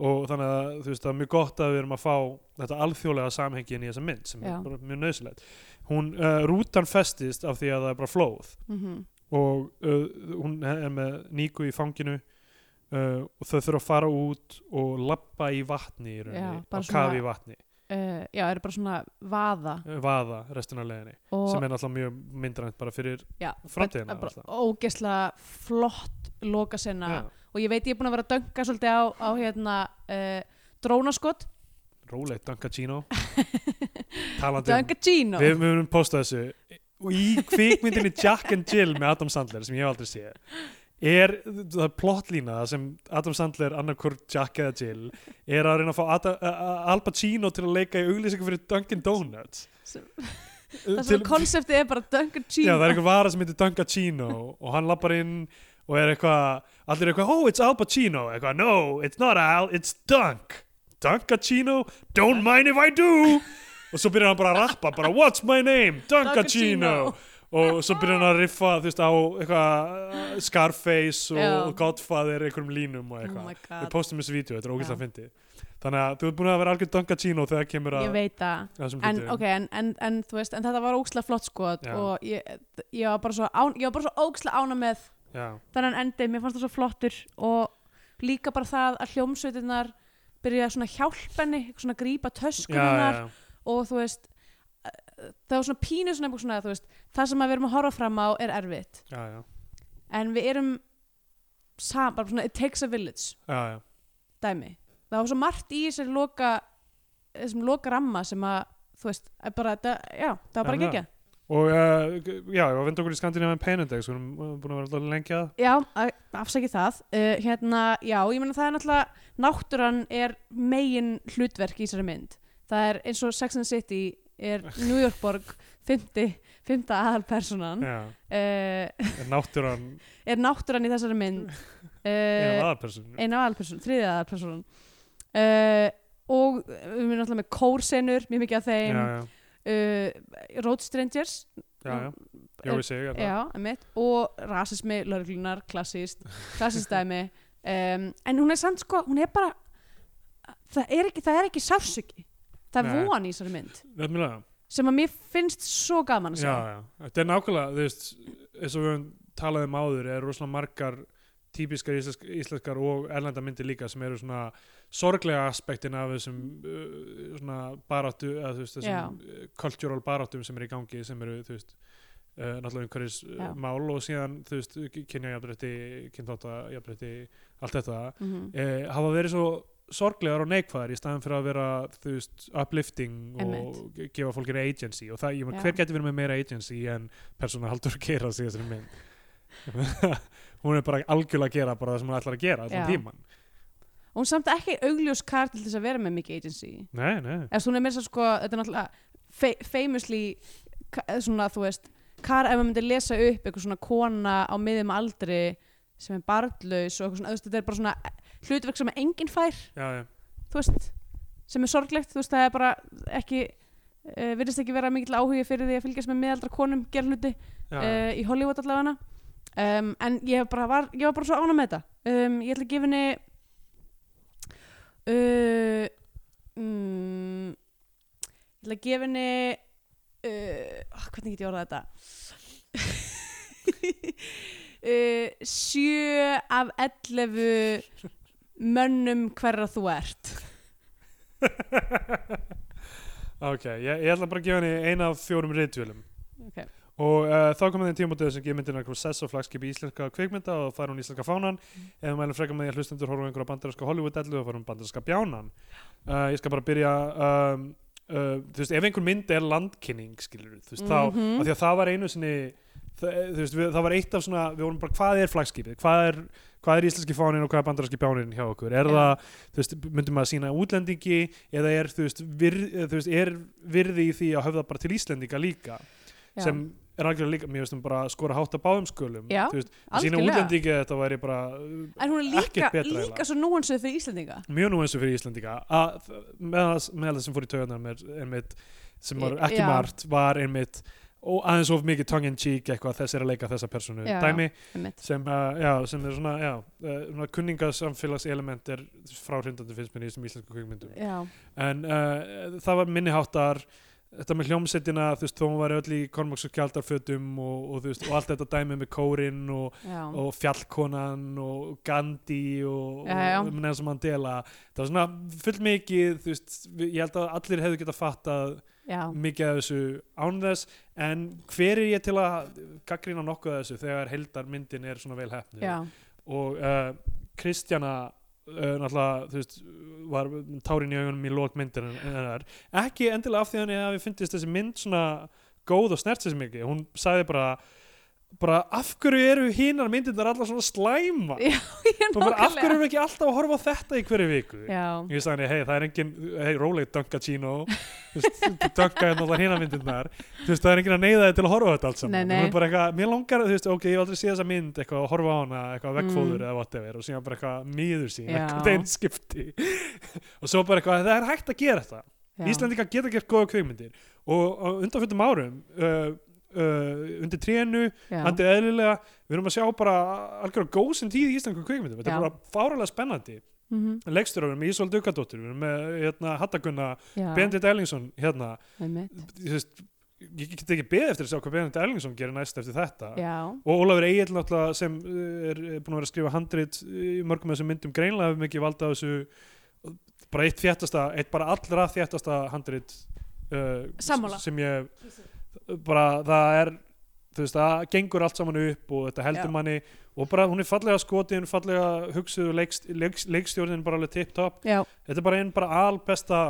og þannig að þú veist það er mjög gott að við erum að fá þetta alþjóðlega samhengi inn í þessa mynd sem
Já.
er bara mjög nöðsilegt hún, uh, rútan festist af því að það er bara flóð
mm
og uh, hún er með Níku í fanginu uh, og þau þurfa að fara út og labba í vatni í
Já,
rauninni,
bara
á
svona-
kafi í vatni
uh, já, eru bara svona vaða
uh, vaða restin af leiðinni
og
sem er náttúrulega mjög myndrænt bara fyrir
já,
framtíðina
bara- bara
náttúrulega.
ógeðslega flott loka
ja,
og ég veit ég er búin að vera að dönga svolítið á, á hérna uh, drónaskot,
rólegt
<laughs>
Dunkachino talandi um
dönga Gino
Við munum posta þessu í kvikmyndinni Jack and Jill með Adam Sandler sem ég hef aldrei séð er, það er plottlína sem Adam Sandler, annarkvort Jack eða Jill er að reyna að fá Adam, a, a, Al Pacino til að leika í auglýsingu fyrir Dunkin Donuts
Sem-
það
það sem konseptið er bara dönga Gino
Já, það er einhver vara sem heitir Dunkachino og hann lappar inn og er eitthvað, allir eru eitthvað, oh, it's Al Pacino eitthvað, no, it's not Al, it's Dunk Dunkachino, don't mind if I do og svo byrjar hann bara að rappa, bara, what's my name, Dunkachino og svo byrjar hann að riffa, þú veist, á eitthvað uh, Scarface og
Já.
Godfather einhverjum línum og
oh
eitthvað
my
Við
god,
postum þessu vídeo, þetta er ógæslega
Já.
fyndið Þannig að þú ert búin að vera algjör Dunkachino þegar kemur að
ég veit það
þessum
en,
hlutum.
ok, en, en, en þú veist, en þetta var óksla flott skot
Já.
og ég, ég var bara svo, án, ég var bara svo óksla ána með
Já.
þennan endið, mér fannst það svo flottur og líka bara það að hljómsveitinnar byrja svona að hjálpa henni svona að grípa
Já, já,
töskunar
já.
og þú veist eh, það var svona pínu svona, eitthvað svona þú veist, það sem að við erum að horfa fram á er erfitt
já, já,
en við erum sam, bara svona it takes a village
já, já.
dæmi það var svo margt í þessari loka þessum loka ramma sem að þú veist, er bara, þetta, já, það var bara
Já,
gegja
og uh, já, ég var að vinda okkur í Skandinavian Pain Index við erum búin að vera alltaf lengi að
Já, a- afsakið það. Uh, hérna, já, ég meina það er náttúrulega, náttúran er megin hlutverk í þessari mynd. Það er eins og Sex and the City er New York borg, fymti, fymta aðalpersonan,
já,
uh,
er náttúran
er náttúran í þessari mynd.
eða
Uh,
aðarperson
eina aðalpersonan, þriðja aðalpersonan. Uh, og við erum náttúrulega með kórsenur, mjög mikið af
já,
þeim,
já,
uh, Road Strangers,
já, já, hérna. já, við segja þetta
Já, einmitt, og rasismi, lauruglunar, klassist, klassist dæmi um, en hún er samt sko, hún er bara það er ekki, það er ekki sársöki það er
Nei.
von í þessari mynd
nefnilega
sem að mér finnst svo gaman að
já,
sjá
já. þetta er nákvæmlega þú veist, eins og við höfum talað um áður er rosalega margar típiskar íslensk, íslenskar og erlenda myndir líka sem eru svona sorglega aspektin af þessum uh, svona baráttu eða þú veist þessum uh, cultural baráttum sem eru í gangi sem eru þú veist Uh, náttúrulega einhverjus uh,
Já.
mál og síðan þú veist, kynja jafnrétti, kynþáta jafnrétti, allt þetta
Mhm.
eh, hafa verið svo sorglegar og neikvæðar í staðan fyrir að vera þú veist, uplifting og
Einmitt.
ge- gefa fólkir agency og það, ég meina,
Já.
hver getur verið með meira agency en persóna haldur að gera sig þessari mynd <laughs> hún er bara algjörlega að gera bara það sem hún ætlar að gera allan
Já.
tíman
og hún er samt ekki augljós kar til þess að vera með mikið agency
nei, nei,
eða svona mér svo sko, þetta er náttúrulega fe- famously ka- eða svona þú veist, hvar ef maður myndi lesa upp eitthvað svona kona á miðum aldri sem er barnlaus og eitthvað svona, þú veist, þetta er bara svona eh, hlutverk sem enginn fær,
já, já,
þú veist sem er sorglegt, þú veist, það er bara ekki uh, virðist ekki vera mikill áhugi fyrir því að fylgjast með miðaldra konum gera hluti
já, já.
uh, í Hollywood allavega um, en ég, hef bara var, ég var bara svo ánum með þetta um, ég ætla að gefa henni uh, mm, ég ætla að gefa henni uh, oh, hvernig get ég orðað þetta <laughs> uh, sjö af ellefu mönnum hverra þú ert
<laughs> ok, ég, ég ætla bara að gefa henni eina af fjórum ritualum
Ok.
og uh, þá kom það í tímabótið sem gefur myndina Krosess og flagskip í íslenska kvikmynda og fær hún íslenska fánan
Mm.
ef við mælum frekar með því að hlustendur horfa á einhverja bandarinska Hollywood-ellu og fær hún bandarinska bjánan uh, ég skal bara byrja um, uh, þú veist, ef einhver mynd er landkynning skilur þú veist,
Mhm.
þá, af því að það var einu sinni það, þú veist, við, það var eitt af svona við vorum bara, hvað er flagskipið, hvað er hvað er íslenski fáninn og hvað er bandarinski bjáninn hjá okkur er
Já.
það, þú veist, myndum að sína útlendingi eða er, þú veist, virð, eh, þú veist, er virði í því að höfða bara til Íslendinga líka
Já.
sem er algjörlega líka, mér veist um bara að skora hátt að báðum skölum
Já,
þú veist, að sína
algjörlega.
útlendingi að þetta væri bara uh,
en hún er
ekkert
líka,
betra
líka
eiginlega.
svo núansuð fyrir Íslendinga
mjög nú eins og fyrir Íslendinga að meðal með það sem fór í taugarnar mér einmitt, sem var ekki
Já.
margt var einmitt og aðeins of mikið tongue in cheek eitthvað þess er að leika þessa personu
Já,
dæmi
einmitt.
sem, uh, já, sem er svona, já, uh, svona kunningasamfélags element er frá hrindandi finnst mér í þessum íslensku kvikmyndum
já,
en uh, það var minniháttar þetta með hljómsettina, þú veist, þó hún var öll í Kormáks og Kjaldarfötum og, og, þú veist, og allt þetta dæmi með kórin og,
já.
og fjallkonan og Gandhi og,
Já, já.
og Nelson Mandela það var svona full mikið þú veist, við- ég held að allir hefðu getað fattað
já.
mikið af þessu án þess en hver er ég til að gaggrina nokkuð af þessu þegar heildarmyndin er svona vel hefnir
<laughs> já.
og uh, Kristjana uh, náttúrulega, þú veist, var tárin í augunum í lók myndin hennar ekki endilega af því að henni hafi fundist þessi mynd svona góð og snert þessi mikið hún sagði bara bara af hverju eru hinar myndindar allar svona slæma
Já,
og bara af hverju eru ekki alltaf að horfa á þetta í hverju viku
Já,
ég sagði henni, hei, það er engin hei, róleg Dunga Chino þú hérna veist, Dunga er náttúrulega hinamyndirnar þú veist, það er engin að neyða þið til að horfa á þetta allt saman
Nei, nei.
Hún er bara eitthvað, mér langar, þú veist, ok, ég hef aldrei séð þessa mynd eitthvað að horfa á hana, eitthvað
Mm.
vegfóður eða whatever og síðan bara eitthvað miður sín,
Já.
eitthvað einn skipti <laughs> og svo bara eitthvað, það er hægt að gera þetta
já.
Íslendingar geta gert góða kveikmyndir og, og undanfjöndum árum uh, uh, undir trénu
já.
andið eðlilega, við erum að sjá bara algjörða góðsinn tíð í Íslandku kveikmyndum
Já.
þetta er bara fáralega spennandi
Mhm,
leikstur við erum með Ísvald Dukadóttur við erum með hérna, Hattakunna,
já,
Benedikt Erlingsson hérna,
einmitt.
þú veist, ég get ekki beðið eftir að sjá hvað Benedikt Erlingsson gerir næst eftir þetta
Já,
og Ólafur Egil náttúrulega sem uh, er uh, búin að vera að skrifa handrit uh, í mörgum af þessum myndum greinlega hefur mikið valda á þessu uh, bara eitt þjættasta, eitt bara allra þjættasta handrit uh,
Sammála.
s- sem ég bara það er þú veist, það gengur allt saman upp og þetta heldur
Já.
manni og bara hún er fallega skotin, fallega hugsuð og leikst, leikst, leikstjórnin bara alveg tip-top
já,
þetta er bara einn bara albesta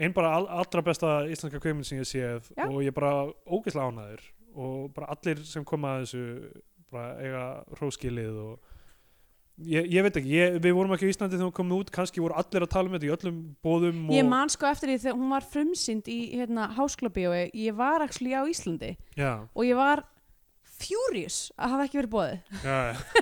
einn bara al, allra besta íslenska kveiminn sem ég séð
Já.
og ég er bara ógeðslega ánæður og bara allir sem koma að þessu bara eiga hróskilið og ég, ég veit ekki ég, við vorum ekki í Íslandi þegar hún kom út kannski voru allir að tala um þetta í öllum bóðum og,
ég man sko eftir því þegar hún var frumsýnd í hérna, háskólabíói, ég var actually á Íslandi
já,
og ég var furious að hafa ekki verið bóðið
já, já,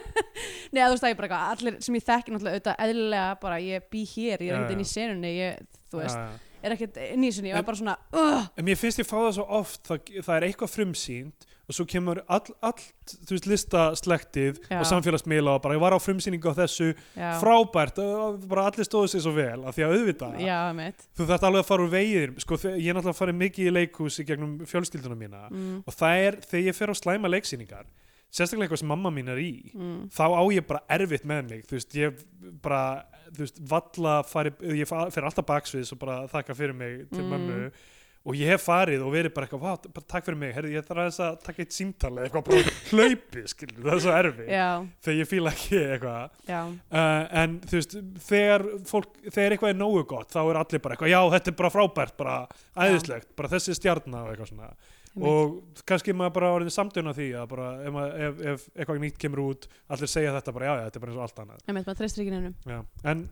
Nei, þú veist að ég bara eitthvað, allir sem ég þekki náttúrulega auðvitað eðlilega bara, ég bý hér, ég er
Já,
ekkert
já.
inn í senunni ég, <laughs> þú veist,
já, já.
er ekkert inn í sinni, ég var
En-
bara svona uh,
En mér finnst ég fá það svo oft, það, það er eitthvað frumsýnd og svo kemur all, allt, þú veist, listaslektið
Já.
og samfélagsmiðla og bara ég var á frumsýningu á þessu,
já,
frábært, ö, bara allir stóðu sér svo vel, af því að auðvita,
já, mitt
þú þarft alveg að fara úr veiðir, sko, þe- ég er náttúrulega farið mikið í leikhús í gegnum fjölskylduna mína
mm,
og það er, þegar ég fer á slæma leiksýningar, sérstaklega eitthvað sem mamma mín er í,
mm,
þá á ég bara erfitt með mig þú veist, ég bara þú veist, valla fari, ég fa- fer alltaf baksviðs og bara þakka fyrir mig til
Mm.
mömmu og ég hef farið og verið bara eitthvað, "Vá, bara takk fyrir mig, herri, ég þarf aðeins að taka eitt símtal eða eitthvað bara <laughs> hlaupi, skilur, það er svo erfitt
já,
þegar ég fíla ekki eitthvað
já,
uh, en þú veist, þegar fólk, þegar eitthvað er nógu gott, þá er allir bara eitthvað, já, þetta er bara frábært, bara æðislegt, bara þessi stjarnar og eitthvað svona
einmitt.
og kannski maður bara orðin samtun á því að bara ef, maður- ef, ef eitthvað nýtt kemur út allir segja þetta bara já, já, þetta er bara eins og allt annað
einmitt, maður treystir ekki nefnum
já. en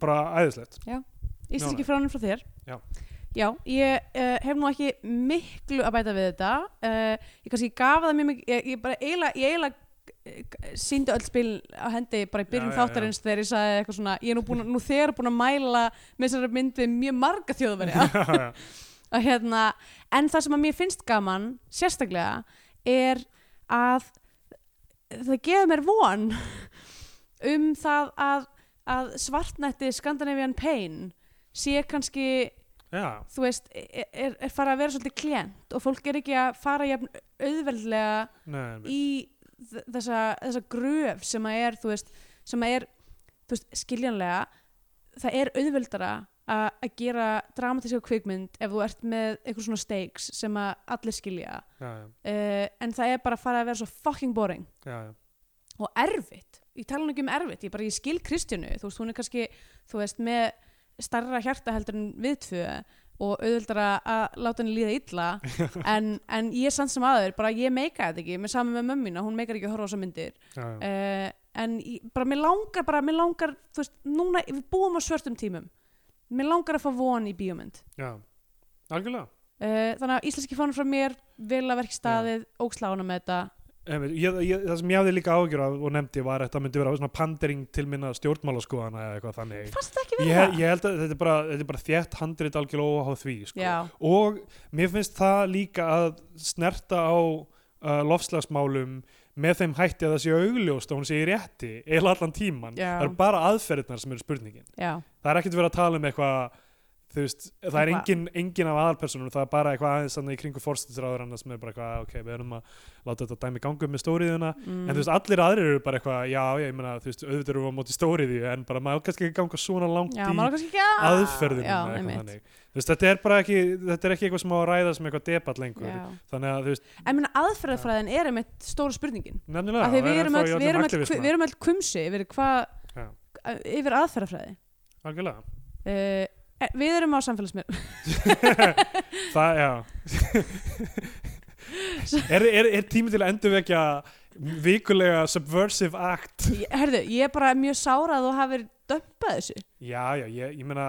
bara æðislegt <laughs>
Íslenski fránum frá þér
Já.
Já, ég uh, hef nú ekki miklu að bæta við þetta uh, ég kannski gaf það mjög mikið ég, ég bara eiginlega, ég eiginlega síndi öll spil á hendi bara í byrjun
Já, já, já.
þáttarins þegar ég sagði eitthvað svona ég er nú, búin, nú þegar búin að mæla með þessari myndi mjög marga
<laughs>
þjóðverja
Já,
og hérna, en það sem að mér finnst gaman sérstaklega er að það gefur mér von <laughs> um það að, að svartnætti Scandinavian Pain sé kannski,
já,
þú veist er, er- er fara að vera svolítið klient og fólk er ekki að fara jafn auðveldlega
nei, nei,
í þ- þessa, þessa gröf sem að er, þú veist, sem að er þú veist, skiljanlega það er auðveldara að, að gera dramatíska kvikmynd ef þú ert með eitthvað svona stakes sem að allir skilja uh,
já,
en það er bara að fara að vera svo fucking boring
já, já,
og erfitt, ég tala nú ekki um erfitt ég bara, ég skil Kristjánu, þú veist, hún er kannski þú veist, með starra hjarta heldur en við tvö og auðvöldara að láta henni líða illa
<laughs>
en, en ég samt sem aður, bara ég meika þetta ekki, með saman með mömmina, hún meikar ekki að horfa á þessar myndir
já, já.
uh, en ég, bara mér langar bara, mér langar, þú veist, núna við búum á svörtum tímum, mér langar að fá von í bíómynd,
já. algjörlega
uh, þannig að íslenski fónum frá mér, vil að verki staðið ógslána með þetta,
Einmitt, ég, ég, það sem ég hafði líka ágjör af og nefndi var að þetta myndi vera svona pandering til minna stjórnmálaskoðana eða eitthvað þannig
fannst það ekki
ég,
verið
he-
það?
ég held að þetta er bara, þetta er bara þétt handrit algjörlega óháð því sko.
Já,
og mér finnst það líka að snerta á uh, lofslagsmálum með þeim hætti að það sé augljóst og hún sé í rétti eða allan tíman,
Já.
það er bara aðferðnar sem eru spurningin,
já,
það er ekkert verið að tala um eitthvað þú veist, það er
Eitthvað.
engin, engin af aðalpersonum, það er bara eitthvað aðeins þannig í kringu fórstættisráðuranna sem er bara eitthvað ok, við erum að láta þetta dæmi ganga upp með stóriðuna
mm.
en þú veist, allir aðrir eru bara eitthvað já, já, ég meina, þú veist, auðvitað eru við á móti stóriðju en bara maður á kannski ekki að ganga svona langt
já,
í
maður kannski ekki að
aðferðinu
Ah, já,
eða eitthvað
einmitt.
þannig. Þú veist, þetta er bara ekki þetta er ekki eitthvað sem á að ræða sem eitthvað debat lengur
Já.
þannig að þú veist,
En minna aðferðafræðin er einmitt stóra spurningin
nefnilega
af því við
er
erum
ennþá
öll,
í
við
öllum
erum öll,
aktivisma.
við erum öll kumsi yfir hvað
Já.
yfir aðferðafræði
algjörlega, <laughs>
uh, eh, við erum á samfélagsmiðlum <laughs>
það, já <laughs> er, er, er tími til að endurvekja vikulega subversive act
Ég- herðu, ég er bara mjög sárað og hafi verið dömpað þessu
já, já, ég, ég meina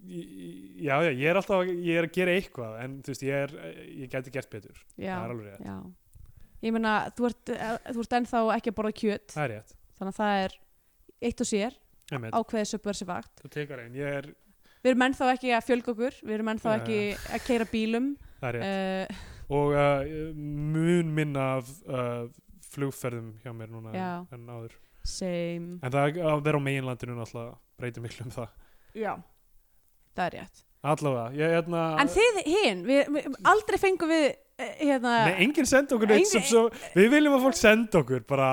ég- já, já, ég er alltaf ég er að gera eitthvað, en þú veist, ég er ég gæti gert betur,
já,
það er alveg rétt
já. ég meina, þú ert, eh, þú ert ennþá ekki að borða kjöt
það er rétt,
þannig að það er eitt og sér
Einmitt.
ákveðið subversi vakt
þú tekur einn ég er,
við erum ennþá ekki að fjölga okkur við erum ennþá
Já,
ekki að keira bílum
það er rétt
uh,
og uh, mun minna af uh, flugferðum hjá mér núna
Já.
en- en áður
same
en það að vera á meginlandinu náttúrulega breytir miklu um það
já, það er rétt
allavega, ég hérna
En þið hinn, við, við aldrei fengum við eh, hérna,
nei, enginn senda okkur neitt sem
Engin-
svo, við viljum að fólk senda okkur bara,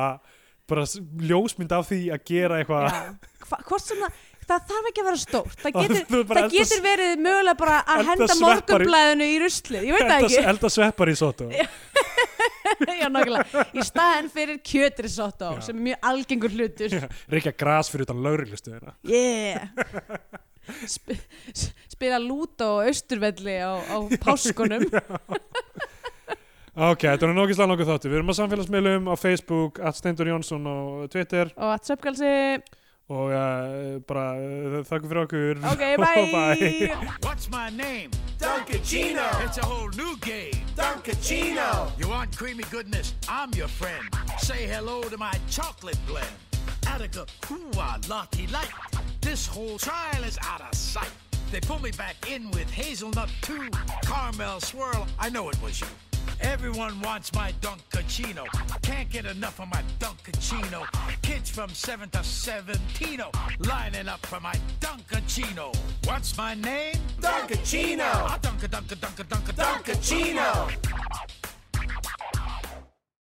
bara s- ljósmynd af því að gera <laughs> eitthvað
já, hva, hvort sem það það þarf ekki að vera stórt það
Og
getur,
þú bara
það
elda-
getur verið mögulega bara að
elda
henda
sveppar í-
morgunblæðinu í ruslið, ég veit það
elda, elda sveppar í sotu
ekki <laughs> já, nákvæmlega, í staðin fyrir kjötirisotto
Já.
sem er mjög algengur hlutur
reykja gras fyrir utan lauruglustuðina
yeah Sp s- spila lúta og austurvelli á, á páskunum
<laughs> ok, þetta er nokkislega nokkuð þáttu við erum á samfélagsmiðlum á Facebook at Steindur Jónsson á Twitter
og að söpkalsi
og uh, bara uh, þakku fyrir okkur
ok,
<laughs> Bye.
<laughs> bye
What's my name?
Dunkachino!
It's a whole new game.
Dunkachino!
You want creamy goodness? I'm your friend. Say hello to my chocolate blend. Attica, hoo-ah, lucky light. This whole trial is out of sight. They pull me back in with hazelnut two, caramel swirl. I know it was you. Everyone wants my Dunkachino. Can't get enough of my Dunkachino. Kids from 7 to 17 lining up for my Dunkachino. What's my name? Ah,
Dunkachino.
I dunk a dunk a dunk a dunk a
Dunkachino.